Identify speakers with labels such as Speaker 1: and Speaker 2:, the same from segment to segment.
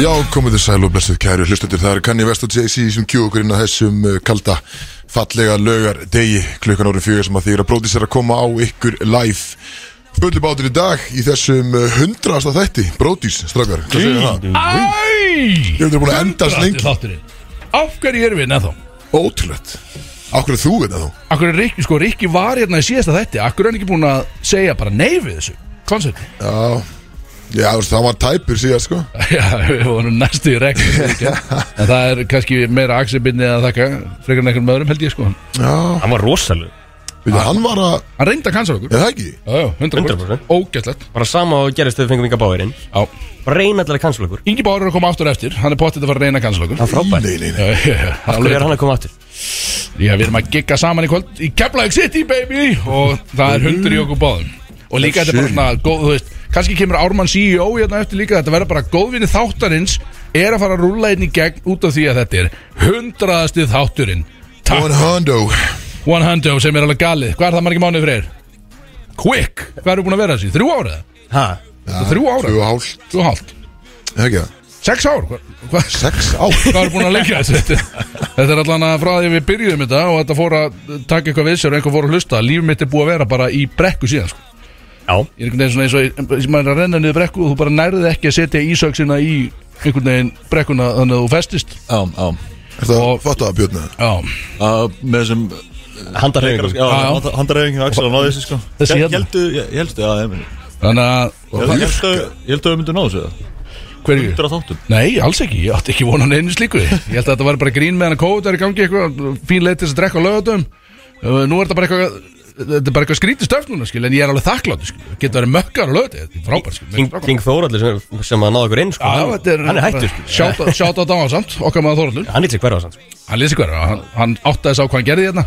Speaker 1: Já, komið þið sæl og blessið kæru hlustutur Það er Kanni Vest og JC sem kjú okkur inn að þessum eh, kalda fallega laugar degi klukkan árið fjögur sem að þið er að bróðis er að koma á ykkur live Fullu bátur í dag í þessum hundrasta þætti Bróðis, strafgar, hvað segir það?
Speaker 2: Æ
Speaker 1: Ég hefði búin að enda þess lengi
Speaker 2: þátturinn Af hverju erum við hérna nefnþá?
Speaker 1: Ótrúlegt Akkur er þú hérna þetta þú?
Speaker 2: Akkur er Rikki, sko, Rikki var hérna í síðasta þætti Akkur er hann ekki búin að segja bara nei við þessu Koncerti
Speaker 1: Já, þú veist, það var tæpur síðan sko
Speaker 2: Já, við vorum næstu í regn En það er kannski meira aksebindni að þakka Frekar en einhverjum öðrum held ég sko Hann
Speaker 1: Já,
Speaker 3: Hann var rosalug
Speaker 1: við hann var að,
Speaker 2: reyndi að cancela okkur
Speaker 1: er það ekki?
Speaker 2: Já, já, 100%
Speaker 3: 100%.
Speaker 2: Ógætlegt
Speaker 3: Bara sama og gerist þegar við fengum Inga Báir inn
Speaker 2: Já
Speaker 3: Bara reyna allir að cancela okkur
Speaker 2: Ingi Bár er að koma aftur eftir Hann er pottið að fara að reyna að cancela okkur
Speaker 3: Hann er frábær
Speaker 1: Nei, nei, nei
Speaker 2: Já, já, já,
Speaker 3: Hvað
Speaker 2: alveg.
Speaker 3: er hann að koma aftur?
Speaker 2: Já, við erum að gigga saman í kvöld í Keflavík City, baby Og það er hundur í okkur báðum Og líka þetta er bara svona, góð, þú veist kannski kemur Ármann CEO hérna eftir líka Þetta verður bara góðvinni þáttarins Er að fara að rúlla einn í gegn út af því að þetta er Hundraðasti þátturinn Takk,
Speaker 1: One oh. Hondo
Speaker 2: 100 sem er alveg galið Hvað er það margir mánuði fyrir? Quick, hvað eru búin að vera þessi? Þrjú ára?
Speaker 3: Ha?
Speaker 2: Ja, þrjú ára?
Speaker 1: Tvö og hálft,
Speaker 2: Þrjú og hálft
Speaker 1: er það ekki það?
Speaker 2: Sex ár? Hvað hva,
Speaker 1: Sex ár
Speaker 2: hvað er búin að leggja þessu þetta, þetta er allan að frá því að við byrjuðum þetta og þetta fór að taka eitthvað við sér og einhver fór að hlusta líf mitt er búið að vera bara í brekku síðan sko.
Speaker 3: Já
Speaker 2: ég er einhvern veginn svona eins og sem maður er að renna niður brekku og þú bara nærðið ekki að setja ísöksina í einhvern veginn brekkuna þannig að þú festist
Speaker 4: Já, já
Speaker 1: Er það
Speaker 2: Og-
Speaker 1: fatt að björna það?
Speaker 2: já,
Speaker 4: Að Með þessum
Speaker 3: Handarreyfing
Speaker 4: Já,
Speaker 2: já.
Speaker 4: handa- handareyfingin Axel og náði þessu sko
Speaker 2: Þessi hérna.
Speaker 4: Hjeldu, hjeldu, já, ég meina
Speaker 2: þannig að
Speaker 4: Hjeldu, hjeldu við myndum náðu þessu það
Speaker 2: hverju?
Speaker 4: Þetta er að þáttum
Speaker 2: Nei, alls ekki, ég átti ekki vonan einu slíku Ég held að þetta var bara grín meðan að COVID er í gangi eitthvað, fín leið til þess að drekka á lögatum Nú er þetta bara eitthvað Þetta er bara eitthvað skrítið stöfn núna, skil, en ég er alveg þakklátt Geta verið mökkar á lögati, þetta er frábært skil, mér finnst
Speaker 3: King, King Þóraldur sem, er- sem að náða okkur inn sko.
Speaker 2: Já,
Speaker 3: hann,
Speaker 2: þetta er
Speaker 3: hann er hættur sko.
Speaker 2: Sjátt á dámar samt, okkar maður Þorallur
Speaker 3: Hann er sér hverfa sann sko.
Speaker 2: Hann lesi hverja, hann, hann áttaði sá hvað hann gerði hérna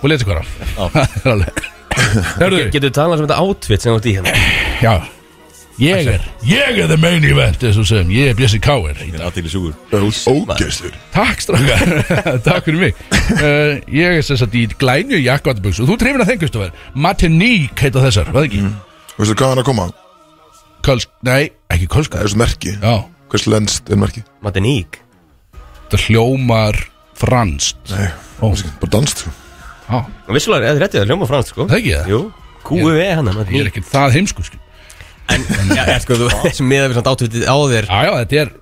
Speaker 2: Og lesi hverja Hörðu,
Speaker 3: Getur við talað um þetta outfit sem þú ert í hérna
Speaker 2: já Ég er, ég er the main event Þessu sem, ég er Bjössi Káir
Speaker 4: Þetta er aðtýrli sjúkur
Speaker 1: Ógeðslur
Speaker 2: Takk strákar, takk fyrir mig uh, Ég er sem sagt í glænju jakkatabugsu Þú trefin að þeim, Kristoffer Martinique heita þessar, hvað ekki? Mm.
Speaker 1: Veistu hvað er að koma?
Speaker 2: Kölsk, nei, ekki kölska
Speaker 1: Það er svo merki
Speaker 2: Já,
Speaker 1: Hvers lenst er merki?
Speaker 3: Matiník
Speaker 2: þetta hljómar franst
Speaker 1: Nei,
Speaker 2: Ó,
Speaker 1: bara danst
Speaker 2: já,
Speaker 3: Vissulega er þetta hljóma franskt sko
Speaker 2: Það ekki, það?
Speaker 3: Jú QV hann er
Speaker 2: ég er
Speaker 3: Matiník
Speaker 2: ekki það sko. heimsku skil.
Speaker 3: Já, já, sko þú sem miðað við samt outfitið á þér
Speaker 2: Já, já, þetta er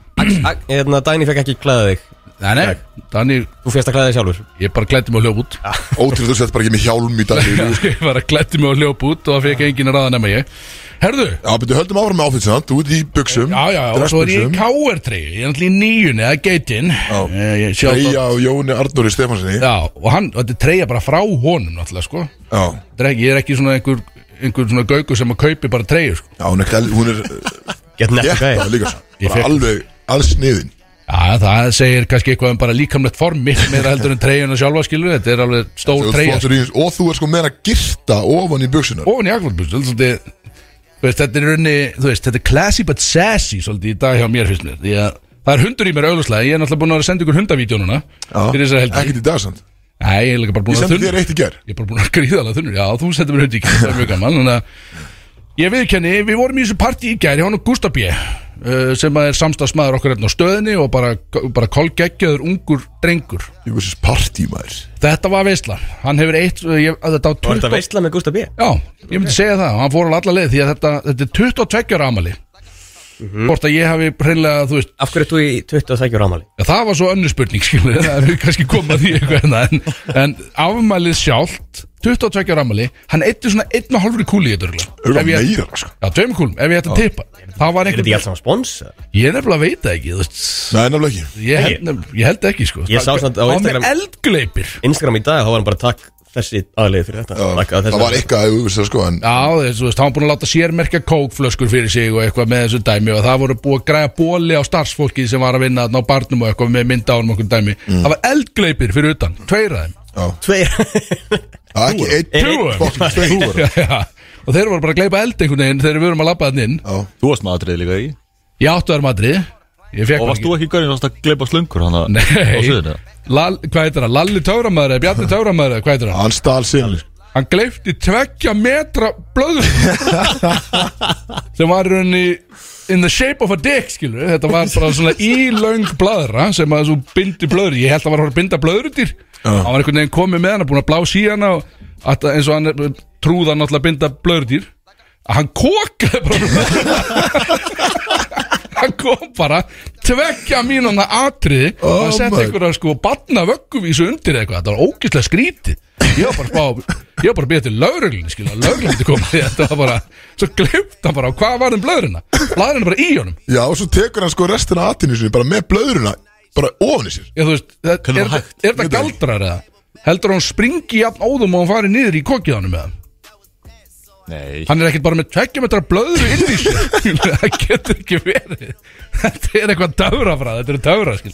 Speaker 3: Ag- Hérna, Dæni fekk ekki klæða þig
Speaker 2: Nei, nei, Danni,
Speaker 3: Þú férst að klæða þig sjálfur
Speaker 2: ég bara klætti mig og hljóp út
Speaker 1: Ótrúlega þú sett bara ekki með hjálm í dag í lús.
Speaker 2: Ég bara klætti mig og hljóp út og það fekk enginn að ráða nema ég Herðu,
Speaker 1: Já, betur höldum áfram með áfyrir sann Þú ert í buksum
Speaker 2: já, já, og svo er ég í káertreyju Ég er náttúrulega í nýjunni, eða geitin Eh, ég- sjá það-
Speaker 1: Freyja og Jóni Arnóri Stefanssoni Já,
Speaker 2: Já, og hann, og þetta er treyja bara frá honum náttúrulega, sko
Speaker 1: já
Speaker 2: Þetta er ekki- Ég er ekki svona einhver, einhver svona gauku sem að kaupi bara treyju, sko
Speaker 1: hún er, gæl- hún er uh,
Speaker 3: Get nefnt
Speaker 1: Jætta
Speaker 3: gæði
Speaker 1: það líka svo.
Speaker 2: Ég
Speaker 1: Bara
Speaker 2: fékk-
Speaker 1: alveg aðsniðin
Speaker 2: Já, það segir kannski eitthvað um bara líkamlegt form mitt meira heldur en treyjuna sjálfa, skilur Þetta er alveg stór treyja, sko
Speaker 1: Og þú er sko meira girta ofan í buksunar
Speaker 2: ofan í akvöldbústul svolítið, þú veist, þetta er í rauninni þú veist, þetta er classy but sassy svolítið í dag hjá mér fyrst mér því að það er hundur í mér auðvitað ég er náttúrulega búin að vera að senda ykkur hundavídjónuna fyrir þessar helgi
Speaker 1: Ekkert í dag sann Ég
Speaker 2: Nei, ég er líka bara búin að
Speaker 1: sendi
Speaker 2: þunna
Speaker 1: þér eitt í ger
Speaker 2: ég er bara búin að gríðalega þunnur já, þú sendir mér hundi í gær, það er mjög gaman þannig að ég viðkenni, við vorum í þessu partí í gær hjá hann og Gustaf B uh, sem að er samstagsmaður okkur hérna á stöðinni og bara, bara kolgeggjöður ungur drengur
Speaker 1: Ég veist partímaður
Speaker 2: þetta var veisla, hann hefur eitt eh, ég, þetta á
Speaker 3: Var þetta
Speaker 2: 20
Speaker 3: veistla með Gustaf B?
Speaker 2: Já, ég myndi segja það, hann fór alveg alla leið því að þetta, þetta er 22 ára amali
Speaker 1: Mhm.
Speaker 2: Hvort að ég hafi hreinlega, þú veist,
Speaker 3: Af hverju ert þú í 22 ára ámali?
Speaker 2: ja, það var svo önnur spurning, skilur við, það er kannski komað því eitthvað hérna, en, en afmalið sjálft, 22 ára amali, hann eittu svona einn og halvri kúli í þetta örugglega.
Speaker 1: Örgulega
Speaker 2: Ef ég-
Speaker 1: meira sko
Speaker 2: Já, tveim kúlum, ef ég ætti að tippa Það var
Speaker 3: Er þetta
Speaker 2: einhvern
Speaker 3: ekki allt saman spons?
Speaker 2: Ég nefnilega veit það ekki, þú veist
Speaker 1: Nei, nefnilega ekki
Speaker 2: Ég held, nef, ég held ekki, sko
Speaker 3: Ég sá samt á
Speaker 2: Hann
Speaker 3: Instagram-
Speaker 2: með eldgleipir
Speaker 3: Instagram í dag, þá var hann bara takk þessi aðlið fyrir þetta
Speaker 1: Já,
Speaker 3: Takk að þessu.
Speaker 1: Það var eitthvað að þú veist það sko En
Speaker 2: Já, þess, þú veist, hann var búin að láta sérmerkja kókflöskur fyrir sig og eitthvað með þessu dæmi og það voru búið að græja bóli á starfsfólkið sem var að vinna þarna á barnum og eitthvað með mynda á hann okkur dæmi
Speaker 1: Mm.
Speaker 2: Það var eldgleipir fyrir utan, tveir af þeim
Speaker 3: Tveir
Speaker 1: það er ekki eitt
Speaker 2: Trúum.
Speaker 1: Fucking tveir
Speaker 2: já, já. Og þeir voru bara að gleipa eld einhvern veginn þegar við vorum að labba þann inn
Speaker 1: Já
Speaker 4: Þú varst með aðtrið líka í
Speaker 2: Ég áttu þær madrið Ég fekk
Speaker 4: Og varst þú ekki gaurinn varst að gleypa slöngur hann að Á
Speaker 2: Nei,
Speaker 4: suðinu
Speaker 2: Lall, hvað heitir það? Lalli Töframæður eða Bjarni Töframæður eða hvað heitir það?
Speaker 1: Hann stál sinn
Speaker 2: Hann gleifti tveggja metra blöður sem var í rauninni in the shape of a dick, skilur Þetta var bara svona ílöng blaðra sem að þú bindi blöður Ég held að var að fara að binda blöðutir Hann var einhvern veginn komið með hana, búin að blási í hana og að, eins og hann er- trúði hann náttúrulega að binda blöðutir að hann kokaði bara blöðurnar. Hann kom bara tvekja mínuna atriði
Speaker 1: Oh
Speaker 2: og hann setti
Speaker 1: my
Speaker 2: einhverja sko batna vögguvísu undir eitthvað Þetta var ógislega skrítið Ég var bara að spá Ég var bara að býja til lauruglun skilja Lauruglun til koma því Þetta var bara Svo glimt hann bara á hvað um var þeim blöðurina Blöðurina bara í honum
Speaker 1: Já, og svo tekur hann sko restina af atinu sinni bara með blöðruna, bara ofan í sér
Speaker 2: Ég, þú veist, það,
Speaker 4: Hvernig
Speaker 2: er,
Speaker 4: var
Speaker 2: er,
Speaker 4: hægt?
Speaker 2: er þetta galdrar eða? Heldur hann springi jafn óðum og hann fari niður í kokið honum eða?
Speaker 4: Nei
Speaker 2: Hann er ekkert bara með tveggjum metra blöðru inn í sér Það getur ekki verið Þetta er eitthvað döfra frá Þetta er döfra skil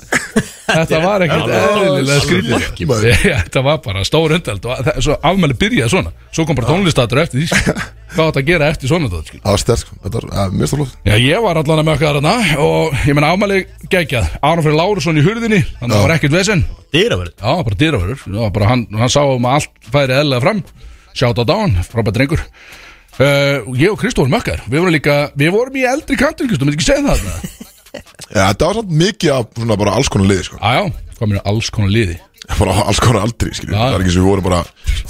Speaker 2: Þetta var ekkert
Speaker 4: alveg-
Speaker 2: eðlilega
Speaker 4: alveg
Speaker 2: skrítið
Speaker 4: ekki,
Speaker 1: maður.
Speaker 2: Ég- Þetta var bara stór undelt og það- Svo afmæli byrjaði svona Svo kom bara tónlistatur eftir því skil. Hvað átt að gera eftir svona þetta skil
Speaker 1: Það var sterk, þetta var, að, mér stóð
Speaker 2: Já, ég var allan að mökka þarna Og ég menna afmæli geggjað Aron fyrir Lárusson í hurðinni Þannig að það var ekkert vesen
Speaker 4: Dýraverð
Speaker 2: Já, bara dýravörur Já, bara hann, hann sá um að allt færi eðlega fram Sjátt á dán, frábært drengur uh, Ég og Kristó vorum mökkar Við vorum líka, við vorum í eldri kantur Kristó, maður ekki segja það þarna?
Speaker 1: Já, þetta var samt mikið af svona bara alls konar liði sko.
Speaker 2: Já, já, hvað mér alls konar liði
Speaker 1: bara á alls konar aldri, skiljum
Speaker 2: Já.
Speaker 1: það er ekki sem við vorum bara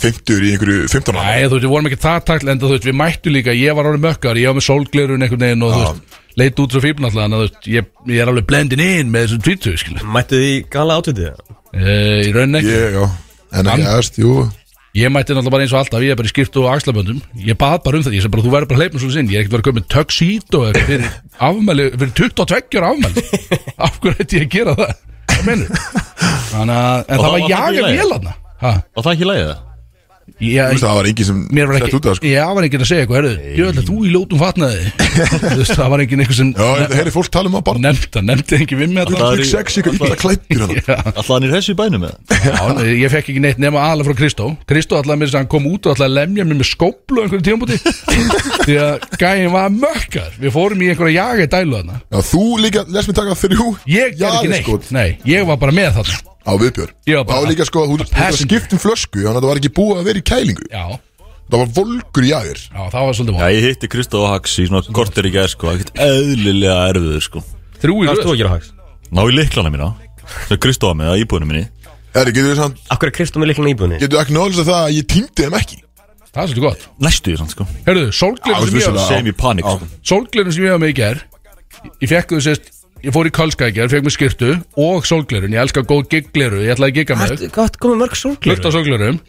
Speaker 1: 50 í einhverju 15 ára
Speaker 2: Æ, þú veist, við vorum ekki það takl En þú veist, við mættu líka, ég var orðin mökkar Ég var með sólglerun einhvern veginn og þú
Speaker 1: Já.
Speaker 2: veist Leit út svo fífn alltaf, þannig að þú veist ég, ég er alveg blendin inn með þessum tvítu, skil uh,
Speaker 3: Mættu þið í gala átvitið?
Speaker 2: Í raunin ekki
Speaker 1: Ég, já, en
Speaker 2: Hann-
Speaker 1: ekki aðst, jú
Speaker 2: Ég mætti náttúrulega bara eins og alltaf, ég er bara í skiptu og axlaböndum Ég bað bara um þetta, ég sem bara þú verður bara hleypum svo sinn Ég er ekkert verið að köpa með tuxedo eða eitthvað fyrir afmæli, fyrir 22 ára afmæli Af hverju ætti ég að gera það? Hvað menur? Þannig að, en
Speaker 4: Og
Speaker 2: það
Speaker 4: það
Speaker 2: var
Speaker 4: var það í
Speaker 2: jaga
Speaker 4: lagi?
Speaker 2: vélarna Ha,
Speaker 4: Og það ekki lægið það
Speaker 1: Þú
Speaker 2: ég,
Speaker 1: veist, það var engin sem
Speaker 2: mér var
Speaker 1: sett
Speaker 2: ekki,
Speaker 1: út af, sko.
Speaker 2: ég var enginn að segja eitthvað, herðu Jöfnlega, þú í lótum fatnaði Þú veist, það var enginn eitthvað sem
Speaker 1: Já, þetta heyri fólk tala um það bara
Speaker 2: nefnd það, nefndi enginn við með
Speaker 1: Þú
Speaker 4: Það
Speaker 1: veist,
Speaker 4: er
Speaker 1: lík
Speaker 4: í-
Speaker 1: sex, ykkur
Speaker 4: alltaf-
Speaker 1: illa klættir hann
Speaker 4: Alltaf hann er hessu í bænum eða?
Speaker 2: Já, ég fekk ekki neitt nema aðalega frá Kristó Kristó allavega með þess að hann kom út og allavega lemja mér með skóplu á einhverjum tímabúti því að gæin var mökkar við fórum í einhverja jaga í dælu þarna
Speaker 1: Já, þú líka, les mér taka þrjú
Speaker 2: ég gerði ekki neitt,
Speaker 1: jaðarskot
Speaker 2: nei, ég var bara með þarna
Speaker 1: Á viðbjör
Speaker 2: Ég var bara-
Speaker 1: Þá líka, sko, hún
Speaker 2: Passenger.
Speaker 1: skipt um flösku Þannig að það var ekki búið að vera í kælingu
Speaker 2: já,
Speaker 1: Það var volgur í aðir
Speaker 2: já, það var svolítið
Speaker 4: Já,
Speaker 2: vond
Speaker 4: ég hitti Kristof Hax í svona korter í gær sko Ekkert eðlilega erfiður sko
Speaker 2: þrjú í
Speaker 3: Hvað erst þú
Speaker 2: röð,
Speaker 3: að gera hags?
Speaker 4: Ná í liklana mína Sem Kristof var með það íbúinu minni
Speaker 1: Eri, getur við samt,
Speaker 3: Akkur er Kristóð með líkna íbúinni?
Speaker 1: getur ekki náðlis að það að ég týndi þeim ekki
Speaker 2: það er svolítið gott
Speaker 4: Næstu því sann sko
Speaker 2: Herðu, sólglerun sem ég var
Speaker 1: vissulega.
Speaker 4: Semi panik sko
Speaker 2: sólglerun sem ég var með í ger ég fekk þú sést, ég fór í Kölska í ger fekk mér skirtu og sólglerun ég elska góð giggleru, ég ætlaði að gigga með þau
Speaker 3: Hvað komið mörg sorglir?
Speaker 2: Hlutt á sólglerum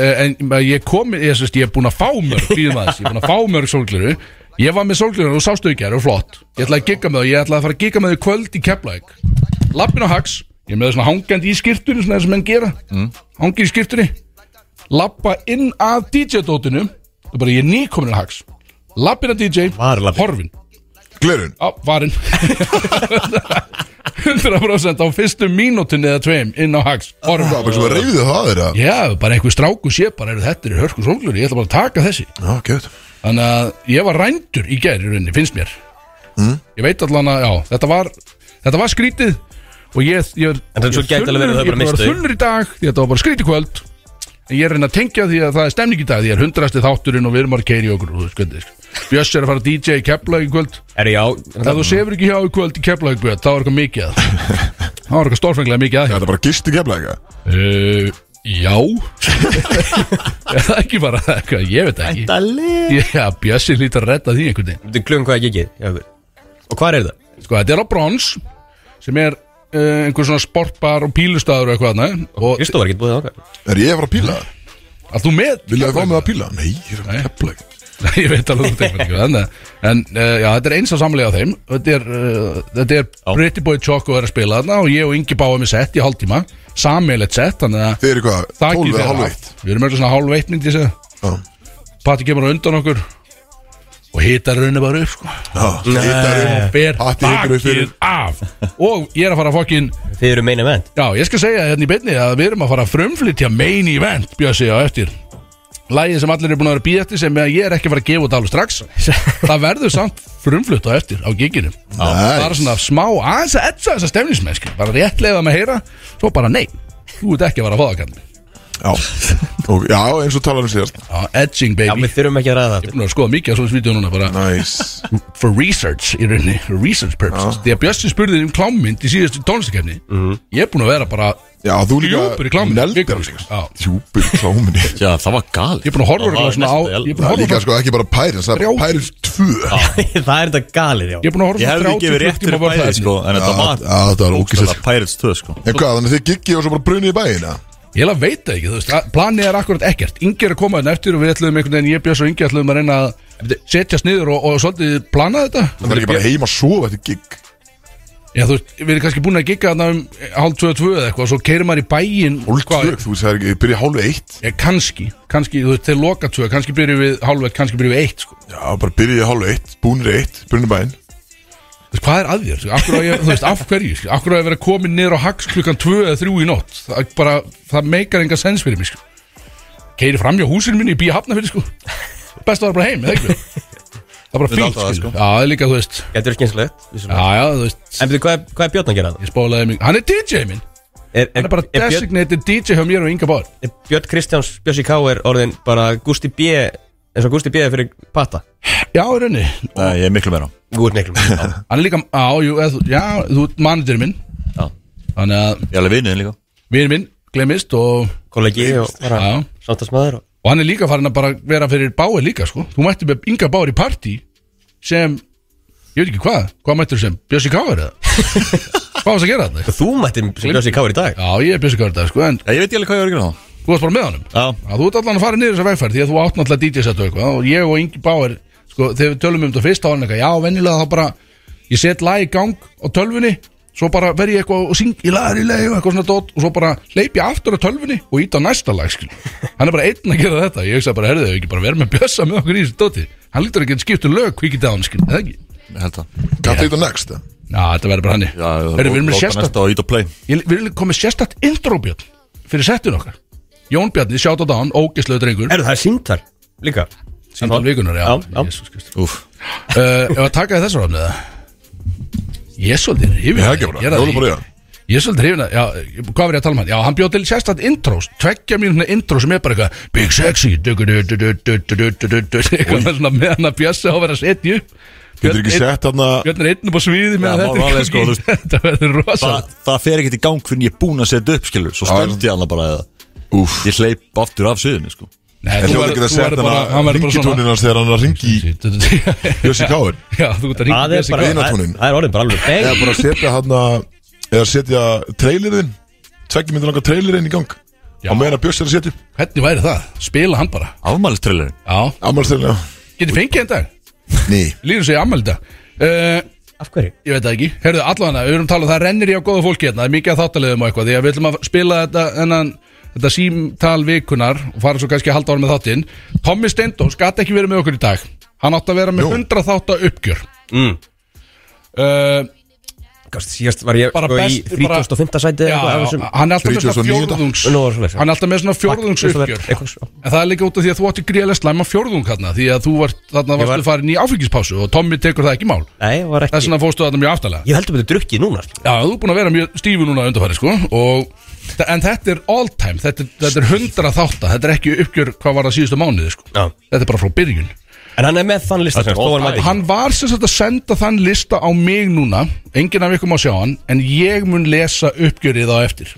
Speaker 2: Eh, En maður, ég kom, ég, sérst, ég er búin að fá mörg Býðum aðeins, ég er búin að fá mörg sólgleru Ég var með sólgleru og sástu ekki, það eru flott Ég ætlaði að gigga með þau, ég ætlaði að fara að gigga með þau í kvöld í Keflæk Lappin á hax, ég er með þau svona hangandi í skirtunni Svona þess að menn gera, hangi í skirtunni Lappa inn að DJ-dótinu Það er bara ég er nýkomin á hax Lappin að DJ,
Speaker 3: Var labbinn?
Speaker 2: horfin
Speaker 1: Glerun
Speaker 2: Á, varinn 100% á fyrstu mínútinni eða tveim inn á hax, horfin
Speaker 1: Það var bara sem að reyðu það aðeir að
Speaker 2: Já, bara einhver stráku sé bara eru þetta eru hörku sólglur, ég ætla bara að taka þessi
Speaker 1: Já, gett
Speaker 2: Þannig að ég var rændur í gær í rauninni, finnst mér
Speaker 1: Mm.
Speaker 2: Ég veit allan að, já, þetta var þetta var skrítið og ég, ég,
Speaker 3: En
Speaker 2: ég,
Speaker 3: svo gæti alveg verið að þau bara
Speaker 2: ég var
Speaker 3: mistu.
Speaker 2: þunnur í dag því að þetta var bara skrítið kvöld en ég er að reyna að tengja því að það er stemning í dag því að hundrasti þátturinn og við erum að keiri okkur og þú veist hvernig, sko. Björs er að fara að DJ í Keflavík í kvöld
Speaker 3: Er já,
Speaker 2: ef þú sefur ekki hjá í kvöld í Keflavík þá er eitthvað mikið að þá er eitthvað stórfenglega mikið að hjá.
Speaker 1: Þetta bara gisti kemla eitthvað
Speaker 2: Uh, já Er það ekki bara eitthvað, ég veit ekki
Speaker 4: Dali
Speaker 2: Já, Bjössi hlýtur að redda því einhvern veginn
Speaker 3: þú klugum hvað ekki ekki Og hvað er það?
Speaker 2: Sko, þetta er á brons sem er uh, einhver svona sportbar og pílustaður og eitthvað þarna og
Speaker 3: Kristóð var ekki búið okkar
Speaker 1: Er ég að fara að píla það?
Speaker 2: að þú með
Speaker 1: Vilja það fá mig að píla? Nei, ég er að kemla eitthvað
Speaker 2: Nei, ég veit alveg þú tekur ekki þannig að- en uh, já, þetta er eins að samlega á þeim þetta er, uh, þetta er Pretty Boy Choco er að spila þarna og ég og Ingi báum með sett í hálftíma sammeilegt sett, þannig að
Speaker 1: Þeir eru hvað,
Speaker 2: þakið
Speaker 1: 12 eða
Speaker 2: fyrir
Speaker 1: halv
Speaker 2: allt.
Speaker 1: eitt
Speaker 2: við erum eitthvað svona hálf eitt myndi ég segja
Speaker 1: Já,
Speaker 2: Patti kemur á undan okkur og hitar rauninu bara upp sko.
Speaker 1: hitarum
Speaker 2: og ber
Speaker 1: Patti hitar upp fyrir.
Speaker 2: bakið af og ég er að fara að fokkin
Speaker 3: Þið eru meina menn
Speaker 2: já, ég skal segja hérna í beinni að við erum að fara að frumflytja main event, Bjössi á eftir Lægið sem allir eru búin að vera býð eftir sem ég er ekki að fara að gefa út alveg strax Það verður samt frumflutt á eftir á giginu Það er
Speaker 1: Næs.
Speaker 2: svona smá aðeins að etsa þessa stemningsmennsku Bara rétt leiða með að heyra Svo bara nei, þú ert ekki að fara að fá það kallið
Speaker 1: Já, og, já eins og talanum síðast
Speaker 2: Já, edging
Speaker 3: Já,
Speaker 2: baby
Speaker 3: við þurfum ekki að ræða
Speaker 2: Ég er
Speaker 3: þetta
Speaker 2: búin að skoða mikið af svona svídeó núna bara
Speaker 1: Nice Ah.
Speaker 2: For research í rauninni Research purposes Því að Bjössi spurði þig um klámynd í síðustu tónlistakefni Ég er búin að vera bara
Speaker 1: Mhm. Já, þú líka
Speaker 2: Djúpur í klámynd
Speaker 1: Neldar
Speaker 2: Vikur, sko. já.
Speaker 1: Djúpur í kláminni
Speaker 4: Já, það var galið
Speaker 2: Ég er búin að horfa
Speaker 4: Það var
Speaker 2: örugglega svona á-
Speaker 4: næsta-
Speaker 2: ég er búin að horfa-
Speaker 1: Líka sko ekki bara pæris það
Speaker 2: Þrjá.
Speaker 1: er Pæris 2
Speaker 3: Ah, Það er þetta galið, já
Speaker 2: Ég er búin að horfa
Speaker 4: Ég hefði
Speaker 2: svona
Speaker 4: gefið
Speaker 2: 30
Speaker 4: rétt fyrir
Speaker 2: klukkutíma á
Speaker 4: bæri
Speaker 2: vörðuefni.
Speaker 4: sko En þetta
Speaker 1: Já,
Speaker 4: var
Speaker 1: já, þetta var ógeðslegt.
Speaker 4: bókstaflega Pirates 2 sko
Speaker 1: En hvað, þannig að þið giggi og svo bara brunni í bæina
Speaker 2: Ég la veit það ekki, þú veist, að- planið er akkurat ekkert Ingi er að koma hérna eftir og við ætlum einhvern veginn Ég, Björs og Ingi ætlum að reyna að setjast niður og, og svolítið plana þetta
Speaker 1: Það er ekki bara heima að sofa þetta gig
Speaker 2: Já, þú veist, við erum kannski búin að gigga þarna um hálf 22 eða eitthvað Svo keirir maður í bæinn hvað-
Speaker 1: Úlgtök, þú veist, það er ekki, byrja hálfu eitt
Speaker 2: Ég, kannski, kannski, þú veist, þeir loka 2 Kannski byrjum við hálfveit, kannski byrjum við 1 sko.
Speaker 1: Já, bara byrja hálfu eitt, búnir eitt, brunni í bæin
Speaker 2: Þú veist, hvað er að þér? Sko? Akkur á ég, þú veist, af hverju? Sko? Akkur á ég að vera komin niður á hags klukkan 2 eða 3 í nótt? Það, er bara, það meikar enga sens fyrir mig, sko. Keiri fram hjá húsinu minni í býja hafna fyrir, sko. Best að vera bara heim, eða ekki? Það er bara
Speaker 4: Við
Speaker 2: fínt,
Speaker 4: látum það,
Speaker 2: sko.
Speaker 4: sko.
Speaker 2: Já, það er líka, þú veist.
Speaker 3: Þetta er skynslegt
Speaker 2: Já,
Speaker 3: En
Speaker 2: já, þú veist.
Speaker 3: betur, hvað, er- hvað er Björn að gera það?
Speaker 2: Ég spólaði mig. Hann er DJ minn.
Speaker 3: Er, er,
Speaker 2: Hann er bara
Speaker 3: er, Björn,
Speaker 2: designated DJ hjá mér og Inga Bár.
Speaker 3: er Björn Kristjáns Björsi K. er orðin bara Gusti B. eins og Gusti B. er fyrir Pata
Speaker 2: Já, í raunni.
Speaker 4: Nei, ég er miklu meira
Speaker 3: Þú ert miklum Já,
Speaker 2: Hann er líka, á, jú, eða, þú- já, þú ert manager minn.
Speaker 4: Já.
Speaker 2: Þannig að
Speaker 4: Ég er alveg vinniðin líka
Speaker 2: vinur minn glemist og,
Speaker 3: kollegi og bara
Speaker 2: Já.
Speaker 3: samtalsmaður og
Speaker 2: og hann er líka farin að bara vera fyrir Báir líka, sko. Þú mætti með Inga Báir í partí sem, ég veit ekki hvað, hvað mættir sem? Bjössi Káar eða? hvað varst að gera þetta?
Speaker 3: Þú mætti sem Björsi K. er í dag
Speaker 2: Já, ég er Bjössi Káar þetta, sko, en
Speaker 4: Já, Ég veit ég alveg hvað ég var að gera það
Speaker 2: þú varst bara með honum.
Speaker 4: Já,
Speaker 2: Já, þú ert allan að fara niður þessa vegferð því að þú átt náttúrulega DJ-set og eitthvað og ég og Ingi Báir, sko, þegar við tölum um þetta fyrst á hann eitthvað, já, venjulega þá bara, ég set lag í gang á tölvunni, svo bara verð ég eitthvað og syng í lagri leið og eitthvað svona dót og svo bara leip ég aftur á tölvunni og ít á næsta lag, skil. Hann er bara einn að gera þetta, ég hugsa bara, herðu, ef ekki bara verð með bjössa með okkur í þessu dóti. Hann lítur ekki að skipta um lög kvikið á hann, skil, eða ekki?
Speaker 4: ég held það
Speaker 1: Kalla þetta next eh?
Speaker 2: Já, þetta verður bara hann.
Speaker 4: Já,
Speaker 2: Herðu, við erum með
Speaker 4: láta
Speaker 2: sérstakt
Speaker 4: næsta á ít og play
Speaker 2: Ég vil komið sérstakt intro-björn fyrir settin okkar. Jón Bjarni, sjátt á dagann, ógeslegu drengur.
Speaker 3: Eru það er síntar líka?
Speaker 2: Sýndal vikunar, já,
Speaker 3: Já, já.
Speaker 2: Jesús Kristur
Speaker 4: Úf
Speaker 2: uh, Ef að taka þessar ofnið Ég er svolítið
Speaker 1: Já,
Speaker 2: hrifin af
Speaker 1: ekki
Speaker 2: því,
Speaker 1: bara,
Speaker 2: ég er að
Speaker 1: jóla bara í
Speaker 2: því. Ég er svolítið hrifin að, já, hvað var ég að tala um hann? Já, hann bjóð til sérstætt intrós, tveggja mínuna intró sem er bara eitthvað Big Sexy, dugu du du du du du du du du du eitthvað svona meðan að bjössi á að vera að setja upp
Speaker 1: Getur ekki
Speaker 2: einn-
Speaker 1: sett þarna
Speaker 2: Björn er einn upp á sviði
Speaker 4: Já,
Speaker 2: meðan þetta er í
Speaker 4: málega, sko,
Speaker 2: gangi.
Speaker 4: þú
Speaker 2: Þetta verður rosa
Speaker 4: Það það fer ekkert í gang fyrir ég er búin að setja upp skilur Svo stöndi ég hana bara eða
Speaker 1: Úf
Speaker 4: Ég hleyp aftur af suðinni sko
Speaker 2: Nei,
Speaker 1: En
Speaker 2: þú
Speaker 1: hljóður
Speaker 2: verður-
Speaker 1: ekki að
Speaker 2: þú
Speaker 1: setja
Speaker 2: verður bara- hann
Speaker 1: þarna
Speaker 2: verður bara svona-
Speaker 1: ringitónin hans þegar hann er að ringi í Bjössi Káir
Speaker 2: Já, þú ert að ringa
Speaker 3: Það er bara Það
Speaker 1: vinatóninn.
Speaker 3: það er orðin bara alveg
Speaker 1: Eða
Speaker 3: beng
Speaker 1: bara setja þarna Eða setja trailerinn Tveggjum myndir langa trailerinn í gang
Speaker 2: Já.
Speaker 1: Á meðan að Bjössi er að setja upp
Speaker 2: Hvernig væri það? Spila hann bara
Speaker 4: Afmælistrailerin
Speaker 2: Já,
Speaker 1: Amalstæðilega
Speaker 2: getið fengið en dag
Speaker 1: Ný
Speaker 2: Lýður segja ammæli í dag uh,
Speaker 3: Af hverju?
Speaker 2: Ég veit það ekki Herðu, allavega, við erum talað Það rennir í á góða fólki hérna Það er mikið að þáttalegum og eitthvað Því að við ætlum að spila þetta Ennan Þetta símtal vikunar Og fara svo kannski að halda ára með þáttinn Tommy Steindós Gat ekki verið með okkur í dag Hann átti að vera með
Speaker 1: Jú.
Speaker 2: 100 þátta uppgjör
Speaker 3: Mm.
Speaker 2: uh,
Speaker 3: Gast, síðast var ég
Speaker 2: Bara
Speaker 3: sko, í
Speaker 2: best- bara-
Speaker 3: 35. sæti eða
Speaker 2: já,
Speaker 3: eitthvað af
Speaker 2: já,
Speaker 3: þessum-
Speaker 2: Hann er alltaf með svona
Speaker 1: 39.
Speaker 2: fjórðungs
Speaker 3: Nú var svoleiðis, já.
Speaker 2: Hann er alltaf með svona fjórðungs
Speaker 3: Eitthvað-
Speaker 2: uppgjör
Speaker 3: eitthvað svo.
Speaker 2: En það er líka út af því að þú átti gríðlega slæma fjórðung hérna Því að þú vart,
Speaker 3: Ég
Speaker 2: þarna
Speaker 3: var-
Speaker 2: varstu farin í áfengispásu Og Tommy tekur það ekki í mál
Speaker 3: Nei, ég var
Speaker 2: Þess
Speaker 3: ekki
Speaker 2: vegna fórstu þarna mjög aftalega
Speaker 3: Ég heldur betur drukkið núna sko.
Speaker 2: Já, þú er búin að vera mjög stífu núna undarfæri sko og, En þetta er all time Þetta, er- þetta er hundra þátta Þetta er ekki uppgjör hvað var það síðustu mánuði sko
Speaker 3: Já.
Speaker 2: Þetta er bara frá byrjun
Speaker 3: En hann er með þann lista sem sagt, þó var hann mætti ekki.
Speaker 2: Hann var sem sagt að senda þann lista á mig núna Enginn af ykkur má sjá hann En ég mun lesa uppgjörið á eftir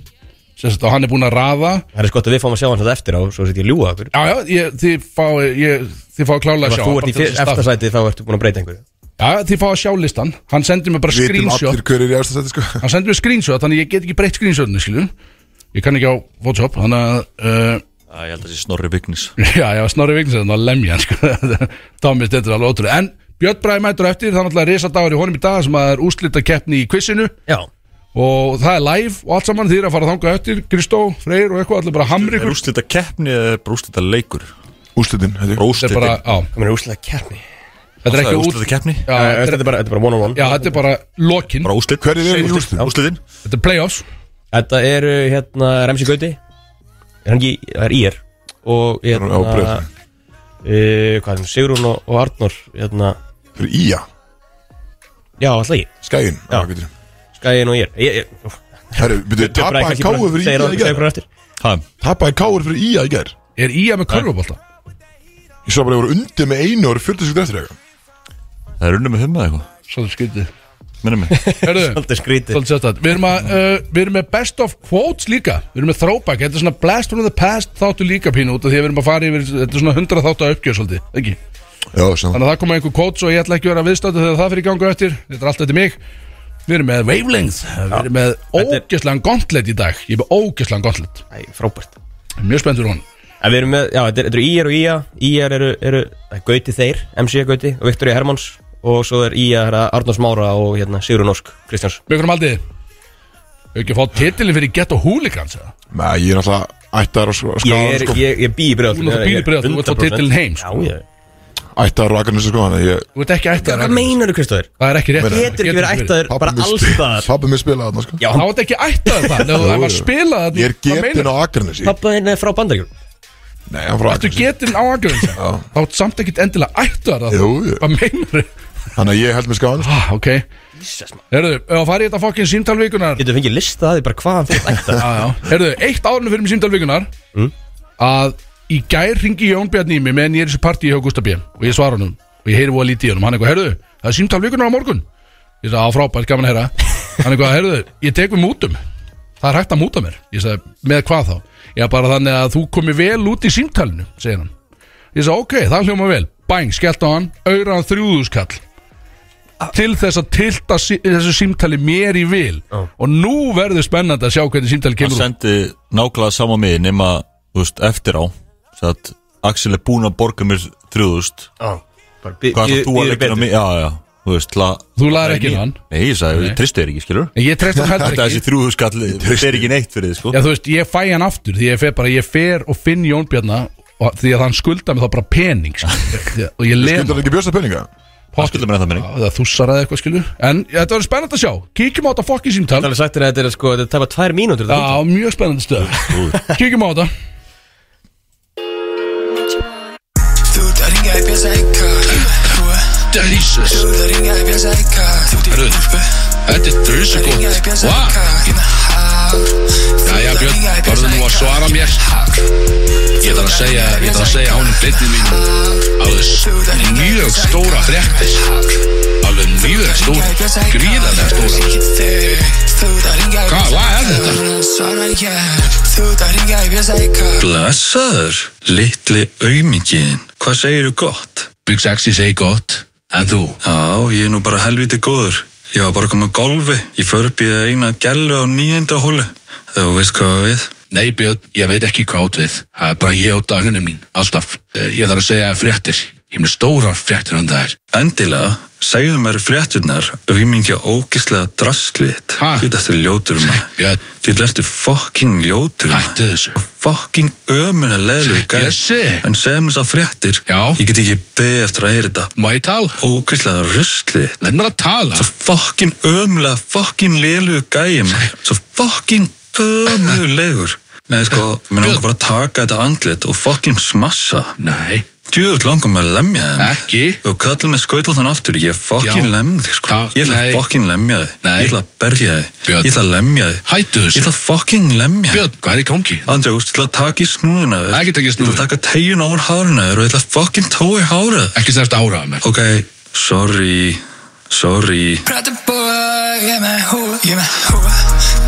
Speaker 2: Sem sagt og hann er búin að raða
Speaker 3: Það er sko að við fáum að sjá hann þetta eftir á Svo setjum ég ljúga okkur
Speaker 2: Já, já, ég, þið fá, ég, þið fá að klála að sjá
Speaker 3: Ef þú
Speaker 2: hann,
Speaker 3: ert í
Speaker 2: bara til
Speaker 3: fyr-
Speaker 2: þess að
Speaker 3: efsta
Speaker 2: staðfesta.
Speaker 3: sæti þá ertu búin að breyta einhverju
Speaker 2: Já, þið fá að sjá listan Hann sendi mér bara
Speaker 1: Vitum
Speaker 2: screenshot
Speaker 1: allir hver er í eftir sæti sko
Speaker 2: hann sendi mér screenshot þannig ég get ekki breytt screenshotinu skilju ég kann ekki á Photoshop þannig að uh,
Speaker 4: Já, ég held að það sé snorri vignis
Speaker 2: já, já, snorri Vignisson að lemja hann sko Tommy þetta er alveg ótrúlega en Björn Bræði mætur á eftir þannig að risa dagur í honum í dag sem að er úslita keppni í quizinu
Speaker 3: Já
Speaker 2: og það er live og allt saman þýr að fara þangað eftir Kristó, Freyr og eitthvað allir bara hamri
Speaker 4: Er
Speaker 2: ykkur
Speaker 4: úrslita keppni eða er úrslita leikur?
Speaker 1: Úslitin
Speaker 2: þetta er bara á
Speaker 3: Komin er úslega keppni
Speaker 2: þetta er
Speaker 4: Það
Speaker 2: ekki
Speaker 4: er
Speaker 2: út
Speaker 4: úrslita keppni?
Speaker 2: já, þetta
Speaker 3: Þetta
Speaker 2: er-
Speaker 3: er bara þetta er bara one on
Speaker 2: já,
Speaker 3: one
Speaker 2: þetta er bara lokin
Speaker 4: Bara úrslit
Speaker 1: Hverjir eru í
Speaker 4: Segjum
Speaker 1: úrslitin?
Speaker 4: Úrslitin
Speaker 2: þetta er playoffs
Speaker 3: Þetta eru hérna Remsi Gauti Er hann ekki Það er ír Og hérna
Speaker 1: Já, Breiðablik.
Speaker 3: eh, Hvað er hann Sigrún og, og Arnór Hérna
Speaker 1: Fyrir Ía
Speaker 3: Já, alltaf ég
Speaker 1: Skæin
Speaker 3: Já. Skæin og ír Ég, ég,
Speaker 1: Herru, byrju,
Speaker 3: Bara
Speaker 1: tapa hann
Speaker 3: kannski
Speaker 1: káu
Speaker 3: bara-
Speaker 1: fyrir
Speaker 3: segir
Speaker 1: Ía
Speaker 3: hann-
Speaker 1: í
Speaker 3: segir
Speaker 1: gerð
Speaker 3: bara eftir
Speaker 4: Ha,
Speaker 1: Tapaði káur fyrir ía í gær
Speaker 2: Er Ía með körfubólta?
Speaker 1: Ég sá bara að voru undir með einu og eru 40 sekund eftir eitthvað
Speaker 4: Það er unnum með humma eitthvað
Speaker 2: Svo þú skytið
Speaker 4: Minna mig
Speaker 2: Herðu,
Speaker 3: Svolítið skrítið
Speaker 2: Svolítið sérstætt Við erum að, uh, við erum með best of quotes líka Við erum með throwback Þetta er svona blast from the past þáttu líka pínu út af Því að við erum að fara yfir Þetta er svona 100 þáttu að uppgjöð svolítið Ekki
Speaker 1: Já, sem
Speaker 2: Þannig að það koma einhver quotes og ég ætla ekki að vera viðstættu Þegar það fyrir gangu eftir Þetta er allt eftir mig Við erum með wavelength Við erum með ógæslan gauntlet í dag Ég er með ógæslan gauntlet
Speaker 3: Æ, frábært
Speaker 2: Mjög spenntur hún
Speaker 3: En við erum með, já, þetta er- þetta eru IR og IA IR eru, eru það er Gauti Þeir, MC er Gauti og Viktoria Hermanns og svo er IA herra Arnars Mára og hérna Sigrun Ósk Kristjáns
Speaker 2: Mjög hvernig aldrei Hefur ekki að fá titilin fyrir Ghetto Hooligans eða?
Speaker 1: Næ, ég er náttúrulega ættar og sko
Speaker 3: Ég er,
Speaker 1: sko,
Speaker 3: ég, ég bý í
Speaker 2: Þú
Speaker 3: bregðallinu
Speaker 2: náttúrulega býr í Breiðholtinu, þú ert að fá titilinn heim,
Speaker 3: Já,
Speaker 2: sko.
Speaker 3: ég
Speaker 1: Ættar og agarnir sko Þannig að ég
Speaker 2: Þú ert ekki
Speaker 3: Hvað
Speaker 2: ættaður Akranes.
Speaker 3: meinaru Kristjáður?
Speaker 2: Það er ekki rétt
Speaker 1: Meinar-
Speaker 2: það
Speaker 3: Getur ekki verið ættaður
Speaker 1: Pabbi
Speaker 3: bara
Speaker 1: minn
Speaker 3: alls
Speaker 1: spi-
Speaker 3: staðar
Speaker 1: Pabbi minn spilaði þarna sko
Speaker 3: Já,
Speaker 2: Þá ert ekki ættaður það Nú, það var spilað þarna,
Speaker 1: Ég er
Speaker 2: hvað meinarðu?
Speaker 1: getin á agarnir sí
Speaker 3: pappa þinn er frá bandaríkjum
Speaker 1: Nei, hann frá
Speaker 2: Þú
Speaker 1: agarnir sí
Speaker 2: getur á aðgjörðin Þá er samt ekkit endilega ættuðar það
Speaker 1: Jú, jú.
Speaker 2: Hvað meinar þau?
Speaker 1: Þannig að ég held mér sko. skáðan
Speaker 2: Ah, ok Herðu, ef að fara í þetta fokkin símtalvikunar
Speaker 3: Getur fengið lista að því bara hvað hann fyrir ætta
Speaker 2: Herðu, eitt árinu fyrir mig símtalvikunar mm. Að í gær ringi Jón Bjarn í mig Meðan ég er í þessu partí hjá Gustaf B Og ég svara honum Og ég heyri voða lítið í honum Hann eitthvað, herðu, það er símtalvikunar á morgun Ég sagði, á frábært, gaman að heyra Hann eitthvað, herðu, ég tek við mútum Það er hægt að múta mér Ég sagði, með hvað þá? Já, bara þannig að þú komi vel út í símtalinu Segir hann Ég sagði ok, það hljóma vel Bang, skellt á hann, auðraðan þrjúðuskall Til þess að tilta sí, þessu símtali mér í vil Og nú verður spennandi að sjá hvernig símtali
Speaker 4: Hann
Speaker 2: kemur út
Speaker 4: sendi nákvæmlega sama mig nema, þú veist, eftir á Sætt, Axel er búinn að borga mér 3000 Hvað er það þú að leggja inn á mig? Já, já, þú veist, til að
Speaker 2: Þú laðir ekki inn á hann
Speaker 4: Nei, ég sagði, ég tristi þér ekki, skilur
Speaker 2: En ég treyst það heldur
Speaker 4: Þetta er
Speaker 2: ekki
Speaker 4: þessi 3000 skall, þetta er ekki neitt fyrir þið, sko
Speaker 2: Já, þú veist, ég fæ hann aftur Því ég fer bara, ég fer og finn Jón Bjarnar og, Því að hann skulda mig þá bara pening
Speaker 5: Ah.
Speaker 2: skilur. Og ég lem
Speaker 1: Skundar ekki bjösta penninga?
Speaker 4: Það skuldar mér það minning
Speaker 2: Það þússar eða eitthvað skilu En þetta verður spennandi að sjá Kíkjum á þetta fokkin símtal
Speaker 3: Það er sagt þér að þetta er sko, þetta tapar tvær mínútur þetta
Speaker 2: Já, mjög spennandi stöð Kíkjum á þetta
Speaker 6: Þú ert að ringa í bjösa ykkar Rúi
Speaker 2: Jesus
Speaker 6: Þú ert að ringa í bjösa ykkar Þú ert í
Speaker 2: Herðu,
Speaker 6: úlpu
Speaker 2: Þetta er drusu
Speaker 6: Ringa í bjösa ykkar Hérna hár
Speaker 2: Jæja Björn, verður nú að svara mér Ég þarf að segja, ég þarf að segja ánum byrni mín alveg mjög stóra fréttis alveg mjög stóra, gríðarlega stóra
Speaker 6: stóra
Speaker 2: Hvað, hvað er þetta?
Speaker 6: Svara ég Þú ert að ringa í bjösa ykkar
Speaker 5: Blessaður, litli aumingiðin. Hvað segirðu gott?
Speaker 2: Big Sexy segi gott, en þú?
Speaker 5: Já, ég er nú bara helviti góður. Ég var bara að koma að golfi. Ég fyrir upp í það eina gælu á nýjenda hólu. Þegar þú veist hvað það við.
Speaker 2: Nei Björn, ég veit ekki hvað átt við það er bara ég á dagunum mín, alltaf Eh, ég þarf að segja fréttir, ég með stóra fréttir um þær
Speaker 5: Endilega, segðu mér frétturnar aumingja ógislega drastlið.
Speaker 2: Ha?
Speaker 5: Þú ertu ljótur maður.
Speaker 2: Björn.
Speaker 5: Þú ertu fucking ljótur maður.
Speaker 2: Hættu þessu.
Speaker 5: Fucking ömulega leðlu gæl.
Speaker 2: Bjössi.
Speaker 5: En segðu mér það fréttir.
Speaker 2: Já.
Speaker 5: Ég get ekki beðið eftir að heyra þetta.
Speaker 2: Má ég tala?
Speaker 5: Ógislega ruslið.
Speaker 2: Lenn mér að tala
Speaker 5: Svo fokkin ömlega, fokkin lélugu gæjum Svo fokkin ömlegur Nei sko,
Speaker 2: Eh,
Speaker 5: mér langar bara að taka þetta andlit og fokkin smassa
Speaker 2: Nei,
Speaker 5: Djöður langar mér að lemja þeim
Speaker 2: Ekki.
Speaker 5: Og kallar mig skautal þann aftur, ég fokkin
Speaker 2: Já.
Speaker 5: lemja þig sko
Speaker 2: Ta-
Speaker 5: Ég ætla
Speaker 2: nei.
Speaker 5: að fokkin lemja þig
Speaker 2: Nei.
Speaker 5: Ég ætla að berja þig
Speaker 2: Björn.
Speaker 5: Ég ætla að lemja þig
Speaker 2: hættu
Speaker 5: Ég ætla að fokkin lemja þig
Speaker 2: Björn, hvað er í gangi?
Speaker 5: Andri, ég ætla að taka í snúðina þér.
Speaker 2: Ekki taka í
Speaker 5: Ég ætla að taka tegjun á hárna þér og ég ætla að fokkin tóa í hára þér.
Speaker 2: Ekki stærst áraða mér
Speaker 5: Ok, sorry, sorry
Speaker 6: Prata um boy, ég með húa, ég með húa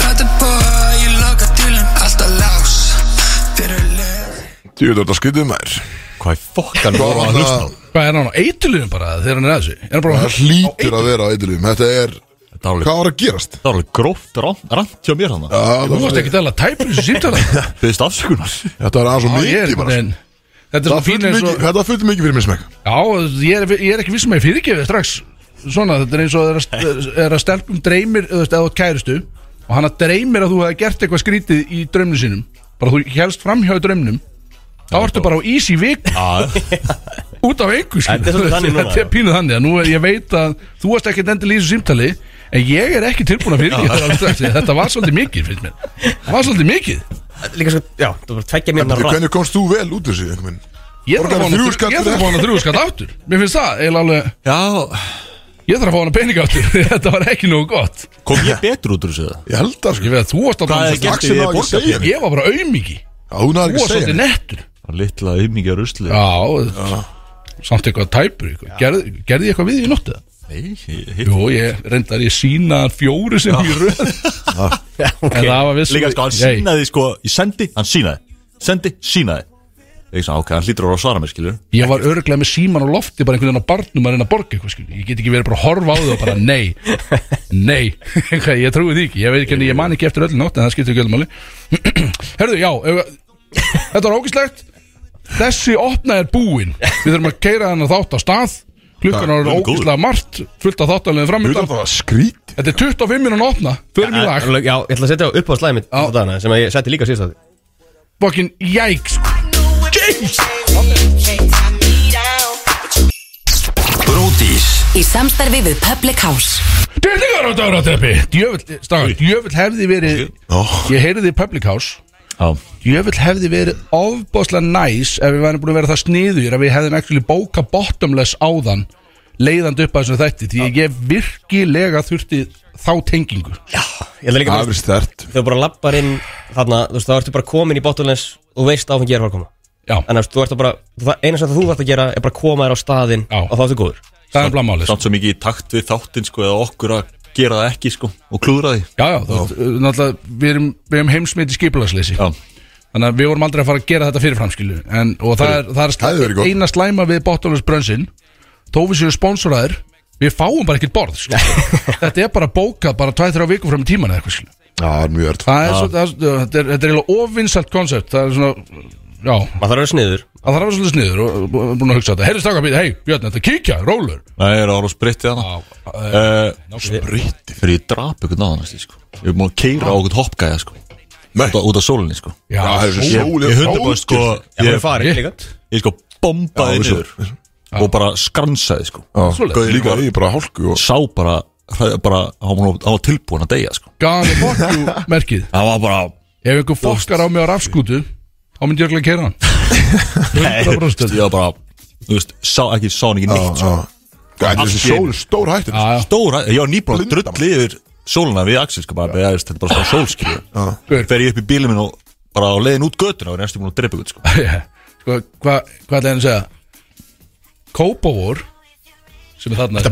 Speaker 6: Prata um boy, ég loka dýlum alltaf lás Fyrir lög
Speaker 1: Jú, þetta er skytið mær
Speaker 4: Hvað er fokkan
Speaker 1: Hvað var það?
Speaker 2: Hvað er hann á eituliðum bara þegar hann er að þessu? Er hann bara
Speaker 1: Það hlýtur að vera á eitthilum Þetta er
Speaker 4: Þetta er alveg-
Speaker 1: Hvað var að gerast?
Speaker 4: það var alveg gróft rann- rannt hjá mér hann
Speaker 2: Þú varst ekki að tæpa þessu símtala
Speaker 4: Byðist afsökunar
Speaker 1: Þetta var aðeins og
Speaker 2: Já, ég
Speaker 1: mikið
Speaker 2: er einhvern
Speaker 1: bara sko.
Speaker 2: veginn
Speaker 1: Það
Speaker 2: Þetta er svona
Speaker 1: fullt
Speaker 2: fín eins
Speaker 1: mikið,
Speaker 2: og
Speaker 1: þetta var fullt mikið fyrir mér smeg
Speaker 2: Já, ég er, ég er ekki vissum að ég fyrirgefið strax Svona, þetta er eins og er að, er að stelpum dreymir, þú veist, eða þú átt kæristu Og hana dreymir að þú hefði gert eitthvað skrítið í draumnum sínum Bara þú helst framhjá í draumnum Þá ertu bara á ís í vik Út af engu, skilur.
Speaker 3: Þetta er svolítið þannig núna,
Speaker 2: Þetta er pínuð þannig að nú er, ég veit að Þú varst ekki endilega í þessu símtali En ég er ekki tilbúin að fyrirgefa þér alveg strax því að Þetta var svolítið mikið, finnst mér Það var svolítið mikið
Speaker 3: Líka svo, já, það var tveggja mínútur rann
Speaker 1: Hvernig komst þú vel út úr þessu einhvern veginn?
Speaker 2: Ég þarf að
Speaker 1: Borgaðu
Speaker 2: fá hana
Speaker 1: þrjú
Speaker 2: þrjú-
Speaker 1: skatt fyrir
Speaker 2: ég þarf að fá hana þrjú skatt aftur Mér finnst það eiginlega alveg
Speaker 4: Já,
Speaker 2: Ég þarf að fá hana pening áttur Þetta var ekki nógu gott
Speaker 4: Kom ég betur út úr þessu það?
Speaker 1: Ég held það
Speaker 2: Ég
Speaker 1: sko
Speaker 2: veit að þú varst að
Speaker 4: Hvað er
Speaker 2: tala um
Speaker 4: gert
Speaker 1: Axel
Speaker 4: við
Speaker 1: náði ekki að segja henni
Speaker 2: Ég var bara aumingi
Speaker 1: Já, hún náði
Speaker 2: Þú
Speaker 1: ekki
Speaker 2: varst
Speaker 1: að segja
Speaker 2: svolítið
Speaker 1: henni
Speaker 2: nettur
Speaker 4: Littla auðmingja rusli
Speaker 2: Já, samt eitthvað tæpur eitthvað. Gerð, Gerði ég eitthvað við í nóttu það?
Speaker 4: Nei, ég hitt
Speaker 2: Jú, ég reyndar ég sína hann fjóru sem ég röð En það var vissum
Speaker 4: Líka sko, hann sínaði sko Ég sendi, hann sínaði Sendi, sínaði Ég ekki svona, ok, hann hlýtur að vera að svara mér, skilur
Speaker 2: Ég var örglega með síman á lofti bara einhvern veginn á barnum að reyna að borga eitthvað skil Ég get ekki verið bara að horfa á það og bara nei Nei, Eitthvað, ég trúi því ekki Ég veit ekki henni, ég man ekki eftir öll nótt en það skiptir ekki öllum máli Herðu, já, ef, þetta var ógislegt Þessi opna er búin Við þurfum að keira hann þátt á stað Klukkan
Speaker 4: Það er
Speaker 2: er
Speaker 4: góður.
Speaker 2: ógislega margt Fullt af þáttanlega
Speaker 1: Utan
Speaker 2: framöndan
Speaker 1: það var skrít
Speaker 2: Þetta er 25 minnum að opna Förum í lag
Speaker 3: Já, ég ætla að setja upp á slæmi
Speaker 2: Já.
Speaker 3: dana, sem að ég setti líka síðast að
Speaker 2: Bokkin, jæks James
Speaker 5: Bródís
Speaker 7: Í samstarfi við Public House
Speaker 2: Dýrlingar á dörrateppi Djöfull, stagar, djöfull hefði verið Ég heyriði í Public House
Speaker 4: Já,
Speaker 2: Jöfull hefði verið ofbáslega næs ef við værum búin að vera það sniður að við hefðum ekki bóka bottomless áðan leiðandi upp að þessu þætti því ég virkilega þurfti þá tengingu
Speaker 3: Já, ég ætla líka
Speaker 1: Það
Speaker 3: bara
Speaker 1: er stert
Speaker 3: Þegar þú bara lappar inn þarna, þú veist, þá ertu bara komin í botulens og veist áfengi er að fara að koma
Speaker 2: Já,
Speaker 3: En þú veist, þú ert að bara, það eina sem þú þarft að gera er bara að koma þér á staðinn
Speaker 2: Já.
Speaker 3: og þá ertu góður
Speaker 2: það er blamálið Já,
Speaker 4: samt svo mikið í takt við þáttinn, sko Eða okkur að gera það ekki, sko Og klúðra því
Speaker 2: já, þú veist, uh, náttúrulega við erum, við erum heimsmyndi skipulagsleysi
Speaker 4: Já,
Speaker 2: Þannig að við vorum aldrei að fara að gera þetta fyrirfram skilu en, og það er, það er
Speaker 1: Það hefði verið
Speaker 2: slæ,
Speaker 1: gott.
Speaker 2: eina slæma við bottomless brönsin þó við séum sponsoraðir við fáum bara ekkert borð skilur. þetta er bara bókað bara 2-3 vikur fram í tíman eða eitthvað skilu
Speaker 1: Já, það er mjög ört
Speaker 2: Það er svo, það, er svo- þetta er, þetta er eiginlega ofinsalt koncept Það er svona, já,
Speaker 3: Maður
Speaker 2: að
Speaker 3: þarf að vera sniður
Speaker 2: það þarf að vera svolítið sniður og og- og búin að hugsa þetta Herri stráka býta, hei, Björn, þetta kíkja, rólur
Speaker 4: Nei, ég er að ára spritti hana
Speaker 2: Já,
Speaker 4: uh, Spritti Fyrir ég drap ykkur náðan, sko Ég er búin að keira á okkur hoppgæja, sko
Speaker 1: Nei.
Speaker 4: Út af- Út af sólinni, sko
Speaker 2: já,
Speaker 1: það er svo
Speaker 2: svo-
Speaker 1: sjó- Sólin
Speaker 4: Ég hundar bara, sko
Speaker 3: Ég er
Speaker 4: Ég
Speaker 3: farin
Speaker 2: Ég-
Speaker 3: líka
Speaker 4: ég sko bombaði
Speaker 1: Já, vissu,
Speaker 4: niður og bara skransaði sko
Speaker 1: Já,
Speaker 2: Svoleiðis.
Speaker 1: Líka í bara hálku og
Speaker 4: sá bara, hræ- bara hann var- hann var tilbúin að deyja sko
Speaker 2: Gani fokku merkið
Speaker 4: hann var bara
Speaker 2: Ef einhver fokkar á mig á rafskútu þá myndi ég örugglega að kera hann
Speaker 4: ég
Speaker 2: 100%
Speaker 4: var bara, þú veist, sá, ekki sá hann ekki neitt sko.
Speaker 1: Það er
Speaker 4: Allt
Speaker 1: þessi
Speaker 4: í einu.
Speaker 1: sól stór hættir
Speaker 2: Já, já.
Speaker 4: stóra, ég var nýbúin að
Speaker 1: Blinda
Speaker 4: drulli yfir sóluna við Axel sko bara, ja. þetta er bara svona sólskil
Speaker 2: Hver?
Speaker 4: fer ég upp í bílum minn og bara á leiðin út götuna og er næstu búin að drepa ykkur sko
Speaker 2: Sko, hvað hva ætlaði hann að segja? Kópavór sem er þarna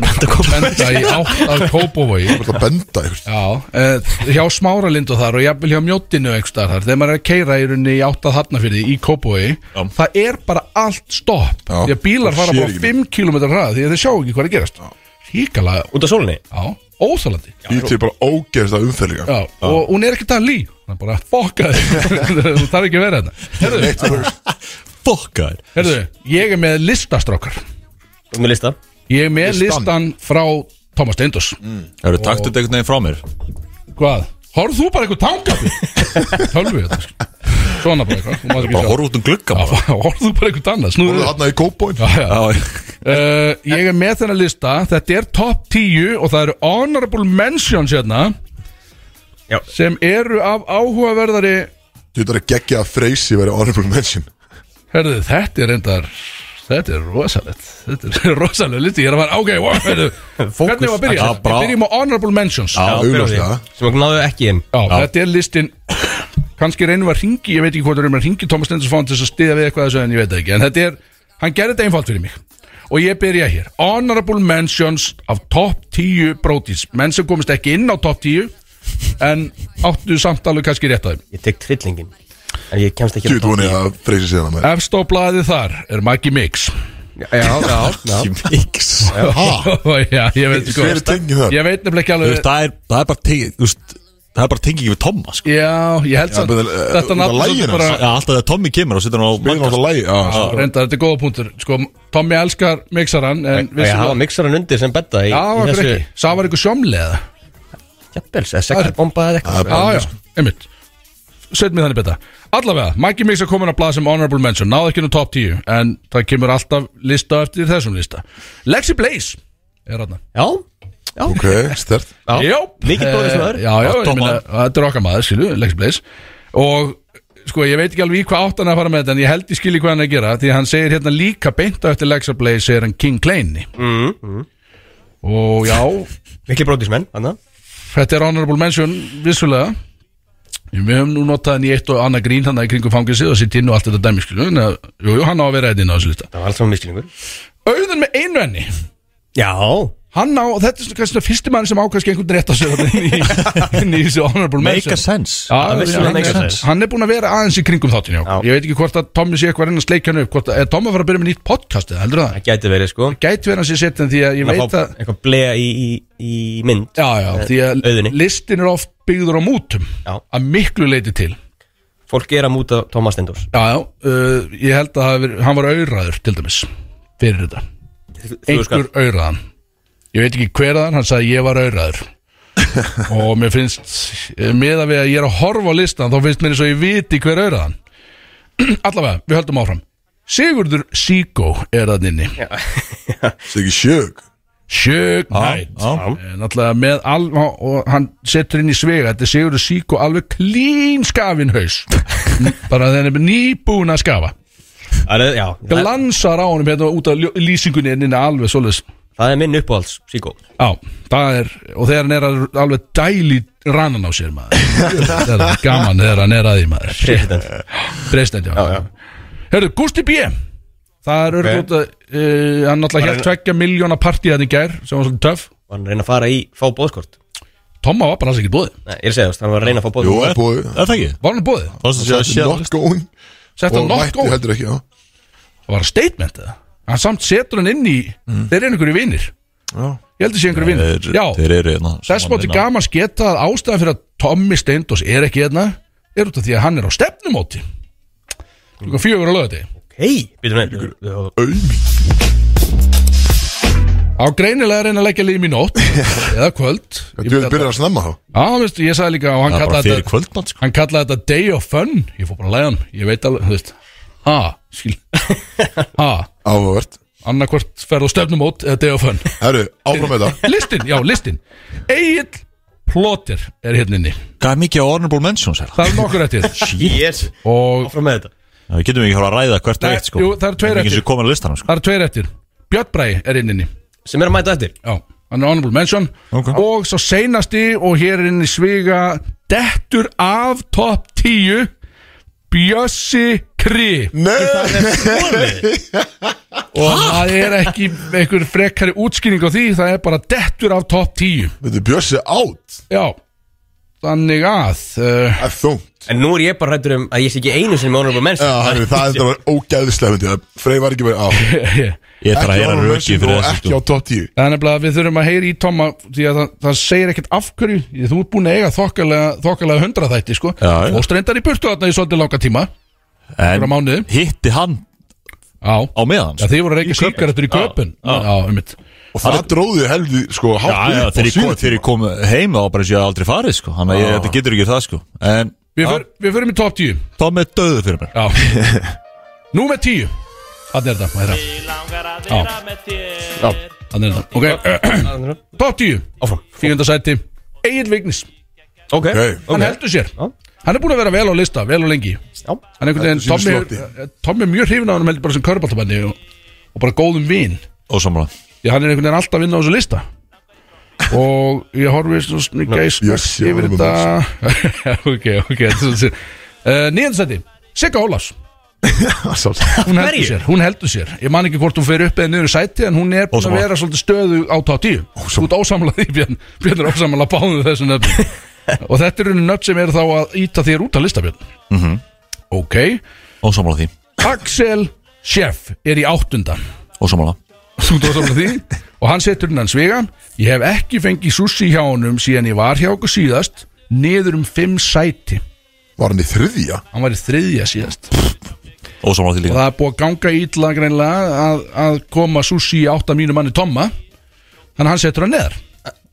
Speaker 2: Benda í átt að Kópavogi
Speaker 1: Það benda ykkur
Speaker 2: Já, eh, hjá Smáralindu þar og jafnvel hjá Mjóttinu einhverstaðar þar þegar maður er að keira í rauninni í áttað hafnafyrði í Kópói
Speaker 4: Já.
Speaker 2: það er bara allt stopp
Speaker 1: Já.
Speaker 2: því að bílar
Speaker 1: Það
Speaker 2: fara
Speaker 1: sér
Speaker 2: bara
Speaker 1: ekki
Speaker 2: 5 km hrað því að þeir sjá ekki hvað er að gerast Híkala,
Speaker 3: Út af sólinni
Speaker 2: já, óþalandi já.
Speaker 1: Í til bara ógeðst að umferðinga
Speaker 2: og hún er ekki það lí það er bara fokka þig þú þarf ekki að vera þetta Herðu,
Speaker 4: fokkaður
Speaker 2: herðu, ég er með listastrákar
Speaker 3: Út með lista
Speaker 2: ég er með
Speaker 1: Listan.
Speaker 2: listan, frá Thomas Steindors
Speaker 4: það eru takt þetta einhvern veginn frá mér
Speaker 2: hvað? Horfðu þú bara eitthvað tangafi? Tölvi þetta sko. Svona bara eitthvað þú mátt ekki
Speaker 4: bara
Speaker 2: sjá.
Speaker 4: horf út um glugga bara
Speaker 2: Horfðu bara einhvern annað
Speaker 1: Það
Speaker 2: Snúðu
Speaker 1: er
Speaker 2: þér
Speaker 1: þarna í kópóin
Speaker 2: Já, já.
Speaker 4: Já,
Speaker 2: Uh, Ég er með þennan lista Þetta er top 10 og það eru honorable mentions hérna
Speaker 3: Já.
Speaker 2: sem eru af áhugaverðari
Speaker 1: Þú veit að gegja að freysi verið honorable mention
Speaker 2: Herðu, þetta er reyndar Þetta er rosalegt Þetta er rosalegt listi Ég er að fara, ok, wow, herðu Hvernig var að byrja?
Speaker 4: Já,
Speaker 2: Við
Speaker 4: brá.
Speaker 2: byrjum á honorable mentions
Speaker 1: Já, auðvitað
Speaker 3: Sem að náðu ekki inn
Speaker 2: Já, þetta er listin kannski reynum að ringi, ég veit ekki hvað það er um að ringi Thomas Stendur Fánd til þess að stiða við eitthvað þessu en ég veit það ekki, en þetta er, hann gerði þetta einfalt fyrir mig og ég byrja hér Honorable mentions af top 10 brótis, menn sem komist ekki inn á top 10 en áttu samt alveg kannski rétt að þeim
Speaker 3: Ég tek trillingin En ég kemst ekki
Speaker 1: Þú veit vonið að freysi séðan að maður
Speaker 2: Efst á blaðið þar er Maggi Mix
Speaker 3: Já, já, já
Speaker 1: X Hæ?
Speaker 2: Já, ég veit
Speaker 1: Hver er
Speaker 2: sko
Speaker 1: tengið það?
Speaker 2: Ég veit nefnilega ekki
Speaker 4: Þú
Speaker 2: alveg
Speaker 4: veist, það er það er bara tengið þú veist, það er bara tengið við Tomma sko.
Speaker 2: Já, ég held samt
Speaker 1: bara, eh, út
Speaker 2: Þetta
Speaker 1: af
Speaker 2: nafn
Speaker 1: laginu
Speaker 2: svolítið bara
Speaker 4: Já, alltaf þegar Tommi kemur og setur hann á
Speaker 1: Við erum
Speaker 4: Magga,
Speaker 1: alltaf lægi Já,
Speaker 2: Reyndar, þetta er góða punktur Sko, Tommy elskar mixaran En
Speaker 3: Já, ég
Speaker 2: vissulega-
Speaker 3: hafa mixaran undir sem betta í,
Speaker 2: Já,
Speaker 3: í
Speaker 2: okkur ekki Sá var ykkur sjómlega
Speaker 3: Jæppels, eða sexbomba eða eitthvað
Speaker 2: Já, já, einmitt Sett mér þannig betra Allavega, Maggi Mix er komin að blaða sem honorable mention Náði ekki nú top 10 En það kemur alltaf lista eftir þessum lista Lexi Blaze er hann
Speaker 3: Já, já,
Speaker 1: ok, stert
Speaker 3: já.
Speaker 2: Jóp
Speaker 3: Mikið bóðið sem öður
Speaker 2: Já, já, ég
Speaker 4: Tóman.
Speaker 2: meina, þetta er okkar maður, skilu, Lexi Blaze Og sko, ég veit ekki alveg í hvað átt hann að fara með þetta En ég held ég skilji hvað hann er að gera Því að hann segir hérna líka beint á eftir Lexi Blaze Segir hann King Kleini mm, mm. og já,
Speaker 3: Mikli brótismenn, þannig
Speaker 2: þetta er honorable mention vissulega við höfum nú notað hann í eitt og annað grín hann í kringum fangilsið og sitt inn og allt þetta dæmi skilu, en að, jú, jú, hann á að vera einn inn á þessu lista
Speaker 3: Það var allt saman miskilningur
Speaker 2: auðan með einu enni
Speaker 3: Já
Speaker 2: hann á, þetta er svona kannski svona fyrsti mann sem ákvæmst einhvern rétt á sig þarna inn í, inn í þessu honorable
Speaker 4: Make
Speaker 2: mention
Speaker 4: a sense
Speaker 2: Já,
Speaker 3: Það vissi
Speaker 2: já,
Speaker 3: hann
Speaker 2: hann,
Speaker 3: ekki
Speaker 2: er,
Speaker 3: þess.
Speaker 2: hann er búin að vera aðeins í kringum þáttin já.
Speaker 3: Já.
Speaker 2: Ég veit ekki hvort að Tommi sé eitthvað að reyna að sleika hann upp hvort að, Er Tommi að fara að byrja með nýtt podcast eða heldur það?
Speaker 3: Það gæti verið, sko
Speaker 2: Gæti verið hann sé setjan því að ég
Speaker 3: Að
Speaker 2: veit
Speaker 3: fá
Speaker 2: að
Speaker 3: Eitthvað blea í, í, í mynd
Speaker 2: Já, já, því að
Speaker 3: Auðunni.
Speaker 2: listin er oft byggður á mútum
Speaker 3: Já.
Speaker 2: Að miklu leiti til Já,
Speaker 3: Fólk er að múta Thomas Stendors
Speaker 2: já, uh, ég held að hafi verið- hann var auðræður til dæmis Fyrir þetta einhver auðraðan ég veit ekki hver aðan, hann sagði ég var auðraður og mér finnst með að við að ég er að horfa á listan þá finnst mér eins og ég viti hver auðraðan allavega, við höldum áfram Sigurður Sigó er að nynni
Speaker 1: Siggi Sjög
Speaker 2: Sjögg Nætt náttúrulega með alveg og hann setur inn í svega, þetta er Sigurður Sigó alveg klín skafin haus bara þenni er nýbúin að skafa
Speaker 3: Það er, já það,
Speaker 2: glansar á honum hérna út af ljó- lýsingunni en inn alveg svoleiðis
Speaker 3: það er minn uppáhalds, Sigó
Speaker 2: Já, það er, og þegar hann er að alveg dæli rannan á sér maður Það er gaman þegar hann er að því maður
Speaker 3: President.
Speaker 2: President, já, já. Hörru, Gusti B Það er örgótt að uh, hann náttúrulega hér tvekja miljóna partí hann í gær sem var svolítið töff
Speaker 3: Var hann að reyna að fara í, fá bóðskort
Speaker 2: Tomma var bara alls ekki búið
Speaker 3: Nei, ég er að segja þú veist, Hann var að reyna að fá
Speaker 1: Jú,
Speaker 3: bóðskort
Speaker 1: er búið
Speaker 4: Er það ekki?
Speaker 2: Var hann búið?
Speaker 4: Það sem sé að sé að
Speaker 1: Not going
Speaker 2: Sett
Speaker 1: Og
Speaker 2: hann nokk
Speaker 1: mætti
Speaker 2: góð
Speaker 1: heldur ekki, já
Speaker 2: Það var statement eða Hann samt setur hann inn í Þeir eru einhverju vinnir
Speaker 1: Mhm. Já.
Speaker 2: Ég heldur sé einhverju vinnir
Speaker 4: Þeir- Þeir eru hérna
Speaker 2: Þess mátti gaman sketa að ástæðan fyrir að Tommy Steindós er ekki hérna er út af því að hann er á stefnumóti Klukkan fjögur á lögati
Speaker 3: Hei, býtum við
Speaker 2: Á greinilega að reyna að leggja líf í nótt eða kvöld Ég,
Speaker 1: Þú
Speaker 2: byrja-
Speaker 1: byrjar að snemma þá
Speaker 2: á, veist, ég sagði líka og hann
Speaker 4: Það er bara
Speaker 2: kallaði
Speaker 4: fyrir
Speaker 2: þetta
Speaker 4: kvöldmann sko
Speaker 2: hann kallaði þetta day of fun ég fór bara að leiða hann, ég veit alveg, þú veist ha, skil ha,
Speaker 1: Áhugavert
Speaker 2: annarkvort ferð á stefnumót eða day of fun
Speaker 1: Herru, áfram með það
Speaker 2: listin, já, listin Egil Plóter er hérna inni
Speaker 4: Hvað er mikið á honorable mentions hérna? er það?
Speaker 2: það er nokkur eftir
Speaker 3: Yes
Speaker 2: og
Speaker 3: Áfram með þetta
Speaker 4: Við getum ekki að fara að ræða hvert og
Speaker 2: Nei,
Speaker 4: eitt sko
Speaker 2: jú, það eru tveir
Speaker 4: Það er
Speaker 2: eftir.
Speaker 4: ekki sem komin að listanum sko
Speaker 2: það er tveir eftir Björn Bræði er inn inni
Speaker 3: Sem er að mæta eftir
Speaker 2: Já, hann er honorable mention
Speaker 4: Ok.
Speaker 2: Og svo seinasti og hér er inn í sviga Dettur af top 10 Bjössi Kri
Speaker 1: Nei,
Speaker 2: Og það er ekki einhver frekari útskýring á því Það er bara dettur af top 10
Speaker 1: þetta er Björsi átt
Speaker 2: Já Þannig að uh,
Speaker 1: Það er þungt
Speaker 3: En nú er ég bara hættur um að ég sé ekki einu sem með honorable mention
Speaker 1: Já, herru, það þetta var ógæðislega myndi Það Frey var ekki verið á
Speaker 4: Ég þarf að
Speaker 1: Ekki á
Speaker 4: heyra
Speaker 1: honum
Speaker 4: röki
Speaker 1: mention
Speaker 4: fyrir
Speaker 1: og
Speaker 4: þessu
Speaker 1: ekki
Speaker 4: sko
Speaker 1: á top 10
Speaker 2: Það er nefnilega að við þurfum að heyra í Toma Því að það, það segir ekkert af hverju því að Þú ert búin að eiga þokkalega, þokkalega hundra þætti sko.
Speaker 4: Já, já.
Speaker 2: Og strendar í burtu þarna í svolítið langa tíma Einhverja mánuði.
Speaker 4: En hitti hann
Speaker 2: Já
Speaker 4: á meðan
Speaker 2: Já,
Speaker 4: sko.
Speaker 2: þið voru að reykja síkaretur í köpun Já, um mitt
Speaker 1: Og það dróði heldi, sko,
Speaker 4: Já, já,
Speaker 1: hátt
Speaker 4: þegar ég kom-
Speaker 1: sínum
Speaker 4: þegar ég kom heim þá var bara sé að aldrei farið sko Þannig að ég- þetta getur ekki það sko En
Speaker 2: Við, för, við förum í top 10
Speaker 4: Tom er döðu fyrir mér
Speaker 2: Já Númer 10 Þannig er þetta hérna.
Speaker 3: Já,
Speaker 2: Þannig er þetta Ok Top 10
Speaker 3: áfram
Speaker 2: Tíunda sæti Egil Vignis
Speaker 3: Ok,
Speaker 1: Ok.
Speaker 2: Hann heldur sér
Speaker 3: Já.
Speaker 2: Hann er búin að vera vel á lista Vel og lengi
Speaker 3: Já.
Speaker 2: Hann er einhvern
Speaker 1: Heldur sínu
Speaker 2: veginn Tommi Tommi er mjög hrifin á hann Heldur bara sem körbáltabenni og, og bara góðum vin
Speaker 4: Ósamlega
Speaker 2: Því hann er einhvern veginn alltaf að vinna á þessu lista Og ég horfi svona gæs
Speaker 1: Bjössi,
Speaker 2: yfir
Speaker 1: honum er
Speaker 2: þetta Ok, ok Nýjandsæti Sigga Ólafs
Speaker 1: Sjálfsagt.
Speaker 2: hún heldur
Speaker 3: Hverju?
Speaker 2: sér, hún heldur sér Ég man ekki hvort hún fer upp eða niður í sæti En hún er búin að
Speaker 4: Ósammála.
Speaker 2: vera svolítið stöðu á top 10 Þú ert ósamlega því Björn Björn er ósamlega báðum þessu nöfn Og þetta eru nöfn sem eru þá að íta þér út af lista Björn Ok
Speaker 4: Ósamlega Mhm. því
Speaker 2: Axel Sjeff er í áttunda
Speaker 4: Ósamlega
Speaker 2: Þú ert ósamlega því Og hann setur innan svega Ég hef ekki fengið sushi hjá honum síðan ég var hjá okkur síðast Niður um 5 sæti
Speaker 1: Var hann í þriðja?
Speaker 2: Hann var í þriðja síðast
Speaker 4: Ósamlega því
Speaker 2: og
Speaker 4: líka
Speaker 2: það er búið að ganga ítla greinlega að, að koma sushi í átta mínu manni Tomma þannig að hann setur hann neðar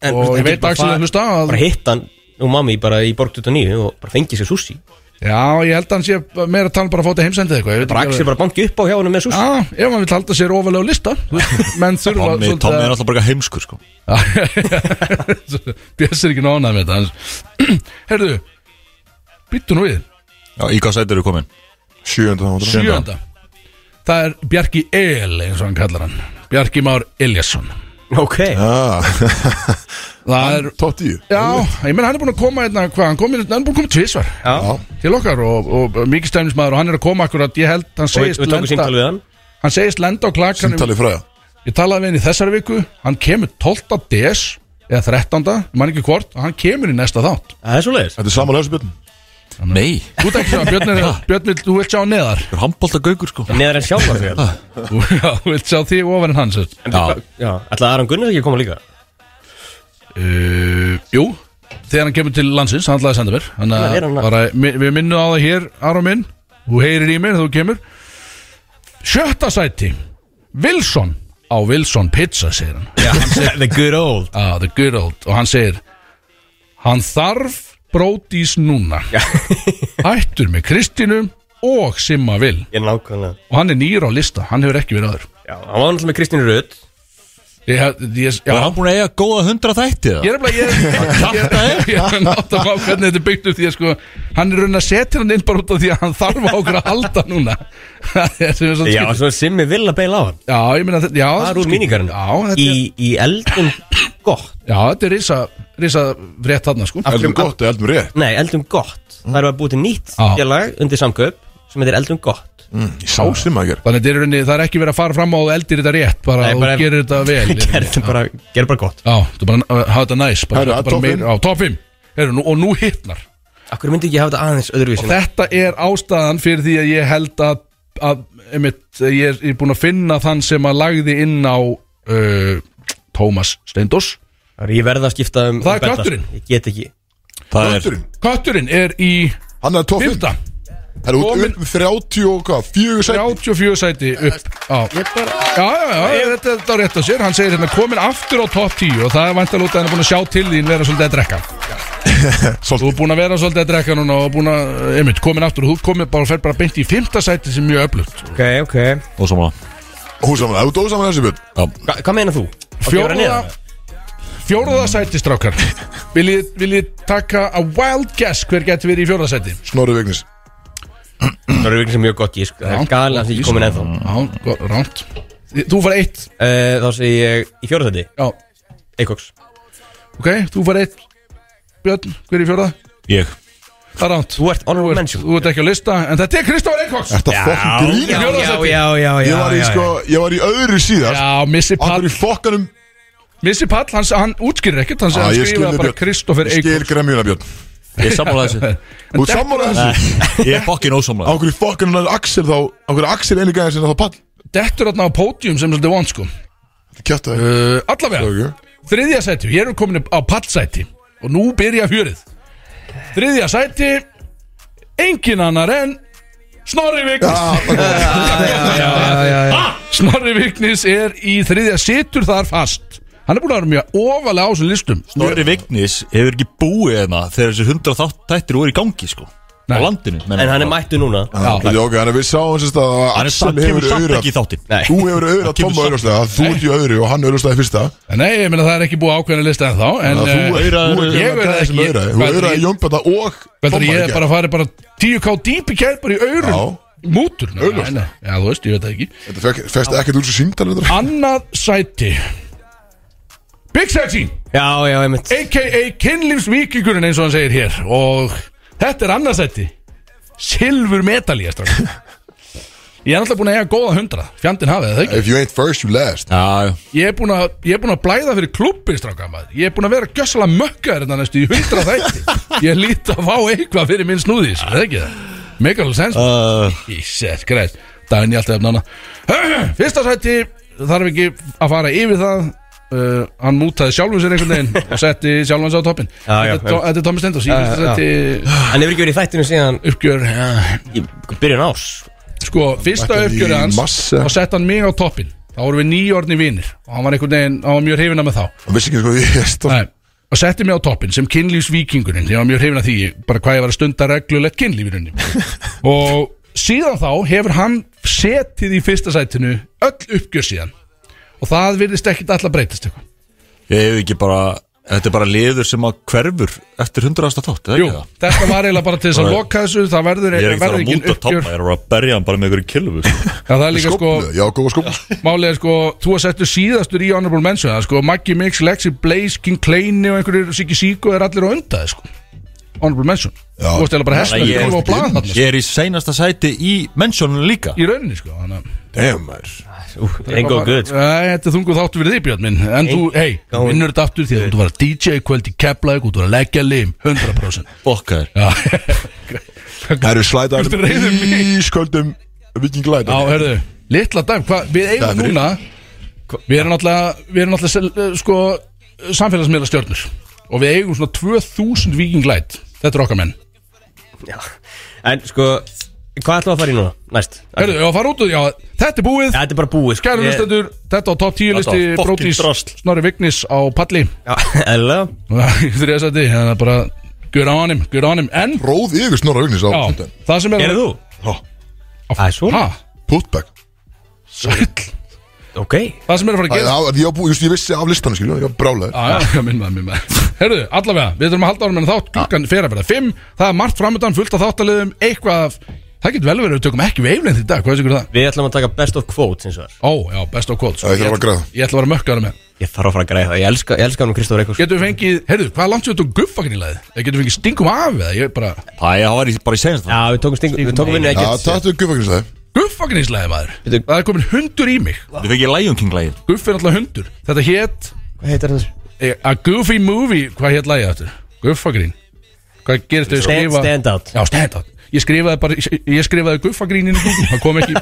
Speaker 3: En, en
Speaker 2: Og ég
Speaker 3: getur
Speaker 2: veit
Speaker 3: bara
Speaker 2: Axel
Speaker 3: farið-
Speaker 2: að hlusta að-
Speaker 3: Bara hitt hann og mami bara í Borg 29 og bara fengið sér sushi
Speaker 2: já, ég held að hann sé meira að tala um bara að fá þetta heimsendið eitthvað ég veit
Speaker 3: Bara
Speaker 2: ekki
Speaker 3: Axel
Speaker 2: alveg.
Speaker 3: bara banki upp á hjá hennu með sushi
Speaker 2: Já, ef hann vil halda sér ofalega á lista þú veist, menn þurfa
Speaker 4: Tommy
Speaker 2: svolítið
Speaker 4: Tommy
Speaker 2: að-
Speaker 4: er alltaf bara heimskur sko
Speaker 2: Bjössi er ekki nánað með þetta hann- Herðu, byttu nú við
Speaker 4: Já, í hvað sæti eru komin?
Speaker 1: Sjönda þá var það.
Speaker 4: Sjöunda.
Speaker 2: Sjönda Það er Bjarki El, eins og hann kallar hann Bjarki Már Eliasson
Speaker 3: Ok
Speaker 1: ah.
Speaker 2: Það er
Speaker 1: Top 10
Speaker 2: Já, ég menn hann er búin að koma hérna, hvað, hann, kom, hérna- hann er búin að koma tvisvar
Speaker 1: Já.
Speaker 2: til okkar og, og, og mikið stæmismæður og hann er að koma akkurat, ég held, hann
Speaker 3: Og við,
Speaker 2: segist
Speaker 3: við tókum símtal við hann
Speaker 2: hann segist lenda á klakanum
Speaker 1: Sýntalið fræða
Speaker 2: ég talaði við hann í þessari viku, hann kemur 12. des eða 13. ég man ekki hvort, og hann kemur í næsta þátt
Speaker 3: Það er svo leiðis
Speaker 1: Þetta er saman lefsbjörn
Speaker 4: Nei,
Speaker 2: Þú ert ekki sjá, Björn, er, Björn vil, þú vilt sjá hann neðar
Speaker 4: það er handbólta sko Ah.
Speaker 3: Neðar en sjálf sig Já,
Speaker 2: Þú- Já, þú vilt sjá þig ofar en hans uh,
Speaker 3: ætlaði Aron Gunnars ekki að koma líka
Speaker 2: Uh, Jú, þegar hann kemur til landsins hann ætlaði að senda mér
Speaker 3: Hvenær er
Speaker 2: Þannig
Speaker 3: hann
Speaker 2: að
Speaker 3: að-
Speaker 2: bara, mi- við minnum á það hér, Aron minn þú heyrir í mér þegar þú kemur Sjötta sæti Wilson á Wilson Pizza segir hann
Speaker 3: The good old
Speaker 2: ah, The good old Og hann segir Hann þarf brótís núna Ættur með Kristínu og Simma Vil
Speaker 3: Ég nákvæmlega
Speaker 2: Og hann er nýr á lista, hann hefur ekki verið aður
Speaker 3: Já, hann var náttúrulega með Kristín Rödd
Speaker 2: Ég, hef- ég, já,
Speaker 4: Var hann búin að eiga góða hundra þætti það?
Speaker 2: ég er bara Ég ég- ég er nátt að fá hvernig þetta er byggt upp Því að sko, hann er raun að setja hann inn bara út af því að hann þarf á okkur að halda núna Það er sem er svolítið
Speaker 3: Já,
Speaker 2: skrítið.
Speaker 3: svo Simmi vil að beila á hann
Speaker 2: já, ég meina þetta Já,
Speaker 3: Það
Speaker 2: þetta
Speaker 3: er úr
Speaker 2: skrítið.
Speaker 3: míningarinn
Speaker 2: Já, þetta
Speaker 3: Í,
Speaker 2: er,
Speaker 3: í eldum gott
Speaker 2: já, þetta er risa, risa rétt þarna sko
Speaker 1: Eldum gott og eldum rétt
Speaker 3: Nei, eldum gott Það er að búið til nýtt
Speaker 2: Já.
Speaker 3: félag undir samkaup sem heitir eldum gott
Speaker 1: Mm, Ég sá sem að gera
Speaker 2: Þannig að þetta er í rauninni- það er ekki verið að fara fram á og eldir þetta rétt bara
Speaker 3: Nei,
Speaker 2: Nei,
Speaker 3: bara-
Speaker 2: og gerir þetta vel í rauninni.
Speaker 3: Gerðum bara, gerðum bara gott
Speaker 2: Já, þetta er bara að hafa þetta næs bara,
Speaker 1: Herru,
Speaker 2: þetta er
Speaker 1: að
Speaker 2: bara
Speaker 1: topp
Speaker 2: meira-
Speaker 1: fimm?
Speaker 2: á topp 5 Heru, nú, Og nú hittnar
Speaker 3: Akkur myndi ekki hafa þetta aðeins öðruvísi
Speaker 2: Þetta er ástæðan fyrir því að ég held að, að einmitt, ég, er, ég er búin að finna þann sem að lagði inn á uh, Tómas Steindors
Speaker 3: Það er ég verða að skipta um
Speaker 2: Það
Speaker 3: um betta,
Speaker 2: er kötturinn.
Speaker 3: sko. Ég get ekki
Speaker 4: Það er
Speaker 1: Kötturinn
Speaker 2: Kötturinn er í
Speaker 1: Hann er top 5
Speaker 2: 5.
Speaker 1: Það er út
Speaker 2: Komin-
Speaker 1: upp um 30 og hvað 4 sætt
Speaker 2: 34 sæti upp á. Já, já, já, þetta þetta er rétt að sér Hann segir hérna, komin aftur á topp 10 og það er vantalóta að hann er búin að sjá til þín vera svolítið að drekka Þú
Speaker 1: Svolítið
Speaker 2: er búin að vera svolítið að drekka núna og búin að, eh, einmitt, komin aftur og þú komin bara, fer bara beint í fymta sæti sem er mjög öflugt.
Speaker 3: Ok, ok
Speaker 4: ósamlega
Speaker 1: Ósaman Það er út ósaman lefsbjörn
Speaker 3: Hva, Hvað meina þú? Að gera
Speaker 2: Fjóruða,
Speaker 3: neðan?
Speaker 2: fjóruða sæti strákar. Viljið, viljið taka a wild guess hver getur verið í fjóruða sæti?
Speaker 1: Snorri Vignis
Speaker 3: Það er ekki sem mjög gott gísk Það
Speaker 2: Já,
Speaker 3: er galið að það
Speaker 2: gott
Speaker 3: ekki
Speaker 2: gísk.
Speaker 3: komin ennþá
Speaker 2: Já, gott, rámt. Þú far eitt,
Speaker 3: Eh, Þá segi ég í fjórðandi
Speaker 2: já,
Speaker 3: Eikoks
Speaker 2: ok, þú far eitt. Björn, hver er í fjóruða?
Speaker 4: Ég
Speaker 2: Það er rámt.
Speaker 3: Þú ert honorable
Speaker 2: ert,
Speaker 3: mention
Speaker 2: þú ert ekki á lista, en þetta er Kristófur Eikóks.
Speaker 1: Þetta fokkin
Speaker 3: já,
Speaker 1: grín
Speaker 3: já, já, já, já
Speaker 1: Ég var í
Speaker 3: já,
Speaker 1: sko Ég var í öðru síðast
Speaker 2: Já, Missi
Speaker 1: Akkur
Speaker 2: Pall,
Speaker 1: í fokkanum
Speaker 2: Missi Pall, hann, hann útskýrir ekkert, hann,
Speaker 1: Já,
Speaker 2: hann
Speaker 1: ég skil
Speaker 2: skrifaði
Speaker 1: þig,
Speaker 2: bara
Speaker 1: Björn.
Speaker 2: Kristófur
Speaker 1: Ég Skil
Speaker 2: Eikóks.
Speaker 1: gremjuna Björn
Speaker 4: Ég sammála þessu
Speaker 1: Þú ert sammála þessu
Speaker 4: Ég er fokkin ósamlega
Speaker 1: Akkur í fokkanum er Axel þá Akkur er Axel einu gæðin sem þá pall
Speaker 2: Dettur þarna á pódium sem svolítið vond sko
Speaker 1: Kjátt það
Speaker 2: uh, Allavega, þriðja sæti Hér erum komin á pallsæti Og nú byrja fjörið Þriðja sæti Engin annar en Snorri Vignis Ah, Snorri Vignis er í þriðja Situr þar fast Hann er búin að vera mjög ofalega á þessum listum
Speaker 4: Snorri Vignis hefur ekki búið hérna þegar þessi hundra þættir voru í gangi sko
Speaker 2: Nei.
Speaker 4: Á landinu
Speaker 3: En hann er mættu núna
Speaker 1: Já, ok, þannig að við sáum sérst að
Speaker 4: Hann er
Speaker 1: Axel
Speaker 4: samt,
Speaker 1: hefur
Speaker 4: kemur samt
Speaker 1: öðru
Speaker 4: ekki í þáttin
Speaker 3: Nei.
Speaker 1: Þú hefur öðru að
Speaker 4: Hann kemur
Speaker 1: Tomma
Speaker 4: samt-
Speaker 1: öðrustlega að þú ert í öðru og hann öðrustlega í fyrsta
Speaker 2: En Nei, ég meina það er ekki búið ákveðin lista en þá En
Speaker 1: Þannig að þú
Speaker 2: eh,
Speaker 1: ert- þú ert
Speaker 4: auraður-
Speaker 2: ég
Speaker 1: hérna
Speaker 2: auraði
Speaker 1: gæði sem
Speaker 2: ekki.
Speaker 1: öðra Þú
Speaker 2: Hvað
Speaker 1: öðru
Speaker 2: heldur
Speaker 1: að Jónbjörna
Speaker 2: ég-
Speaker 1: og
Speaker 2: veldur ég
Speaker 1: í
Speaker 2: bara farið bara 10k dýp í kæð bara í aurun Mútur
Speaker 1: Augljóst.
Speaker 2: Já, þú veist, ég veit það ekki
Speaker 1: gær. Þetta fekk- fæst ekkert úr svo símtal þetta.
Speaker 2: Annað sæti Big Sexy
Speaker 3: Já, já, ég mitt
Speaker 2: A.K.A. kynlífsvíkingurinn eins og hann segir hér Og þetta er annað sæti Silfur medalí Ég strákar. Ég er alltaf búin að eiga góða hundra Fjandinn hafið það ekki
Speaker 1: If you ain't first, you last
Speaker 4: Já, já.
Speaker 2: Ég er búin að, ég er búin að blæða fyrir klubbi stráka, maður. Ég er búin að vera gjössalega mökkaður Þetta næstu í hundra þætti Ég líti að fá eitthvað fyrir minn snúði Það er ekki það Make a little sense sko.
Speaker 4: Uh,
Speaker 2: Jesus Christ Daginn í alltaf efnana Fyrsta sæti þarf ekki að fara yfir það uh, Hann mútaði sjálfum sér einhvern veginn og setti sjálfum hans á toppin
Speaker 3: Já, já,
Speaker 2: Þetta er To- þetta er Tommy Stendos Í
Speaker 3: Já,
Speaker 2: fyrsta
Speaker 3: já.
Speaker 2: sæti
Speaker 3: Hann hefur ekki verið í þættinu síðan
Speaker 2: uppgjör ja.
Speaker 3: í byrjun ás
Speaker 2: Sko, fyrsta
Speaker 1: mætti
Speaker 2: uppgjörið
Speaker 1: í
Speaker 2: hans
Speaker 1: massa.
Speaker 2: Þá setti hann mig á toppin Þá vorum við nýjórni vinnir Og hann var einhvern veginn, hann var mjög hrifina með þá
Speaker 1: Hann vissi ekki hvað ég er stolt
Speaker 2: Nei, og setti mig á toppin sem kynlífsvíkingurinn ég var mjög hrifin að því, bara hvað ég var að stunda reglulegt kynlífurinn og síðan þá hefur hann setið í fyrsta sætinu öll uppgjör síðan og það virðist ekkit alltaf breytast eitthvað
Speaker 4: Ég hef ekki bara Þetta er bara liður sem að hverfur eftir 100. þátt, eða
Speaker 2: Jú,
Speaker 4: ekki það?
Speaker 2: þetta var eiginlega bara til þess að loka þessu Það verður
Speaker 4: Ég er ekki þar
Speaker 2: verður
Speaker 4: að múta toppa, ég er bara að berja hann bara með einhverju kilvu sko.
Speaker 2: Já, það er líka sko,
Speaker 1: Skóflu, já, góða skóflu
Speaker 2: málið er sko Þú að settu síðastur í Honorable Mention það er sko, Maggi Mix, Lexi, Blaze, King Kleini og einhverjir Siggi Sýko er allir á undan sko. Honorable Mention
Speaker 1: Já.
Speaker 2: Þú veist eða bara hestna
Speaker 4: Þannig að ég-
Speaker 2: og blað þarna sko,
Speaker 4: Ég er í seinasta sæti í mennsjónun líka
Speaker 2: Í rauninni sko þannig að-
Speaker 1: Damn, maður
Speaker 3: Ain't go good sko.
Speaker 2: Nei, þetta er þungu þáttu fyrir því Björn minn En þú, hei, þú vinnur þetta aftur því að þú var að DJ í kvöld í Keflæk og þú var að leggja lim 100%
Speaker 4: Bokkar
Speaker 2: Já,
Speaker 1: Það eru slæðar
Speaker 2: Ertu reiður mig?
Speaker 1: ísköldum Viking Light
Speaker 2: Já, hörðu, litla dæm hva, Við eigum
Speaker 1: Dæmi.
Speaker 2: núna Við erum náttúrulega, við erum náttúrulega sel- eh, sko, samfélagsmiðla stjörnur og við eigum svona 2000 vikinglæt Þetta er okkar menn
Speaker 3: En sko, hvað ætlum við að fara í núna? Næst
Speaker 2: Hörðu, ég var að fara út úr, já, þetta er búið
Speaker 3: Þetta er bara búið sko.
Speaker 2: Kæru
Speaker 3: Ég-
Speaker 2: listendur, þetta á top 10
Speaker 4: Þetta var
Speaker 2: listi
Speaker 4: fucking
Speaker 2: Brótis
Speaker 4: drasl.
Speaker 2: Snorri Vignis á palli
Speaker 3: Já, eðlilega.
Speaker 2: Þriðasæti, þannig að bara Good on him, good on him En,
Speaker 1: Róð yfir snorra augnis á
Speaker 2: já, það sem er
Speaker 3: Gerðu þú? Æ, svona
Speaker 2: Ha,
Speaker 1: Putback
Speaker 2: sæll
Speaker 3: Ok
Speaker 2: Það sem er að fara að
Speaker 1: Það
Speaker 2: gera
Speaker 1: er- ég var búið- just- ég vissi af listanum skilju Ég var brálaður
Speaker 2: Já, já, minn maður, minn maður Herðu, allavega, við þurfum að halda árum en þátt Klukkan fer að vera 5 Það er margt framöndan, fullt af þáttaliðum Eitthvað, af- það getur vel verið að Við tökum ekki veiflend í dag, hvað er sigur það?
Speaker 3: Við ætlum að taka best of quotes eins og þar
Speaker 2: Ó, já, best of quotes
Speaker 1: Það er það að græða
Speaker 2: Ég ætla að vera mökkaður með
Speaker 3: Ég þarf að fara að græða það Ég elska, ég elska hann og Kristóður Eikos
Speaker 2: Getum við fengið, herðu, hvað er langt sér þetta um guffakinn í lagið? Getum við fengið stingum af eða, ég bara
Speaker 4: Það ég var í, bara í seinasta
Speaker 3: Já, við tókum stingu Við tókum vinnu
Speaker 1: Já,
Speaker 3: ekkert
Speaker 1: tattu gufagrins það
Speaker 2: Guffakinn í lagið maður
Speaker 3: Bíddu.
Speaker 2: Það er komin hundur í mig
Speaker 4: Þú fekk ég Lion King lægin
Speaker 2: Guff er alltaf hundur Þetta hét
Speaker 3: Hvað heitir það?
Speaker 2: eh, A Goofy Movie, hvað hét lagið aftur? Guffakinn Hvað gerist þau
Speaker 3: Stand,
Speaker 2: skrifa
Speaker 3: stand out
Speaker 2: Já, stand out Ég skrifaði bara, ég- ég skrifaði guffagrínin í Google, það kom ekki,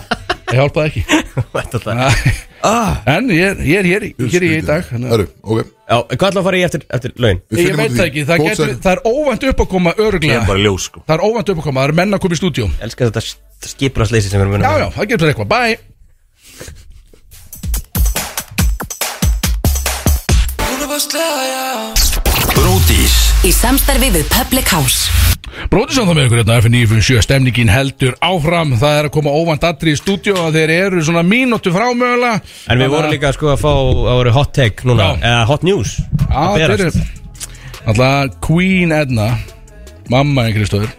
Speaker 2: það hjálpaði ekki
Speaker 3: Þetta það.
Speaker 2: Nei. En ég er, ég er hér, í- hér í í dag þannig að-
Speaker 1: Herru, ok
Speaker 3: Já, en hvað ætlum við að fara í eftir, eftir laun?
Speaker 1: Við
Speaker 2: Ég
Speaker 1: finnum út
Speaker 2: veit
Speaker 1: úr
Speaker 2: það
Speaker 1: því.
Speaker 2: ekki, það,
Speaker 1: Góð
Speaker 2: getur,
Speaker 1: saga.
Speaker 2: það er óvænt upp að koma
Speaker 4: Ég
Speaker 2: örglega
Speaker 4: er bara í ljós sko
Speaker 2: Það er óvænt upp að koma, það er menn að koma í stúdíó
Speaker 3: Elskar þetta st- skipulagsleysi sem við erum að
Speaker 2: Já,
Speaker 3: vinna
Speaker 2: já, það getur eitthvað, bye
Speaker 6: Hún er bara slega, já
Speaker 5: Bródís
Speaker 7: Í samstarfi við Public House
Speaker 2: Bróðisson það með ykkur hérna F957 Stemningin heldur áfram Það er að koma óvænt aðri í stúdíó að Þeir eru svona mínútu frá mögulega
Speaker 3: En við vorum líka sko að fá að voru hot take núna
Speaker 2: Já.
Speaker 3: Eða hot news að
Speaker 2: Já, þeir
Speaker 3: berast.
Speaker 2: eru Alltaf Queen Edna Mamma en Kristóður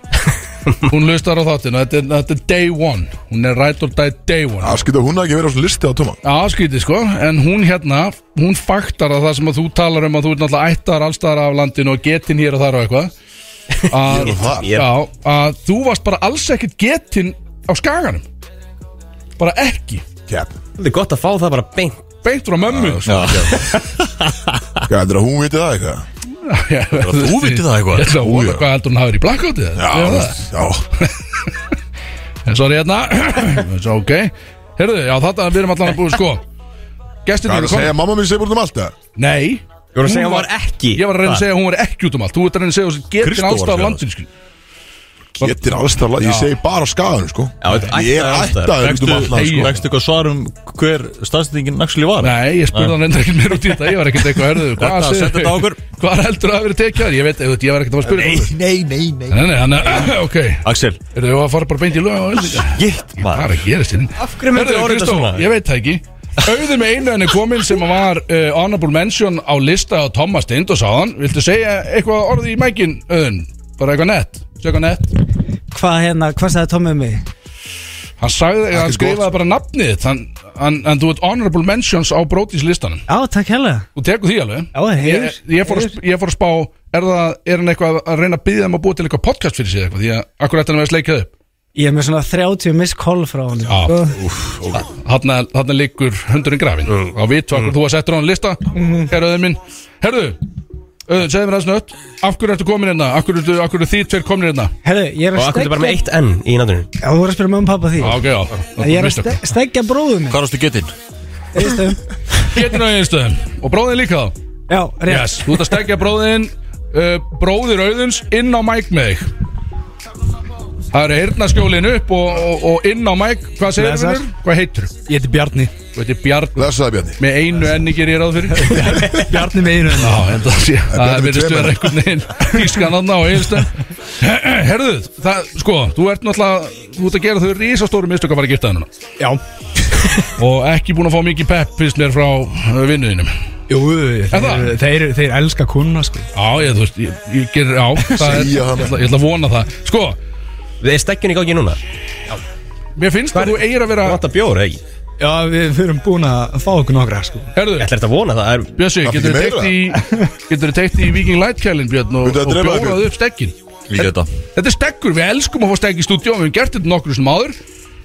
Speaker 2: Hún lustar á þáttin þetta, er- þetta er day one Hún er right or die day one
Speaker 1: Það skilta hún að ekki vera á svona listi á tóma
Speaker 2: Já, skrítið sko, en hún hérna, hún faktar að það sem að þú talar um að þú er náttúrulega ættar allstaðar af landinu og getinn hér og þar og eitthvað að,
Speaker 1: þar?
Speaker 2: Já, að þú varst bara alls ekkert getinn á skaganum Bara ekki,
Speaker 1: Kjæp
Speaker 3: Þetta er gott að fá það bara beint
Speaker 2: beint frá mömmu sko.
Speaker 1: Hvað heldur að hún viti það eitthvað?
Speaker 2: Já,
Speaker 4: þú vitir það eitthvað?
Speaker 2: Ég ætla að
Speaker 1: Ú,
Speaker 2: vona
Speaker 1: já.
Speaker 2: hvað heldur hún hafi verið í blackoutið
Speaker 1: Já,
Speaker 2: Ég veit það.
Speaker 1: já
Speaker 2: En Sorry hérna, svo ok Herðu, já þetta, við erum allan að búið sko Gestin
Speaker 1: Hvað er
Speaker 2: eru
Speaker 1: að segja,
Speaker 2: komin
Speaker 1: mamma mín segir út um allt það?
Speaker 2: Nei
Speaker 3: Ég voru að segja að hún var ekki
Speaker 2: Ég var að reyna að
Speaker 3: þar.
Speaker 2: segja að hún var ekki út um allt Þú ert að reyna að segja að hún sé getinn
Speaker 4: Kristó var að
Speaker 2: allstaðar af
Speaker 4: segja
Speaker 2: landinu skil
Speaker 1: Getur allstað, ég segi bara á skaganum sko
Speaker 3: Já, þetta er
Speaker 1: Ég er
Speaker 3: ættaður alls
Speaker 1: ættaður út um allt land sko
Speaker 2: Hey.
Speaker 4: Vekstu eitthvað svar um hver staðsendingin actually var? Ah.
Speaker 2: Nei, ég spurði hann reyndar ekkert meira út í þetta Ég var ekkert eitthvað
Speaker 3: Hérna,
Speaker 2: hörðu
Speaker 4: Þetta, settu þetta á okkur.
Speaker 2: Hvað heldur að hafa verið tekjað? Ég veit, þú veit, ég var ekkert að fara að spurði
Speaker 1: Nei, nei, nei
Speaker 2: Nei, nei, hann er, ok
Speaker 4: Axel
Speaker 2: Eru þau að fara bara beint í lög og öll
Speaker 4: Gitt
Speaker 2: Hvað
Speaker 4: maður
Speaker 2: er að gerast hérna?
Speaker 3: Af hverju myndir
Speaker 2: Herðu,
Speaker 3: orða þetta
Speaker 2: Kristó,
Speaker 3: svona?
Speaker 2: Ég veit það ekki Auður með einu henni komin sem var uh, honorable mention á lista á Thomas Lind og sáðan Viltu segja eitthvað orði í mækin, Auðun? Bara eitthvað nett, segja eitthvað nett
Speaker 8: Hvað hérna, hvað sagði Tommi um mig?
Speaker 2: Hann sagði, hann
Speaker 1: gott.
Speaker 2: skrifaði bara nafnið þitt hann, hann, En þú ert honorable mentions á brótis listanum
Speaker 8: Já, takk hella
Speaker 2: Þú tekur því alveg
Speaker 8: Já, það hefur-
Speaker 2: ég, ég, fór að, sp- ég fór að spá Er, það, er hann eitthvað að reyna að byggja um að búa til eitthvað podcast fyrir sig eitthvað Því að akkur ætti hann að vera sleikað upp
Speaker 8: Ég er með svona 30 miss call frá Sko. hann
Speaker 2: Já, Þarna þarna liggur hundurinn grafin Á vitu
Speaker 8: Mm.
Speaker 2: akkur þú að setja hann á lista
Speaker 8: Mhm.
Speaker 2: Herðu minn Herðu, öðun, segðu mér aðeins nött Af hverju ertu komin hérna? Af hverju, af hverju þið tveir komin hérna?
Speaker 8: Herðu, ég er
Speaker 3: Og
Speaker 8: að
Speaker 3: akkur er bara með
Speaker 8: stegja
Speaker 3: eitt enn í nafninu
Speaker 8: Já, þú voru að spyrja mömmu og pappa því
Speaker 2: Já, ok, já
Speaker 8: Ég er að ste- stegja bróðu minn
Speaker 4: Hvað varstu getinn?
Speaker 8: Einstöðum
Speaker 2: Getur náðu einstöðum Og bróðin líka þá
Speaker 8: Já, rétt
Speaker 2: Yes, þú ert að stekja bróðin uh, Bróðir auðuns inn á mæk með þig Það eru hirnaskjólin upp og, og, og inn á mæk Hvað segir
Speaker 8: Blessaður.
Speaker 2: þú? Hvað heitir þú?
Speaker 8: Ég heiti Bjarni
Speaker 2: Þetta er Bjarni
Speaker 1: Lesaði Bjarni
Speaker 2: Með einu enni gerir ég ráð fyrir
Speaker 8: Bjarni með einu hérna.
Speaker 2: Já, en það sé Það
Speaker 1: Bjarni
Speaker 2: verðist
Speaker 1: tveimur.
Speaker 2: vera einhvern veginn Ískan aðna og eiginstæð Herðu, það, sko, þú ert náttúrulega Þú ert að gera þau risastóru mistök að fara að gifta þennan
Speaker 8: Já
Speaker 2: uh, Og ekki búin að fá mikið pepp Fyrst mér frá vinnuðinum
Speaker 8: Jú, þeir, þeir,
Speaker 2: það?
Speaker 8: þeir, þeir elska kuna sko.
Speaker 2: Já, ég, þú veist, ég, ég gerir á það er, ég,
Speaker 1: Segja hana.
Speaker 2: ætla, ég ætla að vona það Sko,
Speaker 3: Við er stekkjun í gangi núna
Speaker 2: mér finnst að þú eigir að vera
Speaker 3: Vata bjór, eða ekki?
Speaker 8: Já, við fyrirum búin að fá okkur nokkra sko.
Speaker 2: Herðu,
Speaker 3: Ég ætla þetta að vona það er,
Speaker 2: Bjössi,
Speaker 1: Það
Speaker 2: getur
Speaker 1: fyrir meira?
Speaker 2: þú teikt í Getur þú teikt í Viking Light kælinn, Björn og,
Speaker 1: Myndu að
Speaker 2: og
Speaker 1: drepa það,
Speaker 2: bjórað
Speaker 1: Björn?
Speaker 2: upp stekkin
Speaker 4: Ég get það
Speaker 2: Þetta er stekkur, við elskum að fá stekk í stúdíu Við hefum gert þetta nokkru sem áður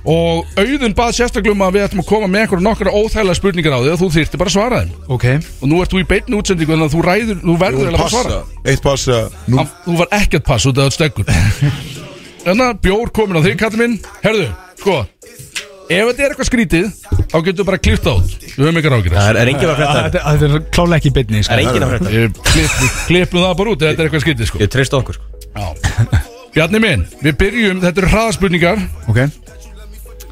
Speaker 2: Og auðun bað sérstaklega um að við ættum að koma með einhverja nokkra óþægilega spurningar á þig og þú þyrfti bara að svara þeim
Speaker 8: Ok
Speaker 2: og nú ert þú í beinni útsendingu þannig að þú ræður, þú verður eiginlega bara að svara
Speaker 1: passa Eitt passa Nú
Speaker 2: Af- Þú var ekkert pass út af þetta stökkur Þannig að bjór komin á þig, kallið minn Herðu, sko Ef þetta er eitthvað skrítið, þá getur við bara klippt það út Við höfum ykkar ágjur
Speaker 3: það er, er enginn að frétta
Speaker 8: Þetta þetta er klálega ekki í beinni
Speaker 3: Það
Speaker 8: sko.
Speaker 3: er enginn að frétta
Speaker 2: Klippum það bara út ef þetta er eitthvað skrítið, sko
Speaker 3: Ég treyst okkur sko.
Speaker 2: Já. Bjarni minn, við byrjum, þetta eru hraðaspurningar
Speaker 8: Ok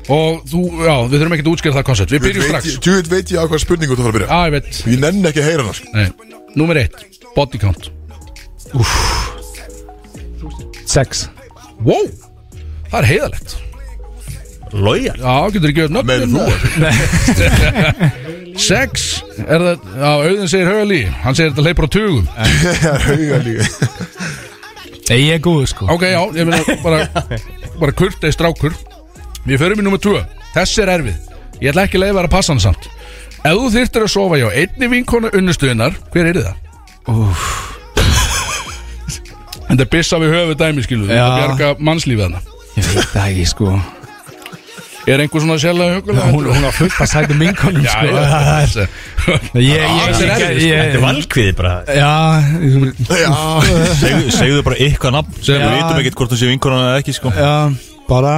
Speaker 2: Og þú, já, við þurfum ekkert að útskýra það koncept Við byrjum strax
Speaker 1: Tjúið veit ég á hvað spurningu þú þarf að byrja
Speaker 2: Já, ég veit,
Speaker 1: Ég nenni ekki að heyra hana sko.
Speaker 2: nei, númer eitt Body count
Speaker 8: Sex
Speaker 2: Wow, það er heiðalegt
Speaker 3: Lója
Speaker 2: Já, getur ekki verið
Speaker 1: Meira en
Speaker 2: nöfnum
Speaker 1: þú
Speaker 2: Sex, er það, já, auðvitað segir högalí Hann segir þetta hleypur á tugum
Speaker 1: Það er hauga líka
Speaker 8: Nei, ég er góð sko
Speaker 2: Ok, já, ég meina bara, bara kurteið strákur Við förum í nummer 2 Þessi er erfið Ég ætla ekki að leiða þér að passa hann samt Ef þú þyrftir að sofa hjá einni vinkonu unnustuðinnar Hver er það? Úff En það bissa við höfu dæmi skilu
Speaker 8: Já.
Speaker 2: Þú ert að bjarga mannslífið hana
Speaker 8: Ég veit það ekki sko
Speaker 2: Er einhver svona sérlega högulega?
Speaker 8: Hún, hún á fullt að sæta minkonum
Speaker 2: Já,
Speaker 8: sko
Speaker 2: já,
Speaker 8: Það er-
Speaker 2: já,
Speaker 8: Ég, ég,
Speaker 4: Ah,
Speaker 8: ég, ég,
Speaker 2: þetta er erfitt, sko.
Speaker 3: Þetta er
Speaker 8: ég
Speaker 3: valkviði bara
Speaker 8: Já,
Speaker 1: Já
Speaker 4: Segðu, segðu bara eitthvað nafn
Speaker 2: Segðu
Speaker 4: Við
Speaker 8: bara-
Speaker 4: vitum ekkert hvort þú sé vinkonan eða ekki sko
Speaker 8: já, bara,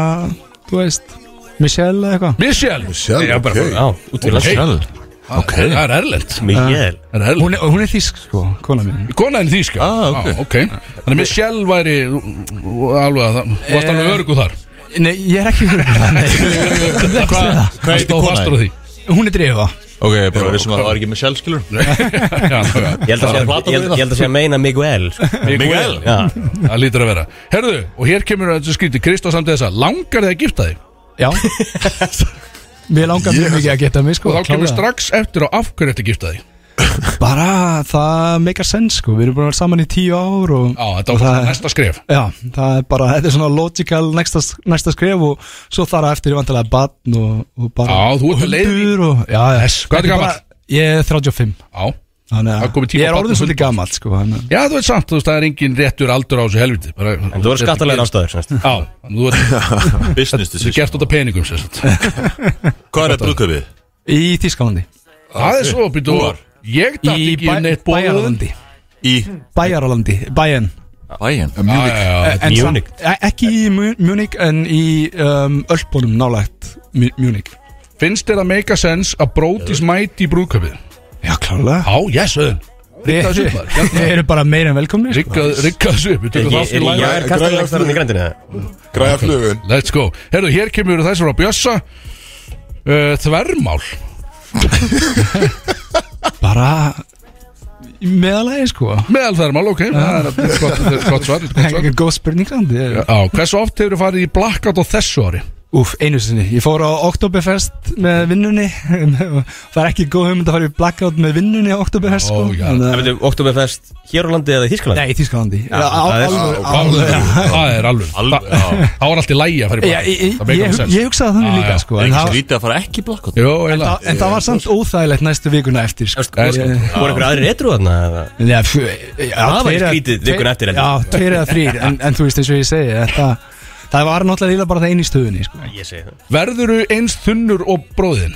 Speaker 8: þú veist Michelle eða eitthvað
Speaker 2: Michelle
Speaker 1: Michelle,
Speaker 2: Já, bara-
Speaker 1: ok.
Speaker 3: Já, út við landsins
Speaker 4: Sjálf Ok
Speaker 2: Það er erlend
Speaker 3: Mikið
Speaker 2: Það er erlend
Speaker 8: Hún er, hún er þísk sko, kona mín
Speaker 2: Konaðin þýska
Speaker 4: Ah, ok.
Speaker 2: ah, okay. Þannig að Michelle væri alveg að það Þú varst
Speaker 8: Eh.
Speaker 2: alveg örgu þar
Speaker 8: Nei, ég er ekki Hvað?
Speaker 4: Hvað
Speaker 2: Það
Speaker 4: heitir
Speaker 2: stóð
Speaker 4: konan
Speaker 2: fastur á
Speaker 4: þín?
Speaker 2: því
Speaker 8: Hún er drifa
Speaker 4: Ok, ég er bara vissum að það var ekki með sjálfskilur
Speaker 2: Já, já.
Speaker 3: Ég held að sé
Speaker 4: Það er platan
Speaker 3: að- ég held-
Speaker 4: við
Speaker 3: ég held að sé að meina Miguel sko.
Speaker 4: Miguel
Speaker 3: Já
Speaker 2: Það lítur að vera Herðu, og hér kemur þetta skríti Kristó samt þess að langar þið að gifta þig
Speaker 8: Já Mér langar mjög mikið að geta mig sko
Speaker 2: Og þá kemur
Speaker 8: klárlega.
Speaker 2: strax eftir á af hverju þetta gifta þig
Speaker 8: Bara það meikar sens sko Við erum búin að vera saman í tíu ár og,
Speaker 2: Já, þetta
Speaker 8: og
Speaker 2: var
Speaker 8: það,
Speaker 2: næsta skref
Speaker 8: Já, það er bara Þetta er svona logical næsta, næsta skref Og svo þar á eftir ég vantilega badn og, og bara
Speaker 2: Já, þú ert
Speaker 8: og
Speaker 2: að leið-
Speaker 8: hundur og, Já, já
Speaker 2: Yes, hvað ertu
Speaker 8: Þetta
Speaker 2: gamall?
Speaker 8: bara- Ég er 35
Speaker 2: Já,
Speaker 8: Þannig
Speaker 2: Það er komið
Speaker 8: að ég
Speaker 2: tími á
Speaker 8: er
Speaker 2: barn og
Speaker 8: orðin
Speaker 2: hund.
Speaker 8: svolítið gamall sko þannig að-
Speaker 2: já þú veit samt, þú veist, það er engin réttur aldur á þessu helviti bara,
Speaker 3: En þú eru skattalega ástæður sem sagt.
Speaker 2: Já, þú ert
Speaker 4: Business
Speaker 2: þú ert
Speaker 4: decision
Speaker 2: gert út af peningum sem sagt.
Speaker 4: Hvað er brúðkaupið?
Speaker 8: Í Þískalandi
Speaker 2: Það er svo, býttu Ég dætt
Speaker 8: Í
Speaker 2: ekki
Speaker 8: bæ-
Speaker 2: neitt bóðun
Speaker 8: Bæjaralandi
Speaker 4: Í
Speaker 8: Bæjaralandi, bæinn
Speaker 4: Bæin
Speaker 2: Mjúlik
Speaker 8: En samt-
Speaker 3: Munich.
Speaker 8: e- Ekki í Mu- Munich en í um, Ölpunum nálægt Mu- Munich
Speaker 2: Finnst þér að make a sense að brótis mæti í brúðköpið?
Speaker 8: Já, klárlega
Speaker 2: Já, yes, öðun Riggaðu þessu upp, maður.
Speaker 8: Við erum bara meira en sko. velkomni
Speaker 2: Riggaðu riggaðu þessu upp, við
Speaker 3: Er
Speaker 2: tökum
Speaker 3: ég-
Speaker 2: þátt í
Speaker 3: er
Speaker 2: live
Speaker 3: ég er kastalega ástæður í grændinu
Speaker 1: Græða flugun
Speaker 2: Let's go Herðu, hér kemur þessi frá Bjössa uh, Þvermál
Speaker 8: Bara meðalagi sko
Speaker 2: Meðal þvermál, ok Það er gott- gott gott svar gott svar.
Speaker 8: Góð spurning samt ég-
Speaker 2: Já, Hversu oft hefur farið í blackout á þessu ári?
Speaker 8: Úf, einu sinni Ég fór á Oktoberfest með vinnunni Það er ekki góð hugmynd að fara í blackout með vinnunni á Oktoberfest sko
Speaker 2: Ó, já.
Speaker 8: Þannig að-
Speaker 3: Það veitum, Oktoberfest hér á landi eða í Þískaland
Speaker 8: Nei, í Þískalandi
Speaker 3: það er-
Speaker 2: Það er alveg
Speaker 4: Alveg,
Speaker 2: Það
Speaker 4: já.
Speaker 2: það var allt í lægi að fara í
Speaker 8: Ég,
Speaker 2: blackout
Speaker 8: ég,
Speaker 2: Það
Speaker 8: ég,
Speaker 2: meikar alveg
Speaker 8: ég,
Speaker 2: sens.
Speaker 8: ég hugsaði þannig
Speaker 2: Já,
Speaker 8: líka
Speaker 2: já.
Speaker 4: Er
Speaker 8: sko en
Speaker 4: ekki
Speaker 8: það-
Speaker 4: skrítið að fara ekki í sko. blakkotta?
Speaker 2: Jó, eiginlega
Speaker 8: En það var samt óþægilegt næstu vikuna eftir sko.
Speaker 3: Voru voru einhver aðrir etru þarna? eða?
Speaker 8: Nei, f- já,
Speaker 3: Það var
Speaker 8: tveir eða-
Speaker 3: skrítið vikuna eftir, heldur.
Speaker 8: Já, tveir eða þrýr en, en þú veist eins og ég segi þetta, Það var náttúrulega eiginlega bara það einu í stöðunni sko.
Speaker 3: Ég segi það
Speaker 2: Verðuru eins þunnur og bróðin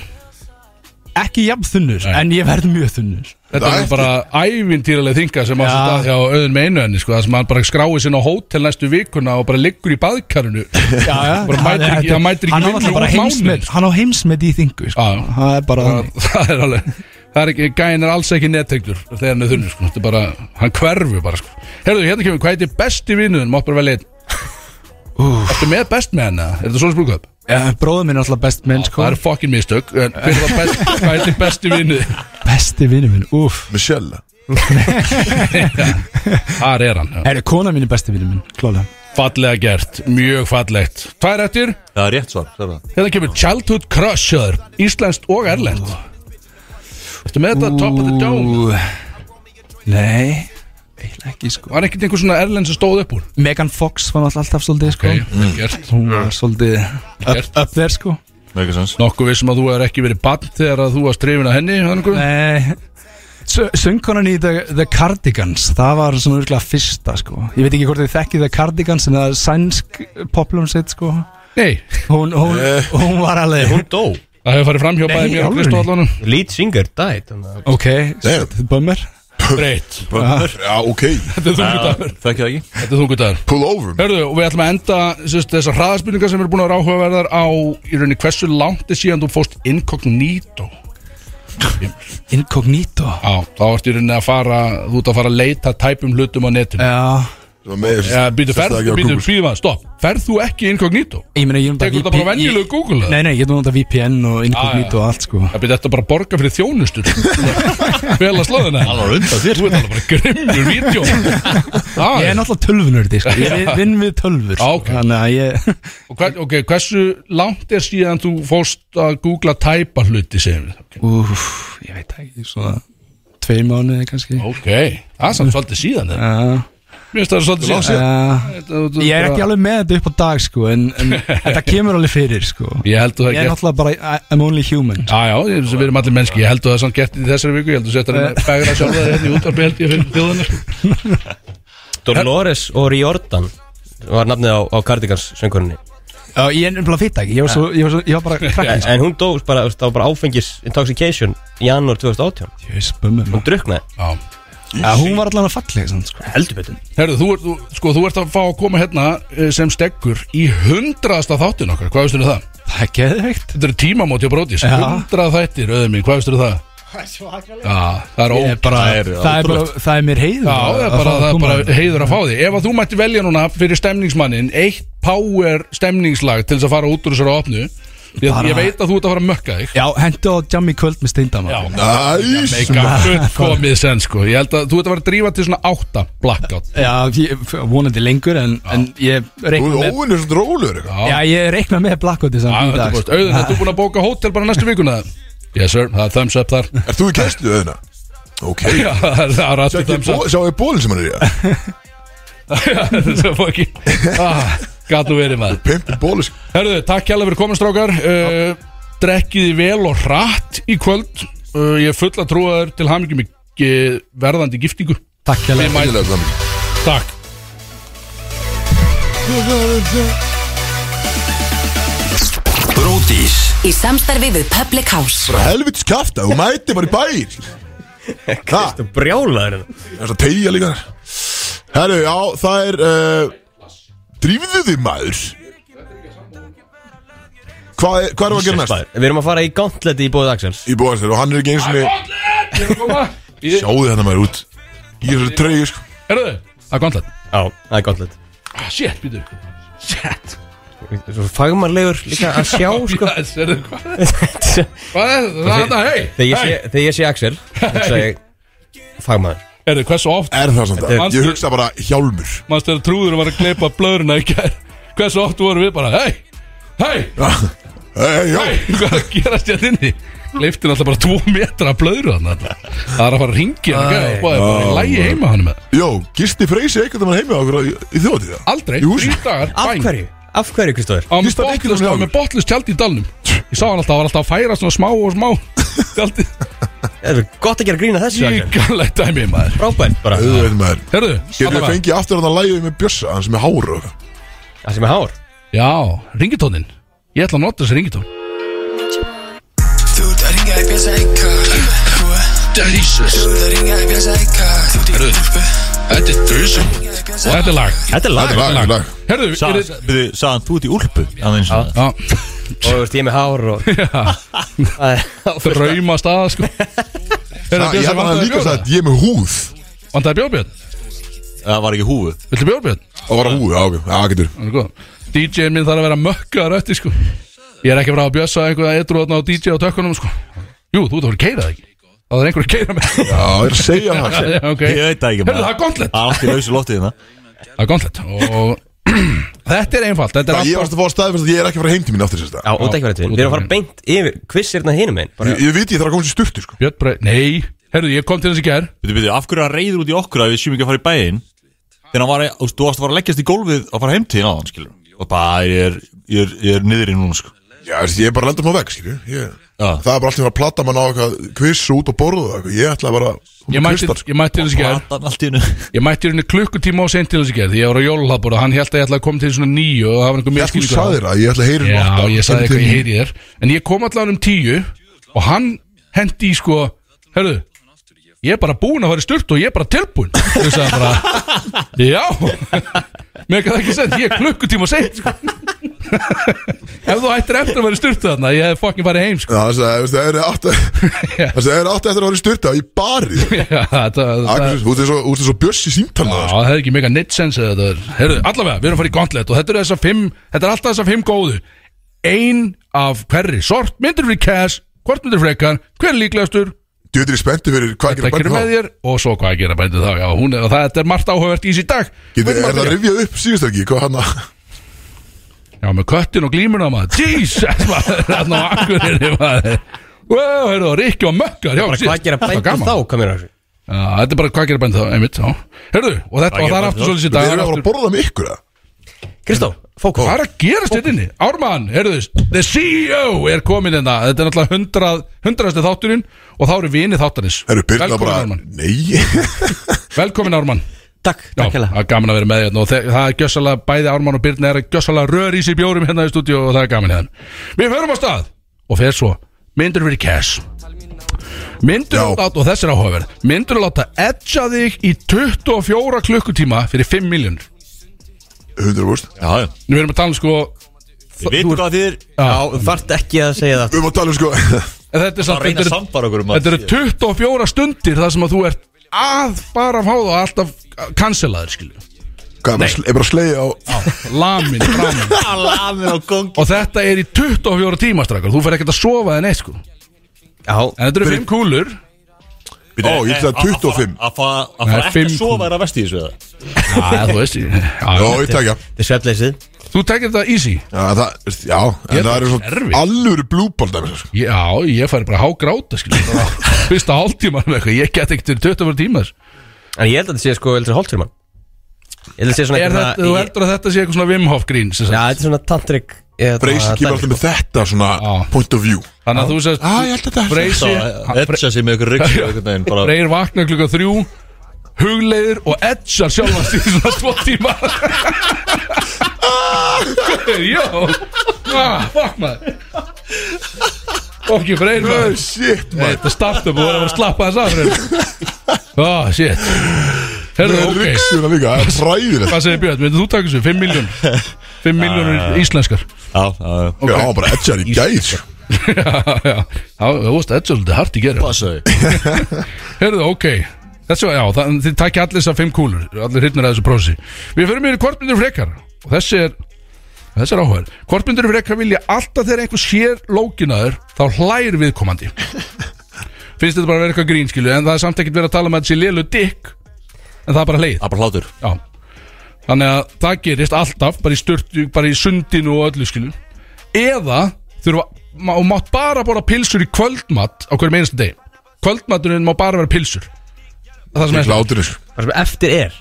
Speaker 8: Ekki jafn þunnur, en ég verð mjög þunnur
Speaker 2: Þetta
Speaker 1: Það
Speaker 2: er
Speaker 1: er
Speaker 2: bara ævintýraleg þinga sem að
Speaker 8: Já.
Speaker 2: stað hjá auðun með einu henni sko, það sem hann bara skráið sinna á hótel næstu vikuna og bara liggur í baðkarinu
Speaker 8: Já, já
Speaker 2: Bara
Speaker 8: hann-
Speaker 2: mætir ekki-
Speaker 8: þetta-
Speaker 2: hann mætir ekki
Speaker 8: Hann á
Speaker 2: vinnu
Speaker 8: náttúrulega bara
Speaker 2: út mánuð,
Speaker 8: heimsmet
Speaker 2: sko.
Speaker 8: Hann á heimsmet í þingu sko.
Speaker 2: Já, já.
Speaker 8: Það er bara
Speaker 2: það, það er alveg það er ekki, gæin er alls ekki nettektur þegar hann er þunni, sko, þetta er bara hann hverfu bara, sko, herðu, hérna kemur hvað heitir besti vinnuðin, mátt bara velja einn Ertu með best með henni, er þetta svona sprúkað?
Speaker 8: ja, Bróður minn er alltaf best menn sko.
Speaker 2: Það er fokkin mistök, en hver er það best hvað heitir besti vinnuðin?
Speaker 8: Besti vinnu minn, úf
Speaker 1: Michelle
Speaker 2: Þar er hann, já.
Speaker 8: Er kona mín er besti vinnu minn, klálega
Speaker 2: fallega gert, mjög fallegt Tvær eftir,
Speaker 4: Það er rétt svar sagði það.
Speaker 2: hérna kemur Childhood Crush, sjáður, íslenskt og erlend Ertu með þetta top of the dome?
Speaker 8: Ú, Nei Eiginlega ekki sko
Speaker 2: Var ekkert einhver svona erlend sem stóð upp úr?
Speaker 8: Megan Fox var náttúrulega alltaf svolítið sko
Speaker 2: Ok, mm. gert
Speaker 8: Hún var svolítið upp,
Speaker 2: Gert.
Speaker 8: upp þér sko
Speaker 4: Mega sens
Speaker 2: Nokkuð vissum að þú hefur ekki verið bann þegar að þú varst drefin að henni þannig að-
Speaker 8: Nei Eh, Sö- Söngkonan í The, The Cardigans Það var svona örgulega fyrsta sko Ég veit ekki hvort þið þekkið The Cardigans En það er sænsk poplum sitt sko
Speaker 2: Nei,
Speaker 8: Hún, hún,
Speaker 4: Eh.
Speaker 8: hún var alveg
Speaker 3: Eh. Hún dó
Speaker 2: það hefur farið fram hjá bæði
Speaker 8: Nei,
Speaker 2: mér og
Speaker 8: alveg
Speaker 2: Kristó
Speaker 8: nei.
Speaker 2: allanum
Speaker 3: Lead singer died þannig að-
Speaker 8: Ok, shit, bummer
Speaker 2: Breytt, Ah.
Speaker 1: Já, ok,
Speaker 2: þetta er
Speaker 3: Eh,
Speaker 2: þungu dagur
Speaker 4: Þekki það ekki
Speaker 2: Þetta er þungu dagur
Speaker 1: pull over
Speaker 2: Hörðu, og við ætlum að enda sérst, þessar hraðaspurningar sem eru búin að vera áhugaverðar á í rauninni hversu langt er síðan þú fóst incognito
Speaker 8: Incognito
Speaker 2: Já, þá ertu í rauninni að fara þú ert að fara að leita tæpum hlutum á netinu
Speaker 8: Já,
Speaker 1: Svo með-
Speaker 2: Já, býtu,
Speaker 1: Sest það
Speaker 2: ferð,
Speaker 1: ekki á
Speaker 2: býtu,
Speaker 1: Google.
Speaker 2: býtu, stopp Ferð þú ekki incognito?
Speaker 8: ég meina ég er
Speaker 2: Tekur þetta
Speaker 8: VP
Speaker 2: bara venjulegu Google eða?
Speaker 8: Nei, nei, ég er nú VPN og
Speaker 2: Ah,
Speaker 8: Incognito
Speaker 2: já.
Speaker 8: og allt sko
Speaker 2: Það byrja þetta bara að borga fyrir þjónustur Fel að slóðina
Speaker 4: Það var undan þér
Speaker 2: Þú ert alveg bara grimmur vídjó
Speaker 8: Ég er náttúrulega tölvunördi sko Ég
Speaker 2: Já.
Speaker 8: vin- vinn við tölvur sko.
Speaker 2: Ah, Ok.
Speaker 8: Þannig að ég
Speaker 2: náttúrulega Ok, hversu langt er síðan þú fórst að googla tæpa hluti sem við Ok,
Speaker 8: Úf, ég veit það ekki Svona Tvei mánuði kannski
Speaker 2: okay. það er samt svolítið síðan þeir
Speaker 8: Já,
Speaker 2: Mér finnst það svolítið síðan
Speaker 8: já
Speaker 2: Þetta- þetta-
Speaker 8: Ég er ekki alveg með þetta upp á dag sko En, en þetta kemur alveg fyrir sko Ég
Speaker 2: Ég held þú það
Speaker 8: er
Speaker 2: ekki
Speaker 8: náttúrulega bara I- I'm only human
Speaker 2: Já, já, ég- við erum allir mennski, ég held þú það samt gert í þessari viku, ég held þú setja hann að begra sjálfa þér hérna í útvarpi held ég fyrir þjóðanar
Speaker 3: Dolores og Riordan var nafnið á, á Cardigans söngurinn
Speaker 8: Já, ég er nefnilega fýtt ekki Ég var, svo, ég var, svo, ég var bara
Speaker 3: en,
Speaker 8: krakki
Speaker 3: Eh. en hún dó bara, þú veist, það var bara áfengis intoxication í janúar 2018
Speaker 8: Ég veist, bummer
Speaker 3: hún druknaði
Speaker 2: Já,
Speaker 8: Já, hún var allavega falleg samt, sko.
Speaker 3: heldur betur
Speaker 2: herru, þú, ert- þú, sko, þú ert að fá að koma hérna eh, sem steggur í hundraðasta þáttin okkar, hvað veistu um það?
Speaker 8: Það er geðveikt
Speaker 2: Þetta eru tímamóti á brótis,
Speaker 8: Já.
Speaker 2: hundrað þættir, auðvitað mín, hvað veistu um það? Já, það er
Speaker 8: Ég er
Speaker 2: óg
Speaker 8: bara,
Speaker 4: Það er
Speaker 8: það, er bara, það er mér heiður
Speaker 2: Já,
Speaker 8: að-
Speaker 2: það er
Speaker 8: að
Speaker 2: bara,
Speaker 8: fá að
Speaker 2: það er
Speaker 8: koma. hérna.
Speaker 2: bara heiður að fá því Ef að þú mætti velja núna fyrir stemningsmannin eitt power stemningslag til þess að fara út úr þessari opnu Ég,
Speaker 8: Bara-
Speaker 2: ég veit að þú ert að fara að mökka þig
Speaker 8: Já, hendu á Jammi Kvöld með Steindama
Speaker 2: Já,
Speaker 1: Næs
Speaker 2: Meika fullkomið sen sko Ég held að þú ert að vera að drífa til svona átta blackout
Speaker 8: Já, ég, vonandi lengur en, en ég
Speaker 1: Þú
Speaker 8: reikna
Speaker 1: er
Speaker 8: með
Speaker 1: óvinnur svona rólegur eitthvað.
Speaker 8: Já, ég reikna með blackouti samt
Speaker 2: Ah,
Speaker 8: í
Speaker 2: þetta er
Speaker 8: dag sko.
Speaker 2: búst. Auðun, þetta er búin að bóka hótel bara næstu vikuna Yes sir, það er thumbs up þar
Speaker 1: Ert þú í kæslu auðvina? Ok
Speaker 2: Já, það er
Speaker 1: Sjá
Speaker 2: alltaf
Speaker 1: ekki
Speaker 2: thumbs
Speaker 1: bó- Sjá ég bólin sem hann er í að
Speaker 2: up Svo fokkin Ah, Gat nú verið maður
Speaker 1: Pimpi bóli sko.
Speaker 2: Herðu, takk hjálpa fyrir komin strákar uh, Drekkið þið vel og hratt í kvöld uh, Ég er full að trúa þér til hamingjum í eh, verðandi giftingu
Speaker 8: Takk hjá
Speaker 2: Við mætum,
Speaker 1: Innilega til hamingju.
Speaker 2: takk
Speaker 5: Bródís
Speaker 7: Í samstarfi við Public House
Speaker 1: Bara helvitis kafta Þú mæti bara í bæir Það
Speaker 3: þú brjálaður hérna. henni
Speaker 1: er svo tegja líka þar Herru, já, það er uh, Drífðu þig maður Hvað er, hvað er að gera næst?
Speaker 3: við erum að fara í gantleti í bóðið Axels
Speaker 1: Í bóðast þér og hann er ekki eins og niður
Speaker 2: Ég-
Speaker 1: Sjáðu þetta maður út Í þessari treyju sko
Speaker 2: Herðu, það er kontlætt
Speaker 3: já það er gantlet
Speaker 2: ah, Shit, býtu Shit
Speaker 3: svo fagmannlegur líka að sjá sko
Speaker 2: Hvað er þetta? Hvað er þetta? Það er þetta, hei
Speaker 3: þegar ég sé, þegar ég sé Axel þá sagði ég fagmann
Speaker 2: Herðu, hversu oft
Speaker 1: Er það samt
Speaker 2: er-
Speaker 1: að Ég hugsa bara hjálmur
Speaker 2: Manst þegar trúður var að gleypa blöðurna í gær Hversu oft vorum við bara, hei Hei,
Speaker 1: Hey, já,
Speaker 2: hei, hvað er að gerast hérna inni? Leifti alltaf bara tvo metra að blöðru hann þarna. Það er að hérna, fara að ringi hann gæða og báði bara í lægi heima hann með
Speaker 1: Jó, gisti Freysi eitthvað mann heimi á okkur í, í þjóðatíða
Speaker 2: Aldrei,
Speaker 1: Jú,
Speaker 2: þrjú dagar,
Speaker 3: af hverju af hverju Kristóður
Speaker 2: Á með
Speaker 1: Gisti hann einhvern
Speaker 2: botlaust-
Speaker 1: veginn
Speaker 2: á með botlust tjaldi í dalnum Ég sá hann alltaf, hann var alltaf að færa svona smá og smá Tjaldi,
Speaker 3: það er gott að gera grína þessu Axel
Speaker 2: líkanlegt dæmi maður
Speaker 3: frábært bara
Speaker 1: Auðvitað maður
Speaker 2: Herðu,
Speaker 1: Getur við
Speaker 2: allavega.
Speaker 1: fengið aftur hann að lægja með Bjössa Hann sem er hár og
Speaker 3: það sem er hár
Speaker 2: Já, ringitónin Ég ætla að nota þessi ringitón
Speaker 6: Þú ert að ringa í bjösa ykkar Þú ert
Speaker 5: Jesus
Speaker 6: að ringa í bjösa ykkar Þú ert í
Speaker 5: Herðu.
Speaker 6: úlpu
Speaker 5: Þetta er drusum
Speaker 2: Og þetta er lag
Speaker 3: þetta er lag
Speaker 1: Lag, lag
Speaker 2: Herðu, er
Speaker 4: Sagði,
Speaker 2: þetta
Speaker 4: byrju, sagði hann, þú ert í úlpu aðeins svona.
Speaker 2: Já,
Speaker 3: og þú veist ég er með hár og það er
Speaker 2: drauma staða sko Herðu,
Speaker 1: Það- Ég hef hann líka sagt ég er með húð
Speaker 2: Vandaði bjórbjörn?
Speaker 4: Það var ekki húfu
Speaker 2: Viltu bjórbjörn?
Speaker 1: Og var húð, já, ok, já, getur
Speaker 2: Það er góð DJ-in sko, minn þarf að vera mökkaður eftir sko Ég er ekki að fara að bjössa einhverja eitthvað á DJ á tökkunum sko Jú, þú ert að fara að keira það ekki Það er einhver að keira mig
Speaker 1: Já, ég er að segja það
Speaker 2: Já, ok
Speaker 4: Ég veit það ekki
Speaker 2: Herðu, það er
Speaker 4: maður.
Speaker 2: gondlet
Speaker 4: Það er allt í lausu loftið hérna
Speaker 2: Það er gondlet Og Þetta er einfalt, þetta er
Speaker 1: Ég varst
Speaker 2: alltaf
Speaker 1: að fá að staðfesta að ég er ekki að fara heim til mín aftur þess að
Speaker 3: Já, út ekki verið til Við erum að fara beint yfir Kvissirna hinum einn Bara
Speaker 1: Ég, ég veit ég þarf að koma sér sturtu sko
Speaker 2: Björn Breit, nei, herruðu, ég kom til þess í ger
Speaker 4: Bíddu, bíddu, af hverju er hann reyður út í okkur að við séum ekki að fara í bæinn Þegar hann var, að- þú veist, þú varst að fara að leggjast í gólfið og fara heim til hérna á hann, skilur Og bara, ég er, ég er, ég er niðri núna, sko
Speaker 1: Já, veist, ég er bara að landa maður veg, skilju ég,
Speaker 4: Já.
Speaker 1: Það er bara alltaf að plata mann á eitthvað kviss út og borða og eitthvað. Ég ætla bara að
Speaker 2: Ég mætti
Speaker 1: sko.
Speaker 2: ég mætti til þess í ger
Speaker 4: Platan allt í hennu
Speaker 2: Ég mætti hérna klukkutíma og sent til þess í ger Því ég var á jólahlaðbúr og hann held að ég ætla að koma til svona nýju og það var
Speaker 1: Ég
Speaker 2: einhver
Speaker 1: þú
Speaker 2: misskilningur á.
Speaker 1: sagðir að um ég ætla að heyri
Speaker 2: Já, ég sagði eitthvað ég heyri þér En ég kom allan um tíu Og hann hendi í sko Herðu, ég er bara búinn að fara í sturt Og ég er bara tilbúinn Þú sagði bara, já Mér kann ekki segja, ég er klukkutíma seint sko. Ef þú ættir eftir að vera í sturt þarna Ég hef fokkin farið heim sko.
Speaker 1: Já, það er það er átt Það er átt eftir að vera styrta í bari
Speaker 2: Já, það, það, það,
Speaker 1: Akkur, út er svo, út er svo bjössi símtalna
Speaker 2: Já, það hefði ekki mega neitt sens eða þetta er Herðu, allavega, við erum að fara í gauntlet og þetta eru þessar fimm Þetta er alltaf þessar fimm góðu Ein af hverri sort, myndir fyrir cash Hvort myndir frekar, hver er líklegastur
Speaker 1: Djöður ég spennti fyrir hvað
Speaker 2: Þetta
Speaker 1: gerir bændið þá
Speaker 2: gerir með þér og svo hvað gerir bændið þá Já, hún, er- og það þetta er margt áhugavert í þessi dag
Speaker 1: Getur- Er
Speaker 2: Veitum að
Speaker 1: það
Speaker 2: byrja.
Speaker 1: rifjað upp síðust ekki Hvað hann að
Speaker 2: Já, með köttin og glímuna maður Jesus, maður, þarna á akkurinni maður Wow, heyrðu, Rikki og Mökkar já,
Speaker 3: bara
Speaker 2: síðast.
Speaker 3: hvað gera
Speaker 2: Þetta var
Speaker 3: bænt
Speaker 2: gaman.
Speaker 3: þá Hvað mér að þessu
Speaker 2: Já, Þetta er bara hvað gerir bændið þá, einmitt já. Heyrðu, og, þetta,
Speaker 4: Hvað
Speaker 2: og það
Speaker 4: gera bændið
Speaker 2: er aftur
Speaker 4: þá?
Speaker 2: svolítið í
Speaker 1: Við
Speaker 2: dag,
Speaker 1: erum að fara
Speaker 2: aftur-
Speaker 1: að borða með ykkur eða?
Speaker 3: Kristó, fókus
Speaker 2: Hvað er að gerast þetta inni? Ármann, herruðust, the CEO er komin hérna Þetta er náttúrulega hundrað, hundraðasti þátturinn Og þá eru vinið þáttarins
Speaker 1: Eru Birna
Speaker 2: Velkomin
Speaker 1: bara
Speaker 2: Ármann,
Speaker 1: Nei
Speaker 2: velkomin Ármann
Speaker 3: Takk,
Speaker 2: Já,
Speaker 3: takk hella
Speaker 2: það er gaman að vera með hérna Og þe- það er gjössalega, bæði Ármann og Birna er að gjössalega rör í sig bjórum hérna í stúdíu Og það er gaman hérna Við förum á stað og fer svo Myndur fyrir cash
Speaker 1: Já.
Speaker 2: Myndur að láta, og þess er áhugaverð Myndur að láta edja þig í 24 klukkutíma fyrir 5 miljónir
Speaker 1: 100%
Speaker 4: Já, já,
Speaker 2: Nú erum við að tala um sko
Speaker 4: við veitum hvað þið er
Speaker 3: Já, þart ekki að segja það
Speaker 1: Við erum að tala um sko
Speaker 2: en Þetta er
Speaker 4: Það
Speaker 2: samt
Speaker 4: reyna
Speaker 2: þetta
Speaker 4: að
Speaker 2: er-
Speaker 4: samfara okkur um að
Speaker 2: Þetta eru 24 stundir þar sem að þú ert að bara fá það alltaf cancelaður skilju
Speaker 1: Hvað, bara sle- er bara að slegja á
Speaker 2: Lamin, framin
Speaker 4: Lamið á gong
Speaker 2: Og þetta er í 24 tíma strakkar Þú fer ekkert að sofa þenni sko En
Speaker 3: Já,
Speaker 2: þetta eru 5 kúlur
Speaker 1: Ó, ég ætla 25.
Speaker 4: eh, Að fara að
Speaker 2: Nei,
Speaker 4: fara ekki
Speaker 2: fimm
Speaker 4: að sofa er að vesti í þessu eða
Speaker 2: Já, þú veist ég-
Speaker 1: Já,
Speaker 2: já,
Speaker 1: ég tekja
Speaker 3: þetta er svefleysið
Speaker 2: Þú tekir þetta easy
Speaker 1: Já, það, veist, já en
Speaker 2: Ég
Speaker 1: það
Speaker 2: er
Speaker 1: eru
Speaker 2: erfitt.
Speaker 1: svona allur blúból dæmis sko.
Speaker 2: Já, ég fær bara hágráta skilju Bara Fyrsta hálftíma með eitthvað Ég get ekkert til 24 tíma þess
Speaker 3: En ég held að þetta sé sko Elsa Holtzermann Ég held að þetta sé svona
Speaker 2: Er þetta, þú
Speaker 3: einhverja-
Speaker 2: heldur að þetta sé eitthvað svona Wim Hof grín sem
Speaker 3: Já,
Speaker 2: sagt?
Speaker 3: þetta er svona tantrik eh,
Speaker 1: Breysi
Speaker 2: Ah,
Speaker 3: svona
Speaker 1: kemur alltaf
Speaker 3: dæmi,
Speaker 1: með þetta svona
Speaker 2: Já.
Speaker 1: point of view
Speaker 2: Þannig að þú sagðist
Speaker 1: Já, Ah, ég held að þetta er
Speaker 2: Freysi
Speaker 4: Það etsa sig með ykkur rygg einhvern veginn bara
Speaker 2: Freyr vaknar klukka þrjú Hugleiðir og edjar sjálfast í svona tvo tíma Jó ah, Fuck maður Fokki Freyr maður
Speaker 1: Shit,
Speaker 2: Nei, Þetta startup og voru að vera að slappa þess af Freyr Ah, shit Herðu,
Speaker 1: maður
Speaker 2: ok
Speaker 1: Ryggsuna líka, það er fræðilegt
Speaker 2: Hvað segir Björn, veitir þú takast við 5 miljón 5
Speaker 4: Ah.
Speaker 2: miljónur íslenskar
Speaker 4: Já, já, já
Speaker 1: Já, hann var bara edjar í gæð sko.
Speaker 2: Já, já, já, þú veist, edjar svolítið hart í gera
Speaker 4: Passa þig
Speaker 2: Herðu, ok Þessu, já, það, þið takkja allir þessar fimm kúlur Allir hittnir að þessu prósi Við fyrir mér í kortmyndur frekar Og þessi er, þessi er áhver Kortmyndur frekar vilja alltaf þegar einhver sér lókinaður Þá hlær viðkomandi Finnst þetta bara að vera eitthvað grínskilu En það er samt ekkert verið að tala um að þetta sé lélu dikk En það er bara leið
Speaker 4: Það er bara hlátur
Speaker 2: Já Þannig að það gerist alltaf Bara í styrtu, bara í sundinu og öllu skilu Eða þurfa ma- Og mátt bara bóra pilsur í kvöldmatt Á hverjum einasta deg Kvöldmatturinn má bara vera pilsur Það er það sem
Speaker 1: Ég
Speaker 2: er
Speaker 1: Hlátur þessu
Speaker 3: bara sem eftir er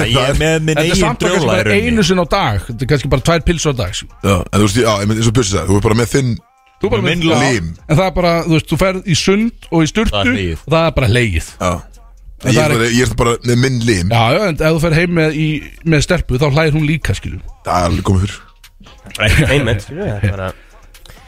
Speaker 4: Ég er með minn
Speaker 2: Þetta er
Speaker 4: eigin
Speaker 2: samt að kannski
Speaker 4: drjóla í
Speaker 2: bara
Speaker 4: rauninni
Speaker 2: einu sinn á dag Þetta er kannski bara tvær pilsur á dag sko.
Speaker 1: Já, en þú veist, já, einmitt eins og Bjössi sagði, þú er bara með þinn
Speaker 2: Þú bara
Speaker 4: Minn
Speaker 2: Já.
Speaker 1: lim.
Speaker 2: En það er bara, þú veist, þú ferð í sund og í styrtu
Speaker 4: Það er hlegið.
Speaker 2: Og það er bara leið
Speaker 1: Já Ég
Speaker 2: En það er
Speaker 1: er bara- ég er bara með minn lim
Speaker 2: Já, já, en ef þú ferð heim með, í, með stelpu Þá hlæðir hún líka, skilju
Speaker 1: Það er alveg komið fyrir
Speaker 3: Einmitt skilur við, þetta er bara-
Speaker 2: uh,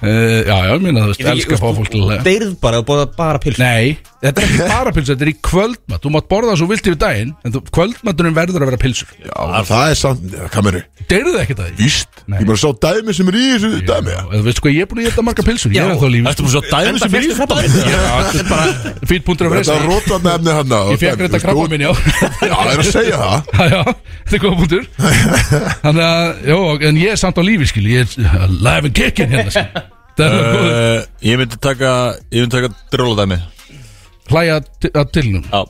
Speaker 2: Já, já, ég meina, þú veist, elska að fá fólk til að hlæja
Speaker 3: Deyrð bara og bóða bara pils
Speaker 2: Nei, þetta er ekki bara pilsur, þetta er í kvöldmatt Þú mátt borða það svo vilt yfir daginn En þú- kvöldmatturinn verður að vera pilsur
Speaker 1: Já, það er samt, já, hvað meður
Speaker 2: Deyrðu þið ekki það því?
Speaker 1: Víst, ég bara sá dæmi sem er í þessu dæmi já.
Speaker 2: Og Þú veist hvað, ég er búin að geta marga pilsur Ég er að þá lífi sko.
Speaker 4: Ertu búin að sjá dæmi sem fyrir
Speaker 2: Fýtt punktur af
Speaker 1: Þetta hérna,
Speaker 2: reysa
Speaker 1: rótvarna efni hann
Speaker 2: Ég fekk reynda krabba minn, já
Speaker 1: Já, það er að segja það
Speaker 2: Já, já, þetta er góða punktur Þannig að, já, en ég er samt á lífi, skil Ég er live and kicking hérna, skil Það er
Speaker 1: Eh.
Speaker 2: nú góður.
Speaker 4: Uh, Ég myndi taka Ég myndi taka drjóla dæmi
Speaker 2: Hlæja að tilnum
Speaker 4: Já.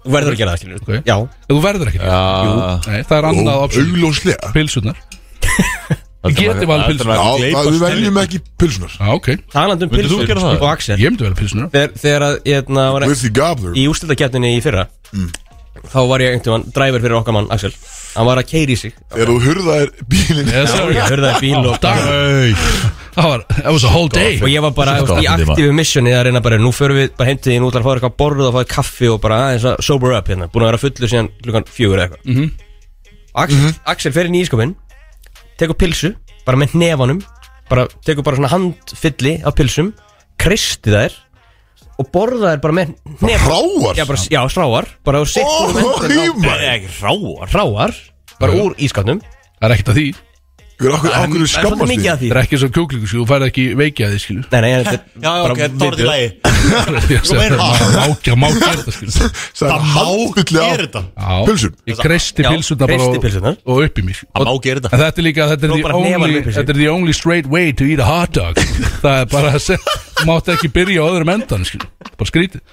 Speaker 3: Þú verður að gera það, skilur
Speaker 2: Ok.
Speaker 3: Já,
Speaker 2: Þú verður ekki
Speaker 4: Já,
Speaker 2: Nei, það er annað option
Speaker 1: Augljóslega
Speaker 2: Pilsunar Ég geti valið
Speaker 1: Já,
Speaker 2: pilsunar
Speaker 1: það-
Speaker 4: Gleypa
Speaker 1: við
Speaker 4: stelju.
Speaker 1: veljum ekki pilsunar
Speaker 2: Já, Ah, ok
Speaker 3: talandi um
Speaker 4: Myndir þú
Speaker 3: pilsur
Speaker 4: gera það?
Speaker 3: og Axel
Speaker 2: Ég myndi vel pilsunar
Speaker 3: Þegar, þegar að, hérna, var
Speaker 1: With the gobbler Mm.
Speaker 3: í úrstildakeppninni í fyrra Þá var ég einhvern veginn dræver fyrir okkar mann, Axel Hann var að keiri sig
Speaker 1: Þegar þú hurðaðir bílinn
Speaker 2: Yes, sir.
Speaker 3: Ég hörði það í bíl og Sko,
Speaker 2: Dag Það var, that was a whole day
Speaker 3: Og ég var bara
Speaker 4: Þetta
Speaker 3: þú
Speaker 4: var
Speaker 3: veist, í
Speaker 4: fyndið,
Speaker 3: aktífu missioni að reyna bara Nú förum við bara heim til þín út að fá eitthvað að borða og fá þér kaffi og bara aðeins að sober up hérna Búin að vera fullur síðan klukkan fjögur eða eitthvað
Speaker 2: Mhm.
Speaker 3: Axel,
Speaker 1: Mhm.
Speaker 3: Axel fer inn í ískapin Tekur pilsu, bara með hnefanum bara, Tekur bara svona handfylli af pilsum Kristi þær Og borða þær bara með hnefanum
Speaker 1: Ráar
Speaker 3: Já, bara, já, sráar Bara og sitt
Speaker 1: Ó, hýmar
Speaker 4: ekki ráar
Speaker 3: Ráar, bara úr ískapnum
Speaker 2: Það er ekkert að því Það
Speaker 1: Akkur akkur
Speaker 3: Það er svolítið
Speaker 1: skammast
Speaker 3: mikið
Speaker 1: því
Speaker 3: að því
Speaker 2: er ekki svo kjúklingur Þú færð ekki veikja því, skilu
Speaker 3: Nei, nei, þetta er
Speaker 4: Já,
Speaker 3: bara
Speaker 4: ok, það er
Speaker 3: vitið.
Speaker 4: í lagi
Speaker 2: Mákja, mákja þetta, skilu
Speaker 1: Það er hálfulli á
Speaker 4: Gerir þetta
Speaker 2: Já,
Speaker 1: Pilsum?
Speaker 2: Ég kreisti
Speaker 3: Já,
Speaker 2: pilsunar bara
Speaker 3: kreisti
Speaker 2: og-
Speaker 3: pylsurnar.
Speaker 2: Og upp í mér
Speaker 4: Það má gera
Speaker 2: En
Speaker 4: þetta
Speaker 2: þetta er líka, þetta er,
Speaker 3: Þú
Speaker 2: the
Speaker 3: bara hnefanum
Speaker 2: only,
Speaker 3: upp í sig.
Speaker 2: þetta er the only straight way to eat a hot dog Það er bara að segja þú Mátt ekki byrja á öðrum endan, skil Bara skrítið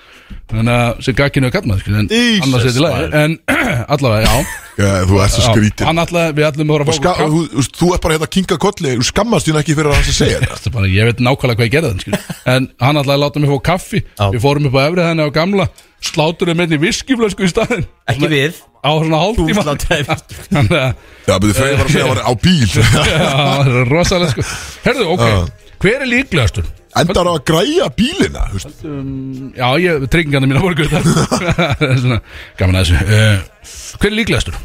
Speaker 2: Þannig að sem gagginu að kallma, skil En
Speaker 4: Jesus,
Speaker 2: annars er þetta í lagi
Speaker 4: maður.
Speaker 2: En allavega, já,
Speaker 1: Já, Þú ert svo
Speaker 2: já
Speaker 1: skrítið
Speaker 2: Hann allavega, við allum vorum að
Speaker 1: Ska,
Speaker 2: fá
Speaker 1: þú, þú- þú ert bara hérna að kinga kolli Þú skammast þín ekki fyrir að hans að segja þetta
Speaker 2: Þetta er bara, ég veit nákvæmlega hvað ég gerði þann skil En hann alltaf láta mig fá kaffi
Speaker 3: Já.
Speaker 2: Við fórum upp á efrið henni á gamla Sláturum með í viskiflösku í staðinn
Speaker 3: Ekki við
Speaker 2: Á
Speaker 3: Þú
Speaker 2: svona hálftíma
Speaker 3: sláttar það
Speaker 2: Þannig að
Speaker 1: Já, betur Freyja var að segja að hann var á bíl
Speaker 2: Já, það er rosalega sko Herðu, ok, hver er líklegastur?
Speaker 1: Endar á að græja bílina þú veist.
Speaker 2: Já, ég, tryggingarnir mína voru guttar Svona, gaman að þessu uh, Hver er líklegastur?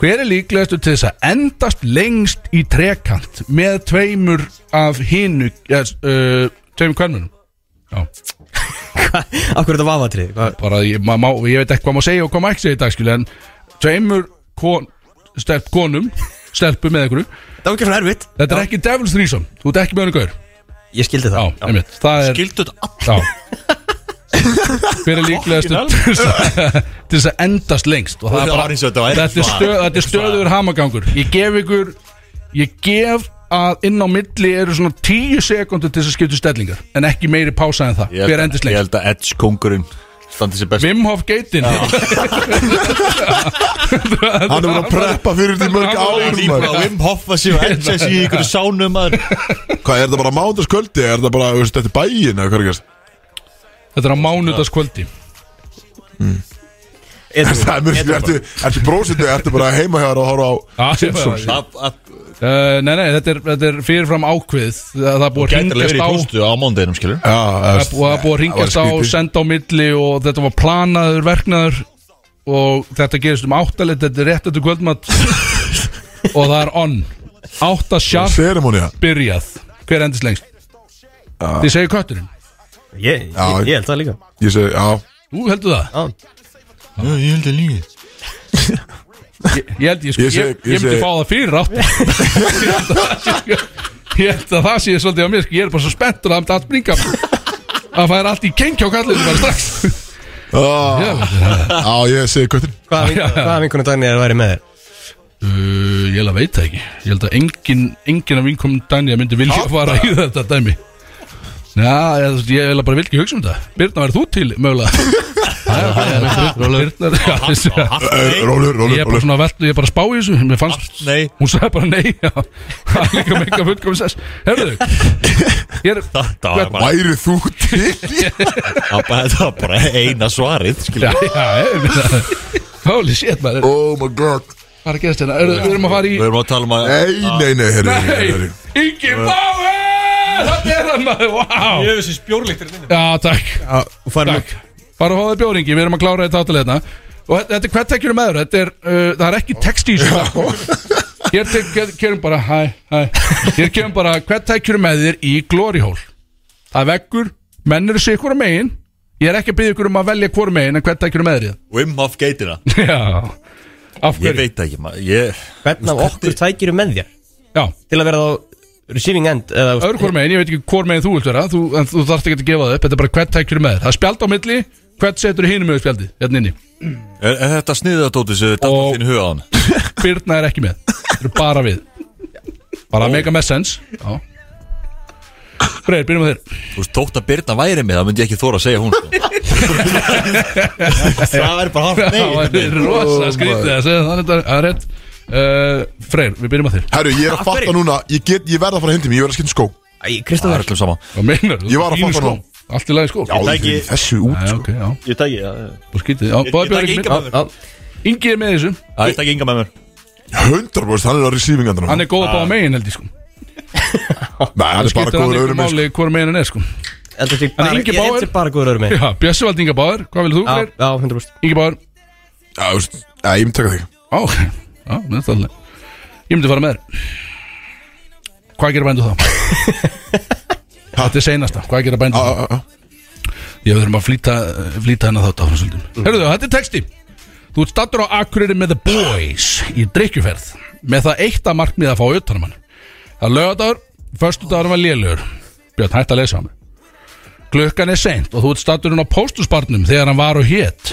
Speaker 2: Hver er líklegastur til þess að endast lengst í trekant með tveimur af hinu yes, uh, tveimur kvennunum? Já,
Speaker 3: Akkur er þetta vafatrið Hvað-
Speaker 2: bara ég, ma, má, ég veit ekki hvað má segja og hvað má ekki segja í dag skilja en tveimur kon, stelp, konum stelpu með einhverju
Speaker 3: Það var ekki svona erfitt
Speaker 2: Þetta er ekki Devil's Threesome, þú ert ekki með honum gaur
Speaker 3: Ég skildi
Speaker 2: Já,
Speaker 3: það
Speaker 2: einmitt, það er
Speaker 4: Gildu þetta all
Speaker 2: Já Hver er líklegast til þess að- til þess að endast lengst og það er
Speaker 4: Það
Speaker 2: bara
Speaker 4: var eins og þetta væri
Speaker 2: þetta er
Speaker 4: svona-
Speaker 2: stöð- þetta er stöður hamagangur ég gef ykkur ég gef að inn á milli eru svona 10 sekundur til þess að skipta um stellingar en ekki meiri pása en það
Speaker 4: Ég held
Speaker 2: hver
Speaker 4: að- Ég
Speaker 2: endist lengst
Speaker 4: held að Edge kongurinn standi sér best
Speaker 2: Wim Hof geitin
Speaker 1: Hann er verið að preppa fyrir því mörg
Speaker 2: Hann
Speaker 1: árum
Speaker 4: Líka Wim Hoffa sig og Edge sig í ykkur sánum maður
Speaker 1: Hvað, er þetta bara mándaskvöldi? Er þetta bara, þú veist, þetta er bæin eða hvað er gerst?
Speaker 2: Þetta er á mánudagskvöldi
Speaker 1: Mm. Það er mjög, ertu, ertu brósindu, ertu bara heima hér og horfa á
Speaker 2: Ah,
Speaker 1: Simpsons
Speaker 2: já, já.
Speaker 4: Það- það-
Speaker 2: Uh, Nei, nei, þetta er, þetta er fyrirfram ákveð Það er búið að
Speaker 4: Gætir að vera í
Speaker 2: hringast á
Speaker 4: pústu á mándeginum skilur
Speaker 1: Já, það
Speaker 2: Það er búið að búið að ringjast á og senda á milli og þetta var planaður verknaður og þetta gerist um áttalit þetta er rétt eftir kvöldmatt og það er on átta sharp
Speaker 1: Seremónia
Speaker 2: byrjað hver endist lengst þið segir kötturinn
Speaker 3: Ég,
Speaker 1: Já.
Speaker 3: ég, ég held það líka
Speaker 1: Ah, Ég segi, já
Speaker 2: þú heldur það
Speaker 3: Já.
Speaker 4: Ég held að líka
Speaker 2: ég, ég held ég sko
Speaker 1: Ég
Speaker 2: ég,
Speaker 1: segi-
Speaker 2: ég,
Speaker 1: ég segi-
Speaker 2: myndi fá það fyrir átt ég held að það sé svolítið á mér sko. ég er bara svo spenntur að það myndi allt bringa að það er allt í geng hjá kallinu bara strax
Speaker 1: Já,
Speaker 2: ég, veit það.
Speaker 1: Já, ég segi köttin
Speaker 3: Hvaða vin- hvaða vinkonu Dagný er að væri með þér?
Speaker 2: Uh, ég held að veit það ekki Ég held að engin, engin af vinkominn Dani myndi vilja fara í þetta dæmi Já, ég, þú veist, ég held að bara vil ekki hugsa um það Birna, verður þú til mögulega? Já, já, já, Birna, já, þessu-
Speaker 1: Rólur,
Speaker 2: Ég
Speaker 1: rólur,
Speaker 2: er bara
Speaker 1: rólur
Speaker 2: svona velt, ég er bara að spá í þessu Mér fannst,
Speaker 4: Nei,
Speaker 2: hún sagði bara nei já. Það er líka mega fullkomis þess Herðu Ég er,
Speaker 4: þetta var bara-
Speaker 1: Væri þú til?
Speaker 4: það bara- þetta var bara eina svarið skilur
Speaker 2: já, já, ég, Holy shit, maður
Speaker 1: Oh my god
Speaker 2: Hvað er að gerast hérna? Eru- Við erum að fara í
Speaker 4: Við erum að tala um að
Speaker 1: Nei, nei, nei, herri, herri.
Speaker 2: Nei, Ingi Báir Það er hann maður, wow
Speaker 9: Ég hef þessi hérna. spjórlíktir minni
Speaker 2: Já, takk
Speaker 3: Þú færum
Speaker 2: Takk Bara að fá þér bjóringi, við erum að klára þetta áttalegna Og þetta- þetta er hvert tekjur um öðru Þetta er, uh, það er ekki text í þessu sko. Hér tek- ke- kemur bara, hæ, hæ Hér kemur bara, hvert tekjur með þér í Glory Hole Það er veggur, menn eru sig hvora megin Ég er ekki að byggja ykkur um að velja hvora megin En hvert tekjur með þér í
Speaker 4: Wim Hof geitina
Speaker 2: það Já, af
Speaker 4: Ég
Speaker 2: hverju
Speaker 4: veit það ekki maður Ég
Speaker 3: Hvernig af okkur tækiru með þér?
Speaker 2: Já,
Speaker 3: Til að vera þá receiving end eða,
Speaker 2: öðru hvora megin, ég veit ekki hvora megin þú vilt vera þú, En þú þarft ekki að gefa það upp, þetta er bara hvert tekjur með þér Það er spjald á milli, hvert setur hinum með spjaldið Hérna inni,
Speaker 4: Er, er þetta sniðatóti sem þetta
Speaker 2: Og-
Speaker 4: er þín huga á hann?
Speaker 2: Birna er ekki með Þeir eru bara við Bara að mega með sense Já Freyr, byrjum að þér
Speaker 4: Þú veist, tótt að Birna væri með, það myndi ég ekki þóra að segja hún sko. Það er bara hálf
Speaker 2: Það
Speaker 4: nei
Speaker 2: er rosa skrítið að segja það þetta- Það er rétt Uh, Freyr, við byrjum að þér
Speaker 1: Herru, ég er að
Speaker 3: Af hverju?
Speaker 1: fatta núna Ég, get, ég verð að fara hindi mér, ég verð að skipta um skó
Speaker 3: Æ,
Speaker 4: Það
Speaker 3: Kristoffer
Speaker 4: er allum sama
Speaker 2: Hvað meinar þú?
Speaker 1: Ég var að fatta
Speaker 2: skó
Speaker 1: nú.
Speaker 2: Allt í lagi skó
Speaker 1: Já,
Speaker 4: tæki-
Speaker 1: fyrir þessu út sko.
Speaker 2: Já, ok, já
Speaker 4: Ég tæki já,
Speaker 2: Og skrítið Já,
Speaker 4: Ég-
Speaker 2: báði
Speaker 4: ég
Speaker 2: björn
Speaker 4: taki
Speaker 2: ekki
Speaker 4: Inga með
Speaker 2: mitt
Speaker 4: mér.
Speaker 3: Já,
Speaker 2: Ingi er með þessu
Speaker 4: Já, Ég tæki ynga með mér
Speaker 1: 100% hann er að receiving andan
Speaker 2: Hann er
Speaker 4: Ah.
Speaker 2: góð að báða megin held ég sko
Speaker 1: Nei, hann er bara
Speaker 2: Skiptir hann
Speaker 1: góður
Speaker 2: ykkur
Speaker 1: öðrum eins
Speaker 2: máli hvora megin hann er sko
Speaker 3: eldur til
Speaker 2: Hann er
Speaker 3: bara
Speaker 2: Ingi
Speaker 3: Ég er
Speaker 2: Bauer.
Speaker 3: til bara góður öðrum með
Speaker 2: Já, Bjössi vald Inga Báður Hvað vil þú,
Speaker 3: Já,
Speaker 2: Freyr?
Speaker 3: já, 100%
Speaker 2: Ingi Báður
Speaker 1: Já, þú veist, já, ég myndi taka þig
Speaker 2: Á, ok Já, þetta er alveg Ég myndi fara með þér Hvað gerir bændu þá? Þetta er seinasta Hvað gerir bændu
Speaker 1: Já,
Speaker 2: þá?
Speaker 1: já, já.
Speaker 2: Ég verðum að flýta, eh, flýta hennar þátt áfram svolítið mm. Herruðu, þetta er texti Þú ert stattur á Akureyri með The Boys í drikkjuferð með það eitt að markmið að fá utanum hann Það er lögadagur, föstudagur var lélugur Björn, hætt að lesa hann Klukkan er seint og þú ert stattur hann á póstusbarnum þegar hann var og hét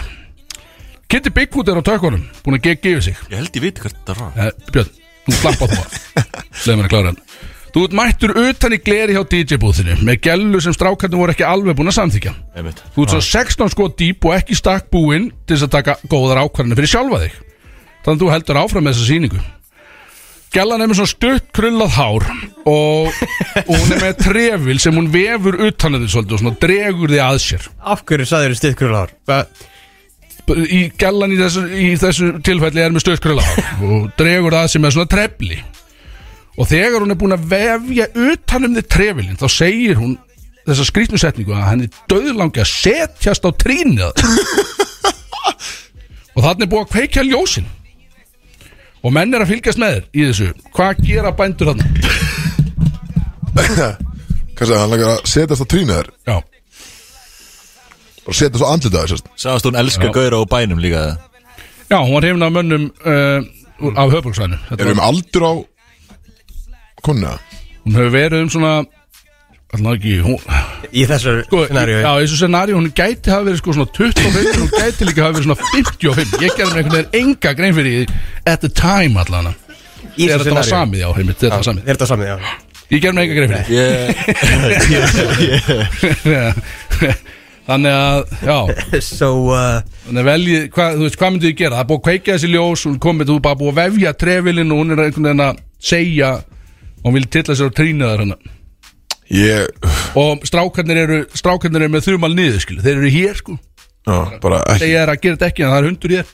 Speaker 2: Kitty Bigfoot er á tökunum búin að gegg yfir sig
Speaker 4: Ég held ég viti hvert þetta er
Speaker 2: Eh, Björn, þú slappa þú að Leðum mér að klára hann Þú ert mættur utan í gleri hjá DJ-búðinu með gellu sem strákarnir voru ekki alveg búin að samþykja
Speaker 4: Einmitt
Speaker 2: Þú ert svo 16 skot dýp og ekki stakk búinn til þess að taka góðar ákvarðanir fyrir sjálfa þig. Þannig að þú heldur áfram með þessa sýningu. Gellan er með svona stutt krullað hár og, og hún er með trefil sem hún vefur utan að þig svolítið og svona dregur þig að sér.
Speaker 3: Af hverju sagður þér stiðkrullar?
Speaker 2: Í gellan í þessu, í þessu tilfelli er með stutt krullað hár og dregur það að sér með svona trefli. Og þegar hún er búin að vefja utan um þig trefilinn þá segir hún þessa skrýtnusetningu að henni döðlangi að setjast á trýnið á þér. og þannig er búið að kveikja ljósin og menn er að fylgjast með þér í þessu hvað gera bændur þarna
Speaker 1: Kannski að hann langar að setjast á trýna þér
Speaker 2: já,
Speaker 1: Bara setjast á andlita þér, sérst
Speaker 4: Sagðast hún elska
Speaker 2: Já.
Speaker 4: gauðra og bænum líka
Speaker 2: já hún var hefna af mönnum uh, úr- af höfbólksvæðinu
Speaker 1: Erum við með aldur á Kunna
Speaker 2: hún hefur verið um svona allan ekki hún,
Speaker 3: Í þessu
Speaker 2: sko,
Speaker 3: scenaríu
Speaker 2: já, í þessu scenaríu hún gæti hafa verið sko svona 25 en hún gæti líka hafa verið svona 55 ég gerði mér einhvern veginn enga grein fyrir því at the time allan
Speaker 3: Í
Speaker 2: þegar þetta var
Speaker 3: scenaríu.
Speaker 2: samið já, heimitt, þetta var samið
Speaker 3: Er þetta samið, já
Speaker 2: ég gerði mér enga grein fyrir því Þannig að, já,
Speaker 3: So, uh,
Speaker 2: þannig að velji, hva, þú veist, hvað myndið þið gera? Það er búið að kveika þessi ljós, hún komið, þú er bara búið að vefja trefilinn og hún er einhvern veginn að segja og hérna. hún vil tilla sér á trýnaðar hana.
Speaker 1: Ég,
Speaker 2: Og strákarnir eru, strákarnir eru með þumal niður, skilu, þeir eru hér, sko,
Speaker 1: já, bara ekki
Speaker 2: segja þær að gera þetta ekki en það er hundur í þér.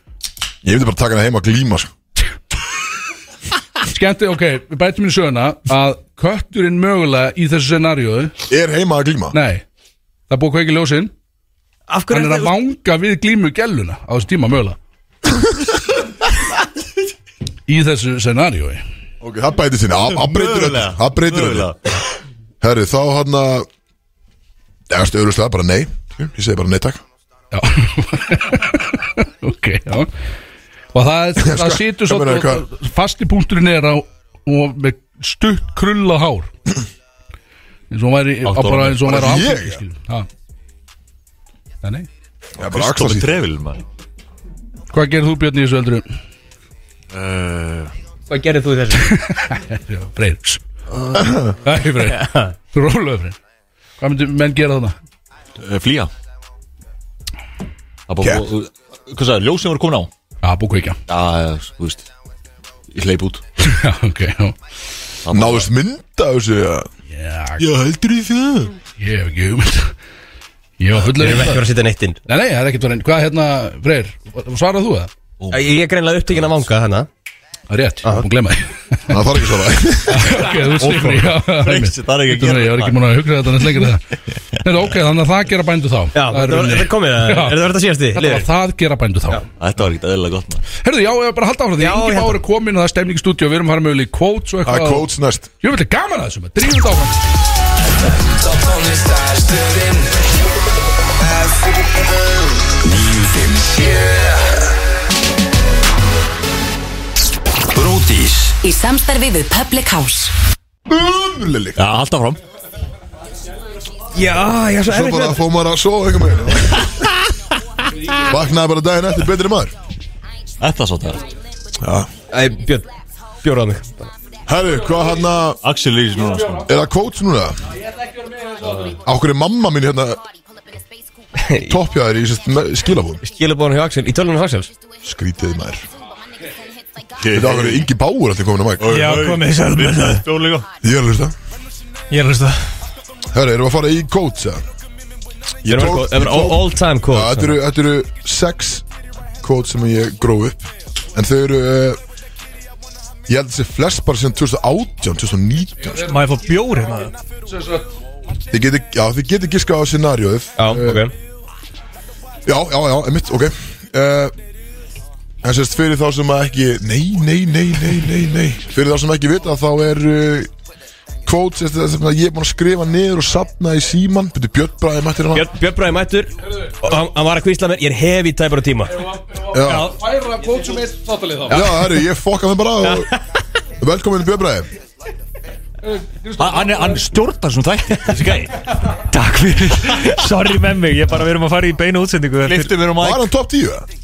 Speaker 1: Ég myndi bara taka hana heima að glíma, sko
Speaker 2: Skemmti, ok, við bætum minni söguna að kötturinn mögulega í þessu scenaríu,
Speaker 1: Er heima að glíma
Speaker 2: nei, það er búið að kveika ljósin,
Speaker 3: af
Speaker 2: hann
Speaker 3: hverju
Speaker 2: er að vanga við glímu gæluna á þessu tíma mögulega í þessu scenaríu
Speaker 1: Ok, það bætir sinni, það breytir öllu
Speaker 4: Mögulega.
Speaker 1: Það breytir öllu
Speaker 4: Mögulega.
Speaker 1: Herru, þá hann að Það er stöðulega bara nei Ég segi bara nei takk
Speaker 2: Já Ok, já Og það, það situr svo
Speaker 1: ég meina, hvað-
Speaker 2: og- Fasti punkturinn er á og með stutt krulla hár eins og hún væri á
Speaker 4: Átta
Speaker 2: bara
Speaker 4: ára.
Speaker 2: eins og hún væri á
Speaker 1: Bara ég?
Speaker 2: áfengi, skilur. Ha. Já, nei.
Speaker 1: Það er bara axla
Speaker 4: Kristófi
Speaker 1: síð
Speaker 4: Trevil maður
Speaker 2: Hvað gerir þú Björn í þessu eldru?
Speaker 1: Eh.
Speaker 3: Hvað gerir þú í þessu?
Speaker 2: Já, Freyr Æ, Freyr Rólaðu Freyr Hvað myndu menn gera þarna?
Speaker 4: Eh, Flýja Það
Speaker 1: Gekk.
Speaker 4: bara búið Hvað sagði, ljósin voru komin á
Speaker 2: Já, búið kveikja
Speaker 4: Já, já, þú veist Ég hleyp út
Speaker 2: Já, ok, já
Speaker 1: Náðist mynda þessu Já,
Speaker 2: Já,
Speaker 1: heldur í það
Speaker 2: ég hef ekki hugmynd Ég var
Speaker 3: Við
Speaker 2: fullur í
Speaker 3: erum
Speaker 2: það
Speaker 3: ekki verið að setja neitt inn
Speaker 2: Nei, nei, það er ekkert verið Hvað hérna, Freyr, svarað þú það?
Speaker 3: Ég er greinlega upptekinn að vanga þannig
Speaker 2: Það er rétt, ég var búin að glemma
Speaker 1: Það þarf ekki svona
Speaker 2: því Ok, þú styrnir
Speaker 4: Freyr, það er ekki að
Speaker 2: Ég
Speaker 4: gera.
Speaker 2: var ekki múin að hugsa þetta næst lengur Nei, ok, þannig að það gera bændu þá
Speaker 3: Já,
Speaker 2: Það er
Speaker 3: þetta var-
Speaker 2: unnið.
Speaker 3: þetta er komið
Speaker 2: Já.
Speaker 3: Er þetta verið að síðast í?
Speaker 2: Þetta var það gera bændu þá
Speaker 4: Þetta var ekkert eðlilega gott maður
Speaker 2: Herðu, já, ég var bara að halda áfram því
Speaker 3: Já,
Speaker 2: Engi
Speaker 3: ég held
Speaker 2: báru komin og það er stemning í stúdíu og Við erum að fara mögulega í quotes og
Speaker 1: Það er
Speaker 2: eitthvað
Speaker 1: quotes næst
Speaker 2: Ég vil gaman að þessu, maður drífum þetta áfram
Speaker 6: Top tónlist það er stöðin FM 957 Bródís
Speaker 7: Í samstarfi við Public House
Speaker 1: Umlulik
Speaker 4: Já, alltaf fram
Speaker 3: Já, ég er svo
Speaker 1: Svo
Speaker 3: erfitt með
Speaker 1: bara fór maður að sofa einhver meginn Vaknaði bara daginn eftir betri maður
Speaker 4: Þetta svo þetta
Speaker 3: Æ, Björn, bjóraða mig
Speaker 1: Herru, hvað hérna- hann að
Speaker 4: Axel Lýs núna sko
Speaker 1: Er það quotes núna? Á hverju er mamma mín hérna toppjaður í sérst, skilabúðum
Speaker 3: Skilabóðan hjá Axel, í tölunum hjá Axel
Speaker 1: Skrítið maður Þetta er okkur Ingi Báur allir komin á mæk
Speaker 9: Já, komið þið sjálf með það
Speaker 4: Bjóðleika
Speaker 1: Ég er að hlusta
Speaker 9: Ég er að hlusta
Speaker 1: Herra, erum við að fara í kóts eða? Ég
Speaker 3: Það
Speaker 1: tók-
Speaker 3: er
Speaker 1: ég tók-
Speaker 3: all hérna.
Speaker 1: Já,
Speaker 3: time
Speaker 1: Þetta
Speaker 3: quote
Speaker 1: eru- þetta eru sex kóts sem ég gróð upp En þau eru uh, Ég held þessi flest bara sem 2018, 2019 sko.
Speaker 9: Má ég fá bjóri maður
Speaker 10: hérna?
Speaker 1: Þið geti, já, þið geti giskað á scenarióið
Speaker 3: Já, ok
Speaker 1: Já, já, já, emitt, ok uh, En sérst fyrir þá sem að ekki Nei, nei, nei, nei, nei, nei Fyrir þá sem ekki vita þá er uh, Kvót sérst það sem að ég er búin að skrifa niður og safna í síman Byrju Björn Bræði mættir hérna. hana
Speaker 3: Björn, Björn Bræði mættur og hann, hann var að kvísla mér, ég er hefi í tæpar á tíma
Speaker 1: Já,
Speaker 2: Færa kótsum eitt þáttalið þá
Speaker 1: já, herru, ég fokka þeim bara og... Velkomin Björn Bræði
Speaker 9: Hann, er- hann stjórnar svona þætti Þessi gæði Takk fyrir Sorry með mig Ég bara við erum að fara í beina útsendingu eftir-
Speaker 4: Liftum við um
Speaker 1: Var hann top 10? eða?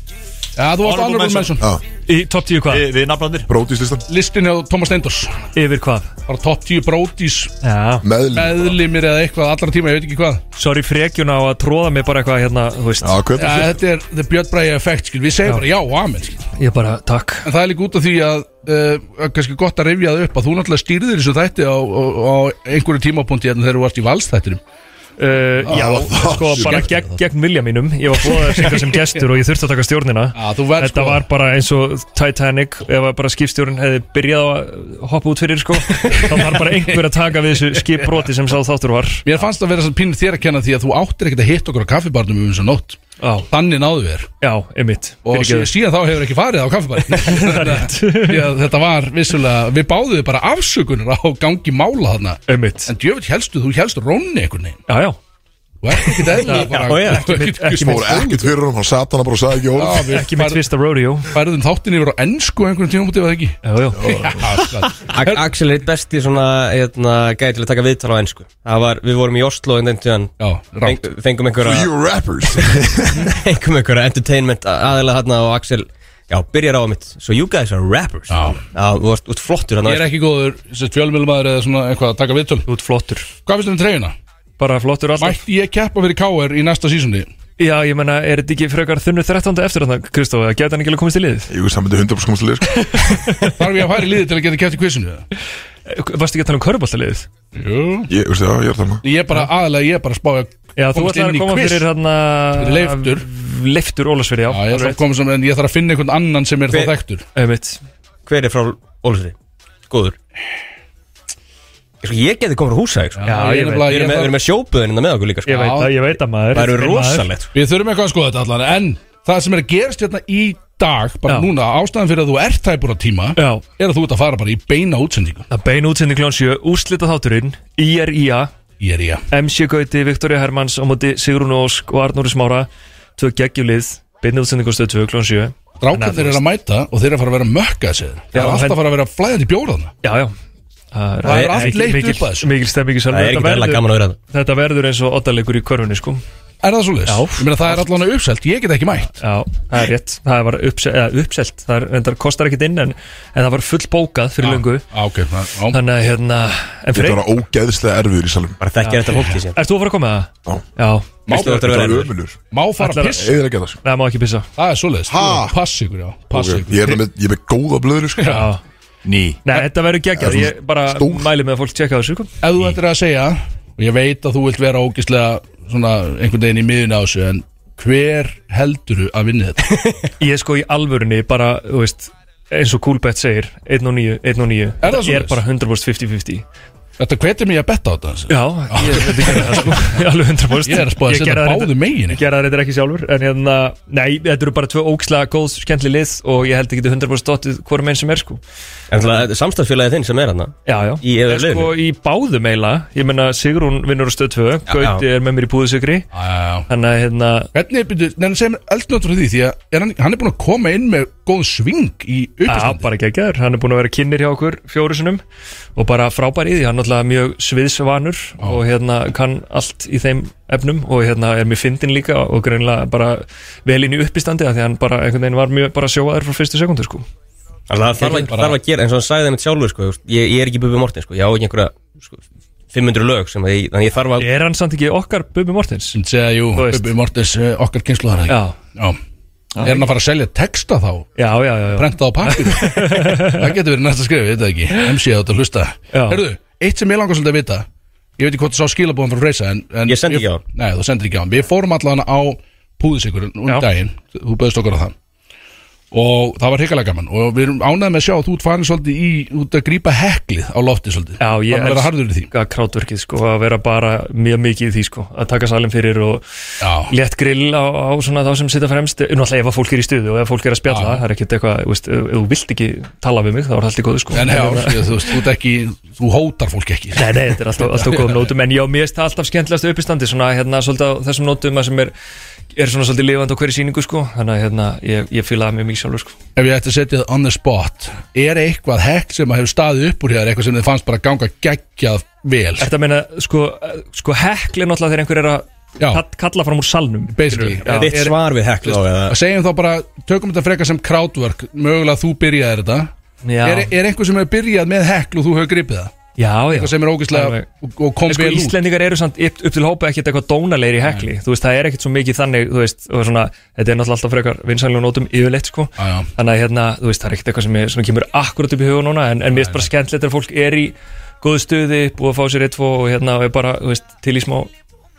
Speaker 2: Já, þú varst
Speaker 4: Honorable
Speaker 2: honorable mention
Speaker 1: Já,
Speaker 9: Í topp 10 hvað?
Speaker 4: Við nafnandir
Speaker 1: brótislistan
Speaker 2: Listin hjá Thomas Steindors
Speaker 9: Yfir hvað?
Speaker 2: Bara top 10 brótis
Speaker 9: Já
Speaker 1: Meðlum
Speaker 2: meðlimir eða eitthvað allra tíma, ég veit ekki hvað
Speaker 9: Sorry frekjun á að tróða mig bara eitthvað hérna Þú veist
Speaker 1: Já, hvað
Speaker 2: Já,
Speaker 1: er þetta?
Speaker 2: þetta er the Björn Bræði effekt, skil Við segjum bara já, amen, skil
Speaker 9: Ég bara takk
Speaker 2: En það er líka út af því að uh, kannski gott að rifja það upp að þú náttúrulega stýrðir þessu þætti á, á, á einhverju tímapunkti hérna þegar þú varst í valstættinum
Speaker 9: uh, Já,
Speaker 1: það-
Speaker 9: sko bara gegn, gegn vilja mínum Ég var búið að syngja sem gestur og ég þurfti að taka stjórnina
Speaker 2: Já, þú verð,
Speaker 9: Þetta
Speaker 2: sko.
Speaker 9: var bara eins og Titanic Ef að bara skipstjórn hefði byrjað á að hoppa út fyrir sko Þá var bara einhver að taka við þessu skipbroti sem sá þáttur var
Speaker 2: Mér fannst það vera sann pínu þér að kenna því að þú áttir ekkert að hitta okkur á kaffibarnum um þessu nótt
Speaker 9: Já,
Speaker 2: Þannig náðu við þér
Speaker 9: já, einmitt
Speaker 2: og síðan,
Speaker 9: Fyrirgefðu.
Speaker 2: síðan þá hefur ekki farið á kaffibarnum Þetta var vissulega, við báðuðu bara afsökunar á gangi mála þarna
Speaker 9: Einmitt
Speaker 2: En djöfitt helstu, þú helst rónni einhvern veginn
Speaker 9: Já, já
Speaker 2: Þú ert ekkert eðla bara
Speaker 3: já,
Speaker 2: þú ert ekkert-
Speaker 1: Ég fór ekkert fyrir hann, hann sat hann bara og sagði ekki
Speaker 2: Já,
Speaker 1: orð
Speaker 2: við
Speaker 9: Ekki mitt fyrsta rodeo
Speaker 2: færðum þáttin yfir á ennsku einhvern tíma mútið, var það ekki?
Speaker 9: Já, já
Speaker 2: Já, skat.
Speaker 3: A- Axel er eitt besti svona hérna, gæti til að taka viðtal á ennsku Það var, við vorum í Oslo en þannig tíðan
Speaker 2: Já, rátt
Speaker 3: fengum einhverja,
Speaker 1: You rappers
Speaker 3: fengum einhverja entertainment aðeila hérna og Axel já, byrjar á mitt, so you guys are rappers
Speaker 2: Já.
Speaker 3: þú varst út flottur
Speaker 2: Ég er
Speaker 3: hérna
Speaker 2: ekki góður fjölmjölmaður eða svona eitthvað að taka viðtöl
Speaker 9: Þú ert flottur
Speaker 2: Hvað finnst þér um treyjuna?
Speaker 9: Bara flottur alltaf
Speaker 2: Mætti ég keppa fyrir KR í næsta sísundi?
Speaker 9: Já, ég menna, er þetta ekki frekar þunnu 13. eftir þarna, Kristof að geta hann ekki alveg komist í liðið?
Speaker 1: Jú, það myndi 100% komast til þér, sko.
Speaker 2: Þarf ég að fara í liði til að geta keppt í quizinu? eða?
Speaker 9: Varstu ekki að tala um körbólta liðið?
Speaker 2: Jú
Speaker 1: Ég, veistu, já, ég er þannig
Speaker 2: Ég er bara aðalega, ég er bara að spá að
Speaker 9: Já, þú
Speaker 2: komast
Speaker 9: ætlar
Speaker 2: inn
Speaker 9: að
Speaker 2: í
Speaker 9: koma
Speaker 2: quiz.
Speaker 9: fyrir þarna
Speaker 2: Fyrir Leiftur.
Speaker 9: Leiftur Ólasfyrir, já
Speaker 2: Já, ég þarf að koma sem, en ég þarf að finna einhvern annan sem er þá
Speaker 3: Hver-
Speaker 2: þekktur
Speaker 9: Einmitt
Speaker 3: hver er frá Ólfsri, góður Ég sko, ég geti komið frá húsæk sko.
Speaker 9: Já, ég
Speaker 2: er
Speaker 9: veit.
Speaker 2: nefnilega-
Speaker 3: við erum
Speaker 2: ég
Speaker 3: með,
Speaker 2: þarf-
Speaker 3: við erum með sjóböðinina með okkur
Speaker 9: Ég
Speaker 3: líka sko.
Speaker 9: veit
Speaker 2: Já.
Speaker 9: að, ég veit að maður
Speaker 3: það eru
Speaker 9: Maður-
Speaker 3: rosalegt sko.
Speaker 2: Við þurfum eitthvað að skoða þetta allan En það sem er að gerast hérna í dag Bara
Speaker 9: Já.
Speaker 2: núna, ástæðan fyrir að þú ert tæpur á tíma
Speaker 9: Já,
Speaker 2: Er að þú ert að fara bara í beina útsendingu
Speaker 9: það bein útsending kljón 7 Úrslita þátturinn, IRIA
Speaker 2: Ég er ég
Speaker 9: MC Gauti, Viktoria Hermanns á móti Sigrún Ósk og Arnóri Smára Tvö geggjulið, bein útsending á stöð 2 kljón 7
Speaker 2: Drákarnir eru að mæta og þeir eru að fara að vera mökka sér Það
Speaker 9: Já,
Speaker 2: er alltaf
Speaker 9: en-
Speaker 2: að fara að vera flæðandi bjóraðna
Speaker 9: Já, já
Speaker 2: Það er allt
Speaker 9: mikil-
Speaker 2: leitt
Speaker 9: mikil-
Speaker 2: upp að þessu.
Speaker 9: Mikil stemming í salnum.
Speaker 3: það er
Speaker 9: Þetta
Speaker 3: ekki verðilega
Speaker 9: verður-
Speaker 3: gaman að vera það
Speaker 9: Þetta verður eins og oddalegur í körfunni sko
Speaker 2: Er það svoleiðis?
Speaker 9: Já.
Speaker 2: Ég meina það er allan uppselt, ég get ekki mætt
Speaker 9: Já, það er rétt Það var uppse eða, uppselt Það, er, en það kostar ekkit inn en, en það var full bókað fyrir löngu
Speaker 2: ah, okay, það, á.
Speaker 9: Þannig að hérna En
Speaker 1: Þetta
Speaker 9: Freyr,
Speaker 1: var ógeðslega erfiður í salum
Speaker 3: bara þekkja þetta fólki síðan
Speaker 9: ert þú að fara að koma það?
Speaker 1: Já.
Speaker 9: Já,
Speaker 3: Veistu þú ert að
Speaker 1: Þetta
Speaker 3: vera
Speaker 1: var
Speaker 3: erfiður?
Speaker 1: ömulur
Speaker 2: Má fara
Speaker 9: Ætlar-
Speaker 2: að piss
Speaker 1: Eða ekki það sko.
Speaker 9: það má ekki pissa
Speaker 2: Það er svoleiðis
Speaker 1: Ha?
Speaker 2: Jú, Pass ykkur, já Pass
Speaker 1: Ok,
Speaker 2: ykkur
Speaker 1: Ég er með, ég er með góða blöður sko.
Speaker 9: Já
Speaker 4: Ný
Speaker 9: Nei, þetta verður geggjað
Speaker 1: Það er
Speaker 9: Ég bara
Speaker 1: stór.
Speaker 9: mæli með að fólk tjekka þessu sko.
Speaker 2: Ef þú ættir að segja Og ég veit að þú vilt vera ógislega Svona einhvern veginn í miðun á þessu En hver heldur þú að vinna þetta?
Speaker 9: Ég sko í alvörunni bara, þú veist eins og Coolbet segir, 1 og 9, 1 og 9
Speaker 2: það
Speaker 9: Þetta er
Speaker 2: svoleiðis?
Speaker 9: bara 100% 50-50
Speaker 2: Þetta hvetir mig að betta á þetta
Speaker 9: Já, ég þetta gerði það sko Alveg 100%
Speaker 2: Ég er að spá að setja
Speaker 9: gerði það
Speaker 2: báðum
Speaker 9: reyndar-
Speaker 2: megin,
Speaker 9: Ég gerði það reyndar ekki sjálfur En hérna, nei, þetta eru bara tvö ókslega góð skemmtli lið Og ég held ekki 100% dottið hvorum einn sem er sko
Speaker 3: En það er samstagsfélagið þinn sem er hérna
Speaker 9: Já, já
Speaker 3: Í
Speaker 9: Er,
Speaker 3: yfir
Speaker 9: sko,
Speaker 3: liðinu
Speaker 9: Í báðum eiginlega, Ég menna Sigrún vinnur á stöð 2 Gauti
Speaker 3: já.
Speaker 9: er með mér í búðsugri
Speaker 2: ah,
Speaker 9: Þannig að hérna
Speaker 2: Hvernig, byrju, nefnir segjum eldnáttur því Því að er hann, hann er búin að koma inn með góð sving í
Speaker 9: Já,
Speaker 2: uppstandi
Speaker 9: bara geggjaður, hann er búin að vera kynir hjá okkur fjórusunum og bara frábær í því, hann er náttúrulega mjög sviðsvanur og hérna kann allt í þeim efnum og hérna er mjög fyndin líka og greinlega bara vel inn í uppistandi af því að hann bara einhvern veginn var mjög bara sjóaður frá fyrstu sekundu sko.
Speaker 3: Það þarf að-
Speaker 2: bara-
Speaker 3: þarf að gera, eins og hann sagði það mitt sjálfur sko, ég, ég er ekki Bubi Morten, sko. ég á ekki einhverja sko, 500 lög sem að ég, þannig að ég þarf að
Speaker 9: Er hann samt ekki okkar Bubi Mortens?
Speaker 2: Ég segja, jú,
Speaker 9: Þú veist.
Speaker 2: Bubi Mortis, eh, okkar kynsluðar ekki
Speaker 9: Já,
Speaker 2: Já Er hann að fara að selja texta þá?
Speaker 9: já, já, já, já.
Speaker 2: Prenta á pappir Það getur verið næsta skrif, ég veit það ekki MC átt að hlusta
Speaker 9: Já.
Speaker 2: Herðu, eitt sem ég langar svolítið að vita Ég veit ekki hvort þú sá skilabóðan frá Reysa en, en
Speaker 3: Ég sendi ekki á hann.
Speaker 2: Nei, þú sendir ekki á hann Við fórum allan á púðisikur um
Speaker 9: Já.
Speaker 2: daginn Þú böðist okkur á það Og það var hrikalega gaman Og við erum ánægð með að sjá að þú ert farin svolítið í Út að grípa heklið á lofti svolítið
Speaker 9: Já, ég
Speaker 2: Farin að vera
Speaker 9: elska-
Speaker 2: harður í því
Speaker 9: að krátverkið sko, að vera bara mjög mikið í því sko, að taka salin fyrir og
Speaker 2: Já,
Speaker 9: létt grill á, á svona þá sem sitja fremst, náttúrulega ef að fólk er í stuðu og ef fólk er að spjalla,
Speaker 2: Já.
Speaker 9: það er ekkert eitthvað þú veist, ef ef þú vilt ekki tala við mig, þá er allt í góðu sko
Speaker 2: en já, ég, þú veist, þú ert ekki Þú hótar fólk ekki
Speaker 9: Nei, nei, þetta er alltaf, alltaf góðum nótum En já, mér finnst það alltaf skemmtilegast uppistandi Svona, hérna, svolítið á þessum nótum að sem er, er svona svolítið lifandi á hverju sýningu sko. Þannig að hérna, ég, ég fíla það mjög mikið sjálfur sko.
Speaker 2: Ef ég ætti að setja það on the spot Er eitthvað hekk sem að hefur staðið upp úr hér Eitthvað sem þið fannst bara ganga geggjað vel
Speaker 9: Ertu að meina, sko, eh, sko hekli náttúrulega þegar einhver er að
Speaker 2: Já.
Speaker 9: kall, kalla fram úr salnum Skilurðu?
Speaker 2: Basically,
Speaker 9: Já.
Speaker 3: Þitt svar við hekla á eða
Speaker 2: Að Segjum þá bara, tökum þetta frekar sem crowdwork Mögulega þú byrjaðir þetta
Speaker 9: Já.
Speaker 2: er, er einhver sem hefur byrjað með hekk og þú hefur gripið það
Speaker 9: já, já
Speaker 2: Eitthvað sem er ógeðslega
Speaker 9: Alveg.
Speaker 2: og, og kom
Speaker 9: En sko
Speaker 2: vel út
Speaker 9: Íslendingar eru samt upp, upp til hópa ekkert eitthvað dónalegir í hekli Þú veist, það er ekkert svo mikið þannig Þú veist, og svona, þetta er náttúrulega alltaf frekar vinsælum nótum yfirleitt sko
Speaker 2: Já, já.
Speaker 9: Þannig að hérna, þú veist, það er ekkert eitthvað sem, ég, sem kemur akkurat upp í hugun núna En, en mér finnst bara skemmtilegt þegar fólk er í góðu stuði Búið að fá sér eitt tvo og hérna og er bara, þú veist, til í smá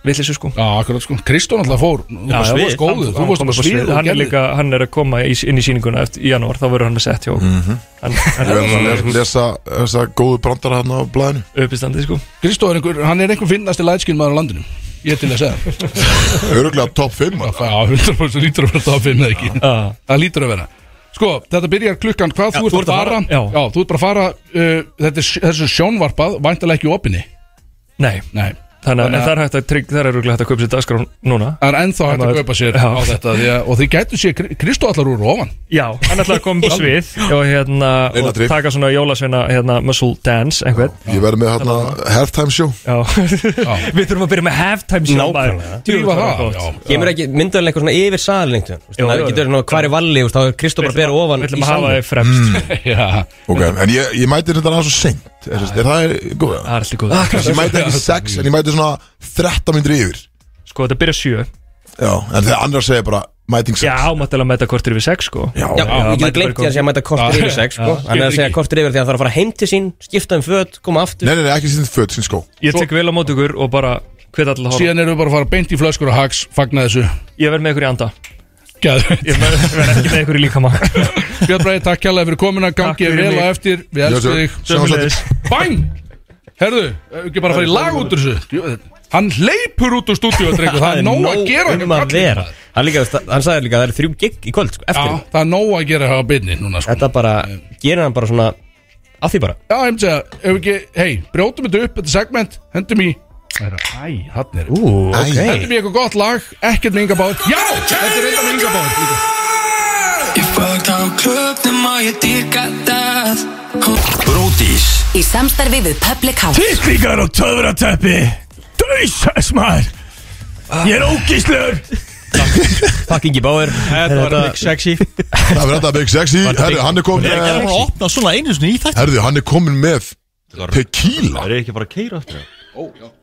Speaker 9: vitleysu sko
Speaker 2: Já, akkurat sko Kristó náttúrulega fór Þú
Speaker 9: Já,
Speaker 2: varst
Speaker 9: já,
Speaker 2: góður,
Speaker 9: hann-
Speaker 2: þú
Speaker 9: hann
Speaker 2: varst
Speaker 9: kom
Speaker 2: bara
Speaker 9: upp á svið.
Speaker 2: svið og
Speaker 9: Hann er
Speaker 2: gerðir.
Speaker 9: líka, hann er að koma í, inn í síninguna eftir, í janúar Þá verður hann með sett hjá mm -hmm. hann, hann
Speaker 1: Ég
Speaker 9: er
Speaker 1: verður Mhm. að lesa- lesa þessa góðu brandara hann á blæðinu
Speaker 9: uppistandið sko
Speaker 2: Kristó er einhver, hann er einhver finnasti lætskinn maður á landinu Ég er til að segja það.
Speaker 1: Öruglega top 5
Speaker 2: Já, 100% lítur að vera það að finna það ekki
Speaker 9: Já.
Speaker 2: Það lítur að vera Sko, þetta byrjar klukkan hvað þú ert að fara
Speaker 9: Já.
Speaker 2: þú ert bara að fara uh, Þetta er sj- þessu sjónvarpað, væntalega ekki í opinni
Speaker 9: Nei,
Speaker 2: Nei
Speaker 9: þannig að
Speaker 2: Þannig
Speaker 9: en
Speaker 2: að-
Speaker 9: það er hægt að trygg Það er örugglega hægt að kaupa sér dagskrá núna
Speaker 2: Það er ennþá hægt að
Speaker 9: Maður-
Speaker 2: kaupa sér
Speaker 9: Já.
Speaker 2: á þetta því að, Og þið gætu sé Kristó allar úr ofan
Speaker 9: Já, hann ætlaði að koma upp á svið og, hérna, og
Speaker 1: Launatrip.
Speaker 9: taka svona jólasveina hérna, muscle dance einhvern
Speaker 1: Ég verður með hérna halftime show
Speaker 9: Já. Við þurfum að byrja með halftime show
Speaker 3: Nákvæmlega.
Speaker 2: Drífa það
Speaker 9: það
Speaker 2: já.
Speaker 3: Kemur ekki myndaðilega eitthvað svona yfir salin einhvern veginn, þú veist,
Speaker 9: Jú,
Speaker 3: þannig að
Speaker 9: jú,
Speaker 3: við getur nú hvar er valli, þú veist, þá er Kristó bara að bera ofan
Speaker 9: Við ætlum
Speaker 3: í
Speaker 9: að hafa
Speaker 3: salin
Speaker 9: þið fremst
Speaker 2: Já.
Speaker 1: Ok, en ég, ég mæti þetta aðeins svo seint Er, er það góð? Ah,
Speaker 9: Það er alltaf góð
Speaker 1: Ég mæti ekki 6 en ég mæti svona 13 myndir yfir
Speaker 9: Sko þetta byrja sjö
Speaker 1: Já, en þegar annar segja bara mæting 6
Speaker 9: Já, mættilega að mæta kortir við sex sko
Speaker 1: Já,
Speaker 3: Já, ég
Speaker 9: mæta
Speaker 3: getur glemt
Speaker 9: bara
Speaker 3: því að segja að mæta kortur yfir sex, sko Hann er að segja kortur yfir því að það þarf að fara heim til sín, skipta um föt, koma aftur
Speaker 1: Nei, nei, nei, ekki síðan föt, síðan skó
Speaker 9: Ég tek vel á mót ykkur og bara hvet allir að horfa
Speaker 2: Síðan erum við bara að fara beint í flöskur og hags Fagna þessu
Speaker 9: Ég verð með ykkur í anda
Speaker 2: Gæðu
Speaker 9: Ég verð verð ekki með ykkur í líkama
Speaker 2: Björn Bræði, takk kjærlega fyrir komuna
Speaker 9: Takk
Speaker 2: Gangi
Speaker 9: fyrir
Speaker 2: þér vel
Speaker 9: mig.
Speaker 2: á eftir, við elskum
Speaker 1: Jésú.
Speaker 2: þig
Speaker 9: Sömuleiðis.
Speaker 2: Bæn! Herðu, ef ekki bara að fara í lag út úr þessu Jú, þetta- Hann hleypur út úr stúdíu Það er nóg að gera hjá
Speaker 3: um að
Speaker 2: kallinum.
Speaker 3: vera Hann, líka, þú veist, hann sagði líka að það er þrjú gig í kvöld, sko,
Speaker 2: Já,
Speaker 3: eftir
Speaker 2: það er nóg að gera hjá byrni núna sko.
Speaker 3: Þetta bara, gerir hann bara svona Af því bara
Speaker 2: Já, ég myndi að, ef ekki, hei, brjótum þetta upp Þetta segment, hendum í Æ, hann er
Speaker 3: Ú,
Speaker 1: Æ,
Speaker 2: Hendum í eitthvað gott lag, ekkert með yngabáð Já, þetta er eitthvað með yngabáð
Speaker 6: Ég fórt á klubnum og ég dýrka það
Speaker 5: Bródís
Speaker 7: Í samstarfi við Public House
Speaker 5: Íslingar og töfrateppi Dauðsæs maður Ég er ógíslur
Speaker 3: Fucking í báður Þetta var big sexy
Speaker 1: það verður þetta big sexy Herðu, hann er komin
Speaker 4: Ég er
Speaker 1: með
Speaker 4: bara að opna svona einu sinni í þetta
Speaker 1: Herðu, hann er komin með tequila
Speaker 4: er ekki bara að keira eftir það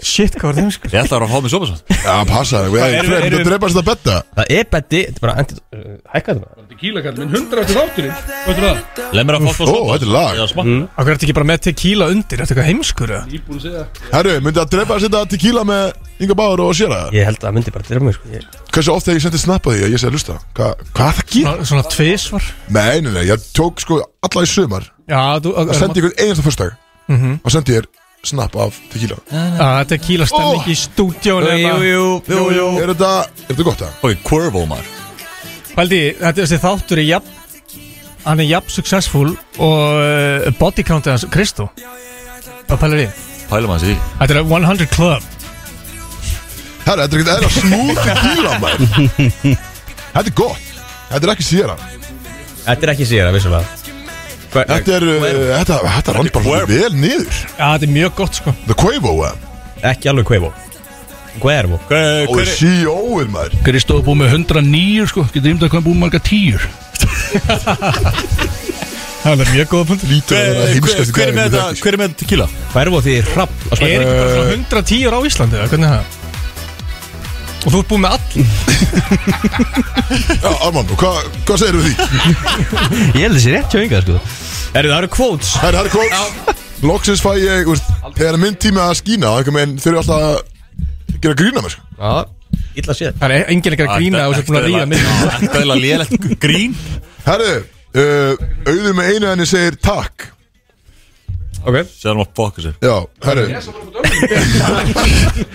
Speaker 5: Shit, hvað var þeim sko
Speaker 4: Ég ætla að vera að fá mig sopa svo
Speaker 1: Já, passa, við erum frem, þetta dreipast þetta betta
Speaker 3: Það er betti, þetta er bara anti- uh, Hækka þetta bara
Speaker 2: Kíla kall minn, 100 eftir þátturinn Veitur það?
Speaker 4: Leð mér að fá
Speaker 1: Ó, þetta er lag
Speaker 4: smá
Speaker 3: Mm.
Speaker 5: Akkur ertu ekki bara með tequila undir, ertu eitthvað heimskur eða?
Speaker 1: Herru, myndi að dreipast þetta tequila með Inga Báður og Sjera
Speaker 3: Ég held að það myndi bara drefa mig, sko Ég-
Speaker 1: Hversu ofta ég sendi snapp að því að ég segi að hlusta Hva, Hvað það gerir?
Speaker 5: Svona, svona tvisvar
Speaker 1: Nei, nei, nei, ég tók sko alla í sumar
Speaker 5: Já, þú, að,
Speaker 1: Það sendi ég einasta fyrstdag
Speaker 5: Mhm.
Speaker 1: Og sendi ég snapp af tequila
Speaker 5: að tequila stemning í stúdjónu
Speaker 10: hérna.
Speaker 3: jú, jú, jú
Speaker 1: Er þetta, er þetta gott það?
Speaker 4: Ok, Quervo maður
Speaker 5: Paldi, þetta er þessi þáttur er jafn Hann er jafn successful og uh,
Speaker 10: eh,
Speaker 5: body count hans Kristó Hvað pælar þið?
Speaker 4: Pælum hans í
Speaker 5: Þetta er 100 Club
Speaker 1: Herru, þetta er ekkert eðla smúð tequila maður Þetta er gott Þetta er ekki Sjera
Speaker 3: Þetta er ekki síðan, vissulega Hva-
Speaker 1: Þetta er, uh, þetta, þetta rann bara svolítið vel niður
Speaker 5: Já, þetta er mjög gott sko
Speaker 1: The Quavo, eh?
Speaker 3: Ekki alveg Quavo Quavo
Speaker 1: og er CEO-ið maður
Speaker 2: Kristóð búið með 109 sko, getur ímdað hvað hann búið með marga tíur
Speaker 10: Það er mjög góða punktur
Speaker 1: Lítur að vera heimskastu
Speaker 4: Hver er með
Speaker 1: gæðin
Speaker 4: þetta- hver er með þetta tequila?
Speaker 3: Hverfa því hrapp
Speaker 10: Er ekki bara svona 110 ára á Íslandi eða hvernig er það? Og þú ert búinn með all
Speaker 1: Já, Arman, og hvað hva segir við því?
Speaker 3: Ég held þessi rétt hjá yngar sko Herri, það eru quotes
Speaker 1: Herri, herri, kvóts Loksins fæ ég, úr, þegar minn tími að skína einhvern veginn þau eru alltaf að gera grína mér sko.
Speaker 3: Já, illa séð
Speaker 10: Það er enginn ekki að grína og þú ert búinn að ríða mig
Speaker 4: Það er lélægt grín
Speaker 1: Herri, uh, auður með einu henni segir takk
Speaker 3: Ok
Speaker 4: Sér hann að bóka sér
Speaker 1: Já, herri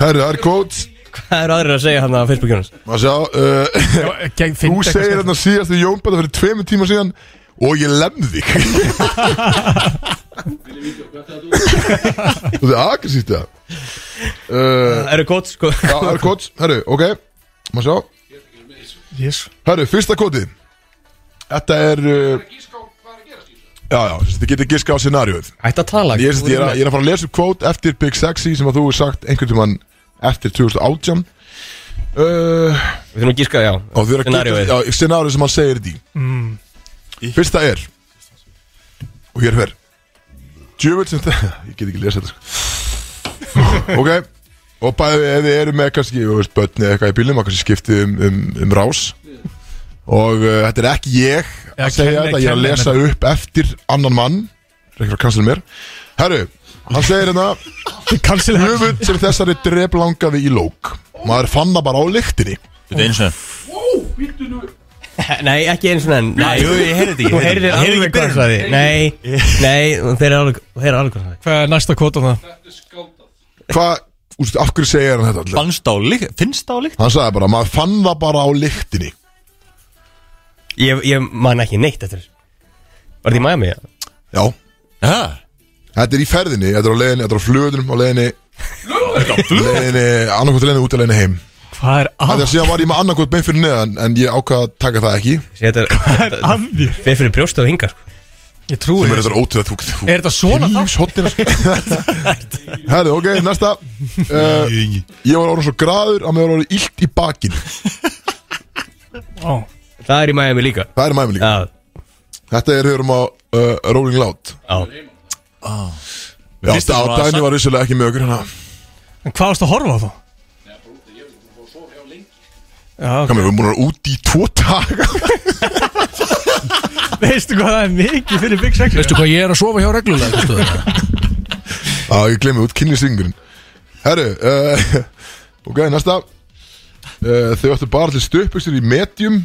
Speaker 1: Herri, það er kvóts
Speaker 3: Hvað eru aðrir að segja hann á Facebookinu hans?
Speaker 1: Maður sjá, uh, þú segir
Speaker 10: þetta
Speaker 1: hérna síðast í Jónbæta fyrir tveimur tíma síðan og ég lemði þig Þú veist, aggressíft það Uh,
Speaker 3: Það eru quotes sko
Speaker 1: Já, það er kóts, herru, ok Má sjá
Speaker 10: Yes
Speaker 1: Herru, fyrsta kóti Þetta er uh, Já, já, þessi, þið getur giska á scenarióið
Speaker 10: Ætti að tala
Speaker 1: ég, þessi, ég, er að, ég er að fara að lesa upp kvót eftir Big Sexy sem að þú hefur sagt einhvern tímann eftir 2018 uh,
Speaker 3: Við þurfum að gíska, já
Speaker 1: Og þið eru að
Speaker 3: Scenarioið.
Speaker 1: geta já, Scenarióið sem hann segir þetta í mm. Fyrsta er Og hér fer Djöfull sem það Ég get ekki lesa þetta sko. Ok Og bæði ef þið eru með kannski þú veist, Bönni eða eitthvað í bílnum að kannski skipti um, um, um rás Og uh, þetta er ekki ég
Speaker 10: Já,
Speaker 1: Að segja
Speaker 10: kenni-
Speaker 1: þetta Ég er að
Speaker 10: kenni
Speaker 1: lesa upp eftir annan mann Rekkir að kansla mér Herru Hann segir hérna
Speaker 10: Kansil
Speaker 1: Djöfull sem þessari drep langaði í lók Maður fann það bara á lyktinni
Speaker 4: Þetta er eins og
Speaker 3: Nei, ekki eins og enn Nei, jú, ég heyrði þetta ekki
Speaker 10: Þú
Speaker 3: Ég heyrði
Speaker 10: heyrðir
Speaker 3: þetta alveg
Speaker 10: alveg hvað
Speaker 3: hvað það er Nei, nei, þeir eru alveg Þeir eru alveg hvað það er
Speaker 10: Hvað er næsta kvota það?
Speaker 1: Hvað, úrstu, af hverju segir hann þetta allir?
Speaker 4: Fannst á líkt Finnst á líkt
Speaker 1: Hann sagði bara, maður fann það bara á lyktinni
Speaker 3: Ég, ég man ekki neitt eftir þessu. Var þetta í Miami? já?
Speaker 1: Já,
Speaker 4: Já
Speaker 1: þetta er í ferðinni, þetta er á leiðinni, þetta er á flugöldunum á leiðinni Leiðinni, annarkot leiðinni út að leiðinni heim
Speaker 10: Hvað er
Speaker 1: Þetta
Speaker 10: að?
Speaker 1: er síðan var ég með annarkot bein fyrir neðan En ég ákvað að taka það ekki
Speaker 3: Þessi, Þetta
Speaker 10: Hvað er að þér?
Speaker 3: Við fyrir brjósta og hingar sko.
Speaker 10: Ég trúi
Speaker 1: Sem er
Speaker 10: þér.
Speaker 1: þetta ótrúð að þú þú-
Speaker 10: Er þetta svona þá?
Speaker 1: Hnífshornin, sko. Herðu, ok, næsta uh, Ég var orðin svo graður að mér var orðin illt í bakin
Speaker 10: Ó.
Speaker 3: Það er í Miami líka
Speaker 1: Það er mæmi líka
Speaker 3: Já,
Speaker 1: Þetta er hörum á uh, Rolling Loud
Speaker 3: já
Speaker 2: Ah.
Speaker 1: Já,
Speaker 4: Fyrsta sem
Speaker 1: á
Speaker 4: var að
Speaker 1: dagni
Speaker 4: sagt-
Speaker 1: var vissulega ekki með okkur hérna. hana
Speaker 10: En hvað varst að horfa á þá? Já, ok.
Speaker 1: Hvað mér, við erum búin að vera úti í tvo daga
Speaker 10: veistu hvað það er mikið fyrir Big Sex
Speaker 2: Veistu hvað ég er að sofa hjá reglulega veistu það?
Speaker 1: Já, ég glemir út kynlýsingurinn Herru, uh, ok, næsta uh, Þau ættu bara til stöpukstur í medium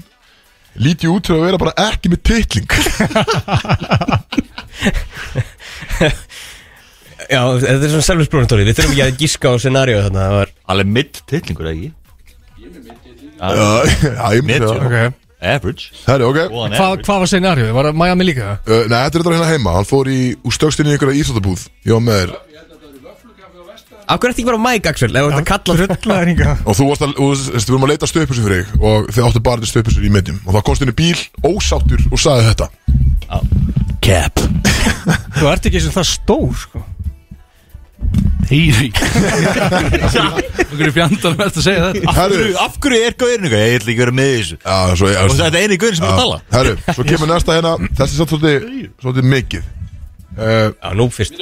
Speaker 1: Lítið út fyrir að vera bara ekki með titling
Speaker 3: Já, þetta er svona self-explanatory Við þurfum ekki að gíska á scenarió þarna Það var
Speaker 4: Alveg midd tillingur ekki
Speaker 1: Já, já, ég myndi
Speaker 4: Medium.
Speaker 1: það
Speaker 10: okay.
Speaker 4: Average
Speaker 1: Herru, ok uh,
Speaker 4: One
Speaker 10: Hva,
Speaker 4: average
Speaker 10: Hvað var scenarjóið? Var það Miami líka?
Speaker 1: Nei, þetta er þetta hérna heima Hann fór í úr stökstinni í einhverja íþróttabúð Ég var með þér
Speaker 3: Af hverju ertu ekki bara á Mike Axel Ef þetta kallar
Speaker 10: Drullaðir hinga
Speaker 1: Og þú varst að, og þú veist, við vorum að leita stöpukstur fyrir þig Og þau áttu bara til stöpukstur í medium Og þá komst henni bíl, ósáttur og sagði þetta
Speaker 3: Cap
Speaker 10: Þú ert ekki sem það stór sko
Speaker 2: Hýri Okkur er fjandan mest að segja þetta
Speaker 1: Herru,
Speaker 4: Af hverju er gaurinu eitthvað? Ég ætla ekki að vera með í þessu
Speaker 1: já, svo ég
Speaker 4: Og þetta er eini gaurin sem er að tala
Speaker 1: Herru, svo kemur næsta hérna Þessi er samt svolítið, svolítið mikið uh,
Speaker 3: Já, nú fyrst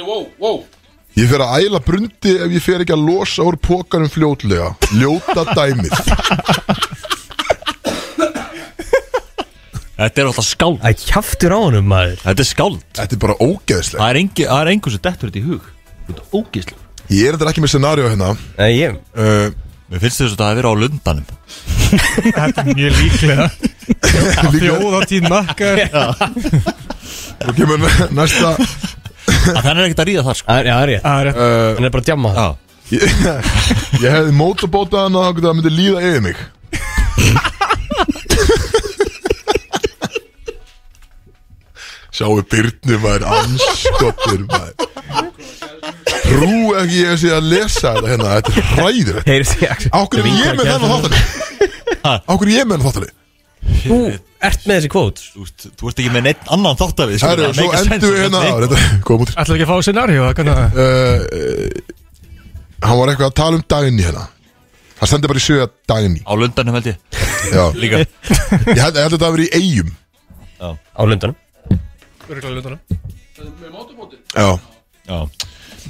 Speaker 1: Ég fer að æla brundi ef ég fer ekki að losa úr pókarum fljótlega Ljóta dæmið
Speaker 4: Þetta er alltaf skáld
Speaker 3: Æ, kjaftur á honum maður
Speaker 4: Þetta er skáld
Speaker 1: Þetta er bara ógeðslega
Speaker 4: Það er engi- það er einhver sem dettur þetta í hug Þetta er ógíslega
Speaker 1: Ég er þetta ekki með scenario hérna
Speaker 3: Nei, ég
Speaker 1: uh,
Speaker 4: Mér finnst þess að það hefur verið á lundanum
Speaker 10: Mjög líklega
Speaker 1: Líka,
Speaker 10: Þjóðatíð makka
Speaker 1: Svo kemur næ- næsta
Speaker 4: Að Þannig er ekkert að ríða þar sko
Speaker 3: Það er- Já, það er ég
Speaker 10: Það er
Speaker 1: uh,
Speaker 3: Hann er bara að djamma það
Speaker 1: ég, ég hefði mótorbótað hann að það myndi líða yfir mig Sjáu Byrnu maður anskottur maður Trú ekki ég sé að lesa þetta hérna Þetta er hræðir
Speaker 3: Heyrðu því Axel
Speaker 1: Ákveð er ég með þennan þáttali Ákveð er ég með þennan þáttali
Speaker 3: Þú ert með þessi kvót
Speaker 4: Þú veist, þú ert ekki með neitt annan þátt af því sko.
Speaker 1: Herru,
Speaker 4: Það
Speaker 1: svo
Speaker 4: make sense,
Speaker 1: endur við hérna á
Speaker 4: þetta er-
Speaker 1: þetta, Góðum út
Speaker 10: Ætlaðu ekki að fá scenarjóið Hvernig að
Speaker 1: uh, Hann var eitthvað að tala um Dagný hérna Hann stendur bara í sögja Dagný
Speaker 4: Á lundanum held ég
Speaker 1: Já.
Speaker 4: Líka
Speaker 1: Ég held, ég held að þetta hafi verið í eigum
Speaker 3: á lundanum
Speaker 10: Örgulega lötunum
Speaker 1: Já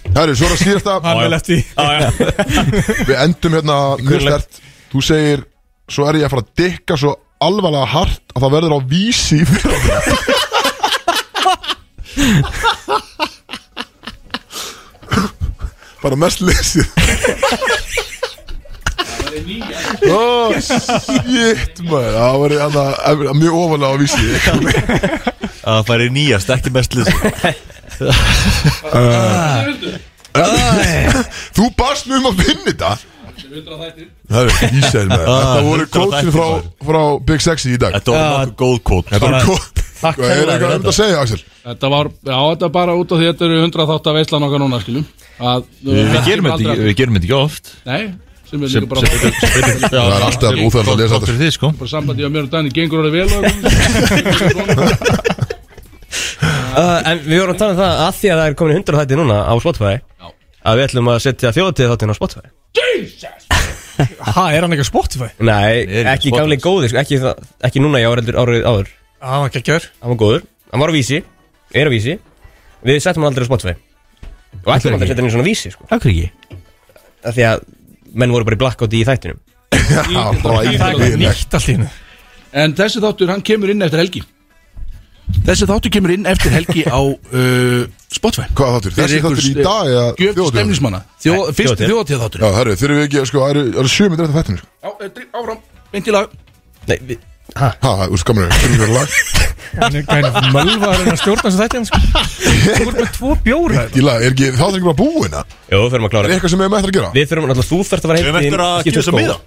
Speaker 1: Það eru svo er að skýrast að
Speaker 10: Hann vil eftir því. Já, já.
Speaker 1: Við endum hérna mjög
Speaker 10: Kunnulegt.
Speaker 1: stert Þú segir, svo er ég að fara að dykka svo alvarlega hart að það verður á vísi í fyrra." Bara mest lesið Ó, shit maður Það var hérna, eh, mjög ofalega á vísi
Speaker 4: að það færi nýjast, ekki mest lið
Speaker 1: Þú barst mig um að vinna þetta Það er ísæl með
Speaker 4: Ah,
Speaker 1: Þetta voru
Speaker 4: 100
Speaker 1: kvótsin
Speaker 4: þættir,
Speaker 1: frá,
Speaker 4: maður.
Speaker 1: frá Big Sexy í dag
Speaker 4: Þetta voru nokkuð góð kvót
Speaker 1: Þetta voru
Speaker 4: Bara-
Speaker 1: kvót
Speaker 2: Takk
Speaker 1: Hvað er
Speaker 2: kærlega
Speaker 1: eitthvað
Speaker 2: fyrir
Speaker 1: um þetta að segja Axel?
Speaker 2: Þetta var, já þetta er bara út af því að þetta eru 100 þátt að veislan okkar núna skilum að,
Speaker 4: Við gerum þetta ekki- við gerum þetta ekki oft
Speaker 2: Nei, sem er
Speaker 4: Sem-
Speaker 2: líka bara
Speaker 4: sem- sem- já,
Speaker 1: Það er alltaf
Speaker 4: sem-
Speaker 1: óþægilegt að lesa
Speaker 4: gott- gott
Speaker 1: þetta.
Speaker 4: fyrir þið, sko.
Speaker 2: bara sambandi á mér og Dani gengur orðið vel og
Speaker 3: Uh, en við vorum að tala um það að því að það er komin 100 þætti núna á Spotify að við ætlum að setja þjóðatíð þáttin á Spotify
Speaker 10: Ha, er hann ekki á Spotify?
Speaker 3: Nei, ekki
Speaker 10: Spotify.
Speaker 3: gamlega góði, sko, ekki, það- ekki núna ég áreldur árið áður
Speaker 10: Já, hann geggjör
Speaker 3: Hann var góður, hann var á vísi, er á vísi Við settum hann aldrei á Spotify Og
Speaker 10: Af hverju
Speaker 3: ætlum aldrei að
Speaker 10: ekki?
Speaker 3: setja hann í svona vísi, sko
Speaker 10: Akkur ekki
Speaker 3: Af Því að menn voru bara í blackout í þættinum
Speaker 10: nýtt allt í hennu
Speaker 2: En þessi þáttur, hann kemur inn eftir helgi Þessi þáttur kemur inn eftir helgi á uh, Spotify
Speaker 1: Hvað þáttur? Þessi þáttur í dag eða
Speaker 2: Gjöf til
Speaker 1: þjóðhátíðarþáttur?
Speaker 2: stemnismanna Þjó,
Speaker 1: Nei,
Speaker 2: Fyrsti
Speaker 1: þjóðhátíð.
Speaker 2: þjóðatíð þáttur
Speaker 1: Já, herru, þeir eru ekki, sko, það eru- það eru sjö myndir eftir fættinu sko.
Speaker 2: Já, eh, drí- áfram, beint í lag
Speaker 3: Nei, við Ha,
Speaker 1: það úr skamur Hvernig verður lag?
Speaker 10: Hvernig mölva er hann að stjórna þessu þætti hann sko Þú voru með tvo bjóra
Speaker 1: Í lag, er ekki, þá þarf ekki bara búin að hérna.
Speaker 3: Jó, við förum að
Speaker 1: Er
Speaker 3: klára
Speaker 1: eitthvað sem við erum eftir að gera?
Speaker 3: Við förum, alltaf þú þarft að fara
Speaker 4: Við erum
Speaker 3: heim
Speaker 4: eftir að gefa þess að miða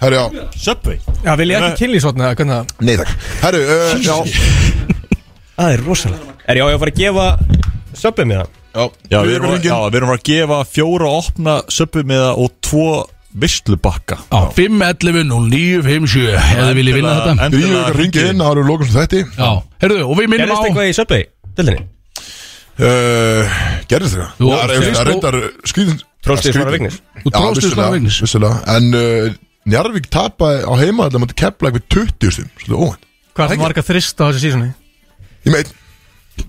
Speaker 1: Herru, já,
Speaker 4: Subway
Speaker 10: Já, vil ég ekki kynlýsotna eða hvernig það
Speaker 1: nei takk Herru, uh, já,
Speaker 3: Það er rosalega Er já, ég á að fara að gefa söpum miða
Speaker 1: já,
Speaker 4: Já, við erum,
Speaker 1: Hringinn.
Speaker 4: já, við erum að gefa fjóra opna söpbumiða og tvo visslubakka
Speaker 2: Á 511 0957 Eða viljið vinna þetta
Speaker 1: Við erum ekki að ringja inn, það eru lokum sem þetta
Speaker 2: Já, herruðu, og við minnum
Speaker 3: Gerðist
Speaker 2: á
Speaker 3: eitthvað í söpum, dildinni?
Speaker 1: uh, Gerðist þetta?
Speaker 2: Þú-
Speaker 1: Það er- það er reyndar skrýðin
Speaker 3: Tróstið Svavar Vignis.
Speaker 2: Þú tróstið Svavar Vignis.
Speaker 1: Vissulega, en uh, Njarvík tapaði á heima Þetta mátti kepla eitthvað 20 stum Svolítið óvænt
Speaker 10: Hvað er það marga þrist á þessu sísunni?
Speaker 1: Ég meit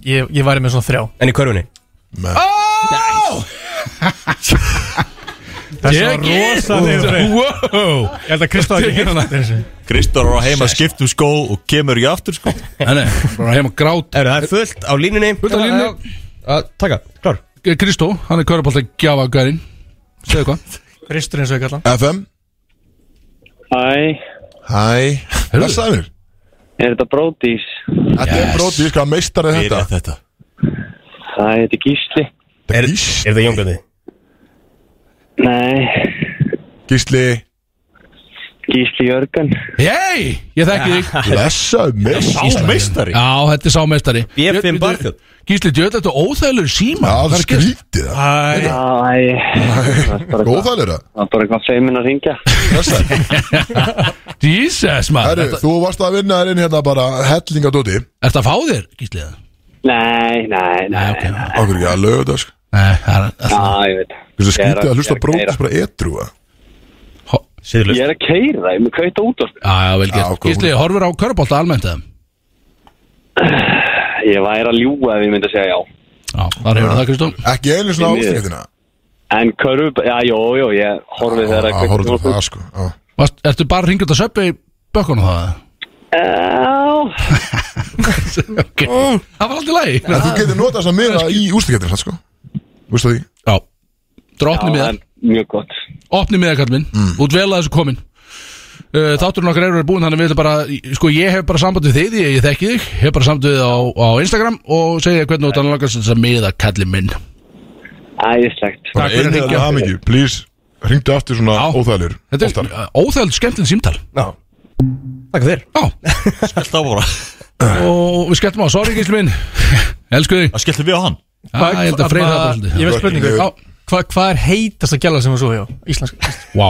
Speaker 10: Ég, ég væri með svona þrjá
Speaker 3: En í körfunni
Speaker 10: Þessi var rosalega freyð
Speaker 2: Wow
Speaker 10: Ég held að Kristof hafi ekki hérna þessu
Speaker 4: Kristóra var heima að skipta um skó og kemur í aftur sko
Speaker 2: Nei, nei, bara heim og grát
Speaker 3: Eru, Það er fullt á línunni
Speaker 2: Fullt á línunni.
Speaker 3: Að Taka, klár
Speaker 2: Kristó, hann er körubólta gjafa gærin Segðu hvað
Speaker 10: Kristur eins og ég kalla hann
Speaker 1: FM
Speaker 11: Æ,
Speaker 1: Hæ Blessaði mér
Speaker 11: er þetta Brodís?
Speaker 1: Þetta er brotið, hvað meistar
Speaker 2: um
Speaker 1: er
Speaker 4: Fyrir
Speaker 1: þetta?
Speaker 4: þetta
Speaker 11: Æ, þetta er Gísli.
Speaker 1: Þetta er
Speaker 3: Er
Speaker 1: Gísli
Speaker 3: það jónglöndi?
Speaker 11: Nei,
Speaker 1: Gísli
Speaker 11: Gísli Jörgen.
Speaker 2: Hei, ég þekki þig
Speaker 1: Blessaði mér
Speaker 4: Sá meistari
Speaker 2: Já, þetta er sámeistari
Speaker 3: BFM
Speaker 2: Björn,
Speaker 3: Barþjónn.
Speaker 2: bíddu, Gísli Djöð, þetta er óþægilegur síma
Speaker 1: Já, það
Speaker 2: er
Speaker 1: er skrítið það
Speaker 10: Æ,
Speaker 11: Já, æ, það er bara eitthvað-
Speaker 1: Góðalir það
Speaker 11: það er bara eitthvað feimin að ringja.
Speaker 1: Blessaði
Speaker 2: skemmt. Jesus, maður
Speaker 1: Herru,
Speaker 2: Þetta-
Speaker 1: þú varst að vinna þér inn hérna bara Hellingadóti
Speaker 2: Ertu að fá þér, Gísli? eða?
Speaker 11: Nei, nei,
Speaker 2: Nei,
Speaker 11: nei.
Speaker 2: ok
Speaker 1: Okkur ekki að lögða það sko
Speaker 2: Nei, það er alltaf
Speaker 11: Já, ég veit. Ég
Speaker 1: Þessu
Speaker 11: er
Speaker 1: skrítið að hlusta
Speaker 11: ég er
Speaker 1: brótis
Speaker 11: keyra.
Speaker 1: bara etru
Speaker 3: Siðlust
Speaker 11: Ég er að keira, ég er með kauta út
Speaker 2: Já, já, vel
Speaker 1: Já,
Speaker 2: gert
Speaker 1: góð.
Speaker 2: Gísli, horfur á körubólta almennt eða?
Speaker 11: Ég væri að ljúa ef ég myndi að segja já.
Speaker 2: Já, þar hefur það, Kristó
Speaker 1: Ekki einu svona
Speaker 11: Því miður.
Speaker 1: ástækina
Speaker 11: En körf, já, jó, jó, ég horfið þegar að
Speaker 1: Það horfður það sko á.
Speaker 2: Varst- Ertu bara ringjum þetta söppi í bökkunum það? eða?
Speaker 11: Já,
Speaker 2: Ok, það var alltaf lægi
Speaker 1: En þú getur notað þess að miða í ústakettin sko Vistu því?
Speaker 2: Já, drópni
Speaker 11: það
Speaker 2: miðar
Speaker 11: er mjög gott.
Speaker 2: opni miðakall minn,
Speaker 1: Mm.
Speaker 2: út vel að þessu komin uh, þátturinn okkar eru búin þannig að við ætlum bara, sko ég hef bara samband við þig, ég, ég þekki þig, hef bara samband við þig á, á Instagram og segja hvernig þú þannig langast þess að miðakalli minn
Speaker 11: Æðislegt.
Speaker 1: Bara
Speaker 2: fyrir að
Speaker 1: einið
Speaker 2: hringja.
Speaker 1: að hafa mikið, please Ringdu aftur svona
Speaker 2: Já.
Speaker 1: óþælir
Speaker 2: þetta er uh, óþægilegt skemmtilegt símtal
Speaker 3: Já Takk fyrir
Speaker 2: Já,
Speaker 4: Skellt á bara
Speaker 2: og við skelltum á, sorry gísli minn elsku þig,
Speaker 4: Það skellti við á hann
Speaker 2: Já, ég held að freyða það bara
Speaker 10: Ég
Speaker 2: svolítið
Speaker 10: veist spurningu
Speaker 1: Já.
Speaker 10: Hva, Hvað er heitast að gæla sem þú svo hjá? Íslensk
Speaker 2: Vá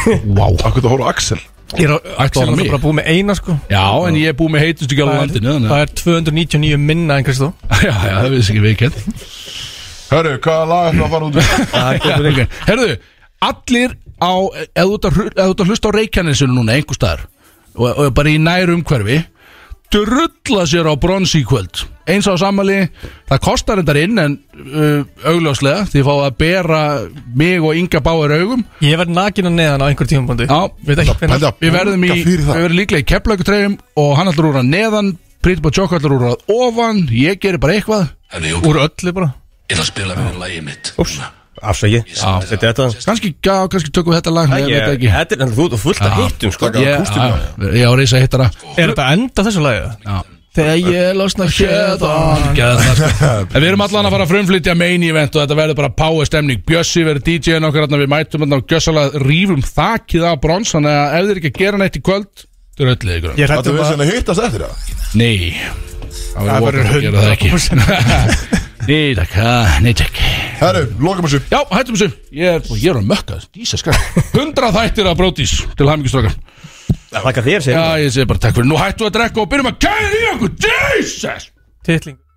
Speaker 2: Vá,
Speaker 1: Akkur það horfa á Axel
Speaker 10: Ég er á
Speaker 2: Ætlaði
Speaker 10: Axel er
Speaker 2: mig.
Speaker 10: bara búið með eina sko
Speaker 2: já en ég er búið með heitustu gæla á
Speaker 10: Það
Speaker 2: landinu
Speaker 10: er,
Speaker 2: þannig
Speaker 10: það
Speaker 2: að-
Speaker 10: er 299 minna en Kristó
Speaker 2: Já, já, það vissi ekki við kent
Speaker 1: Herru, hvaða lag ætlum við að fara út í?
Speaker 2: Ok, Herðu, allir á eða þú ert að hlu- ef þú ert að hlusta á Reykjanesinu núna einhver staðar og, og bara í nær umhverfi drulla sér á brons í kvöld eins á samali, það kostar þetta inn en uh, augljóslega því fá að bera mig og Inga Báar augum
Speaker 10: Ég verð nakin að neðan á einhver tímabundi
Speaker 2: Já,
Speaker 10: Veit ekki hvenær.
Speaker 2: Við verðum í, við verðum líklega í keflaugutreyjum og hann allur úr að neðan Prítið bara tjók allur úr að ofan Ég gerir bara eitthvað Úr öllu bara
Speaker 5: Ég ætla að spila fyrir lagið mitt
Speaker 3: Úps, afsæki Þetta er þetta
Speaker 2: Kannski, já, kannski tökum við þetta lag
Speaker 3: Æ,
Speaker 2: ég
Speaker 3: ég-
Speaker 2: veit ekki.
Speaker 3: þetta er- þú ert fullt af
Speaker 2: Já.
Speaker 3: hittum, sko.
Speaker 2: Ég- já, Ég á reysa hittara
Speaker 10: Er þetta enda þessu lagið?
Speaker 2: Þegar ég losna hérðan sko. En við erum allan að fara að frumflytja main event og þetta verður bara power stemning Bjössi verður DJ-in okkar þarna, við mætum þarna og gjössalega rýfum þakið af brons þannig að ef þeir ekki gera neitt í kvöld þau eru öllu ykkur
Speaker 10: Ég hrættum
Speaker 1: Þetta við
Speaker 10: bara
Speaker 3: um
Speaker 1: sem að hittast eftir það
Speaker 2: Nei
Speaker 1: Það verður
Speaker 2: opið að gera það
Speaker 1: 100%.
Speaker 2: ekki. Nei takk, ha, nei takk
Speaker 1: Herru, lokum þessu
Speaker 2: Já, hættum þessu Ég er, ég er að mökka, dísa skar 100 þættir af brótis til hæmingiströkar
Speaker 3: Þakka þér
Speaker 2: Já, ég segi bara takk fyrir Nú hættu að drekka og byrjum að kæra í okkur Jesus
Speaker 10: Tittling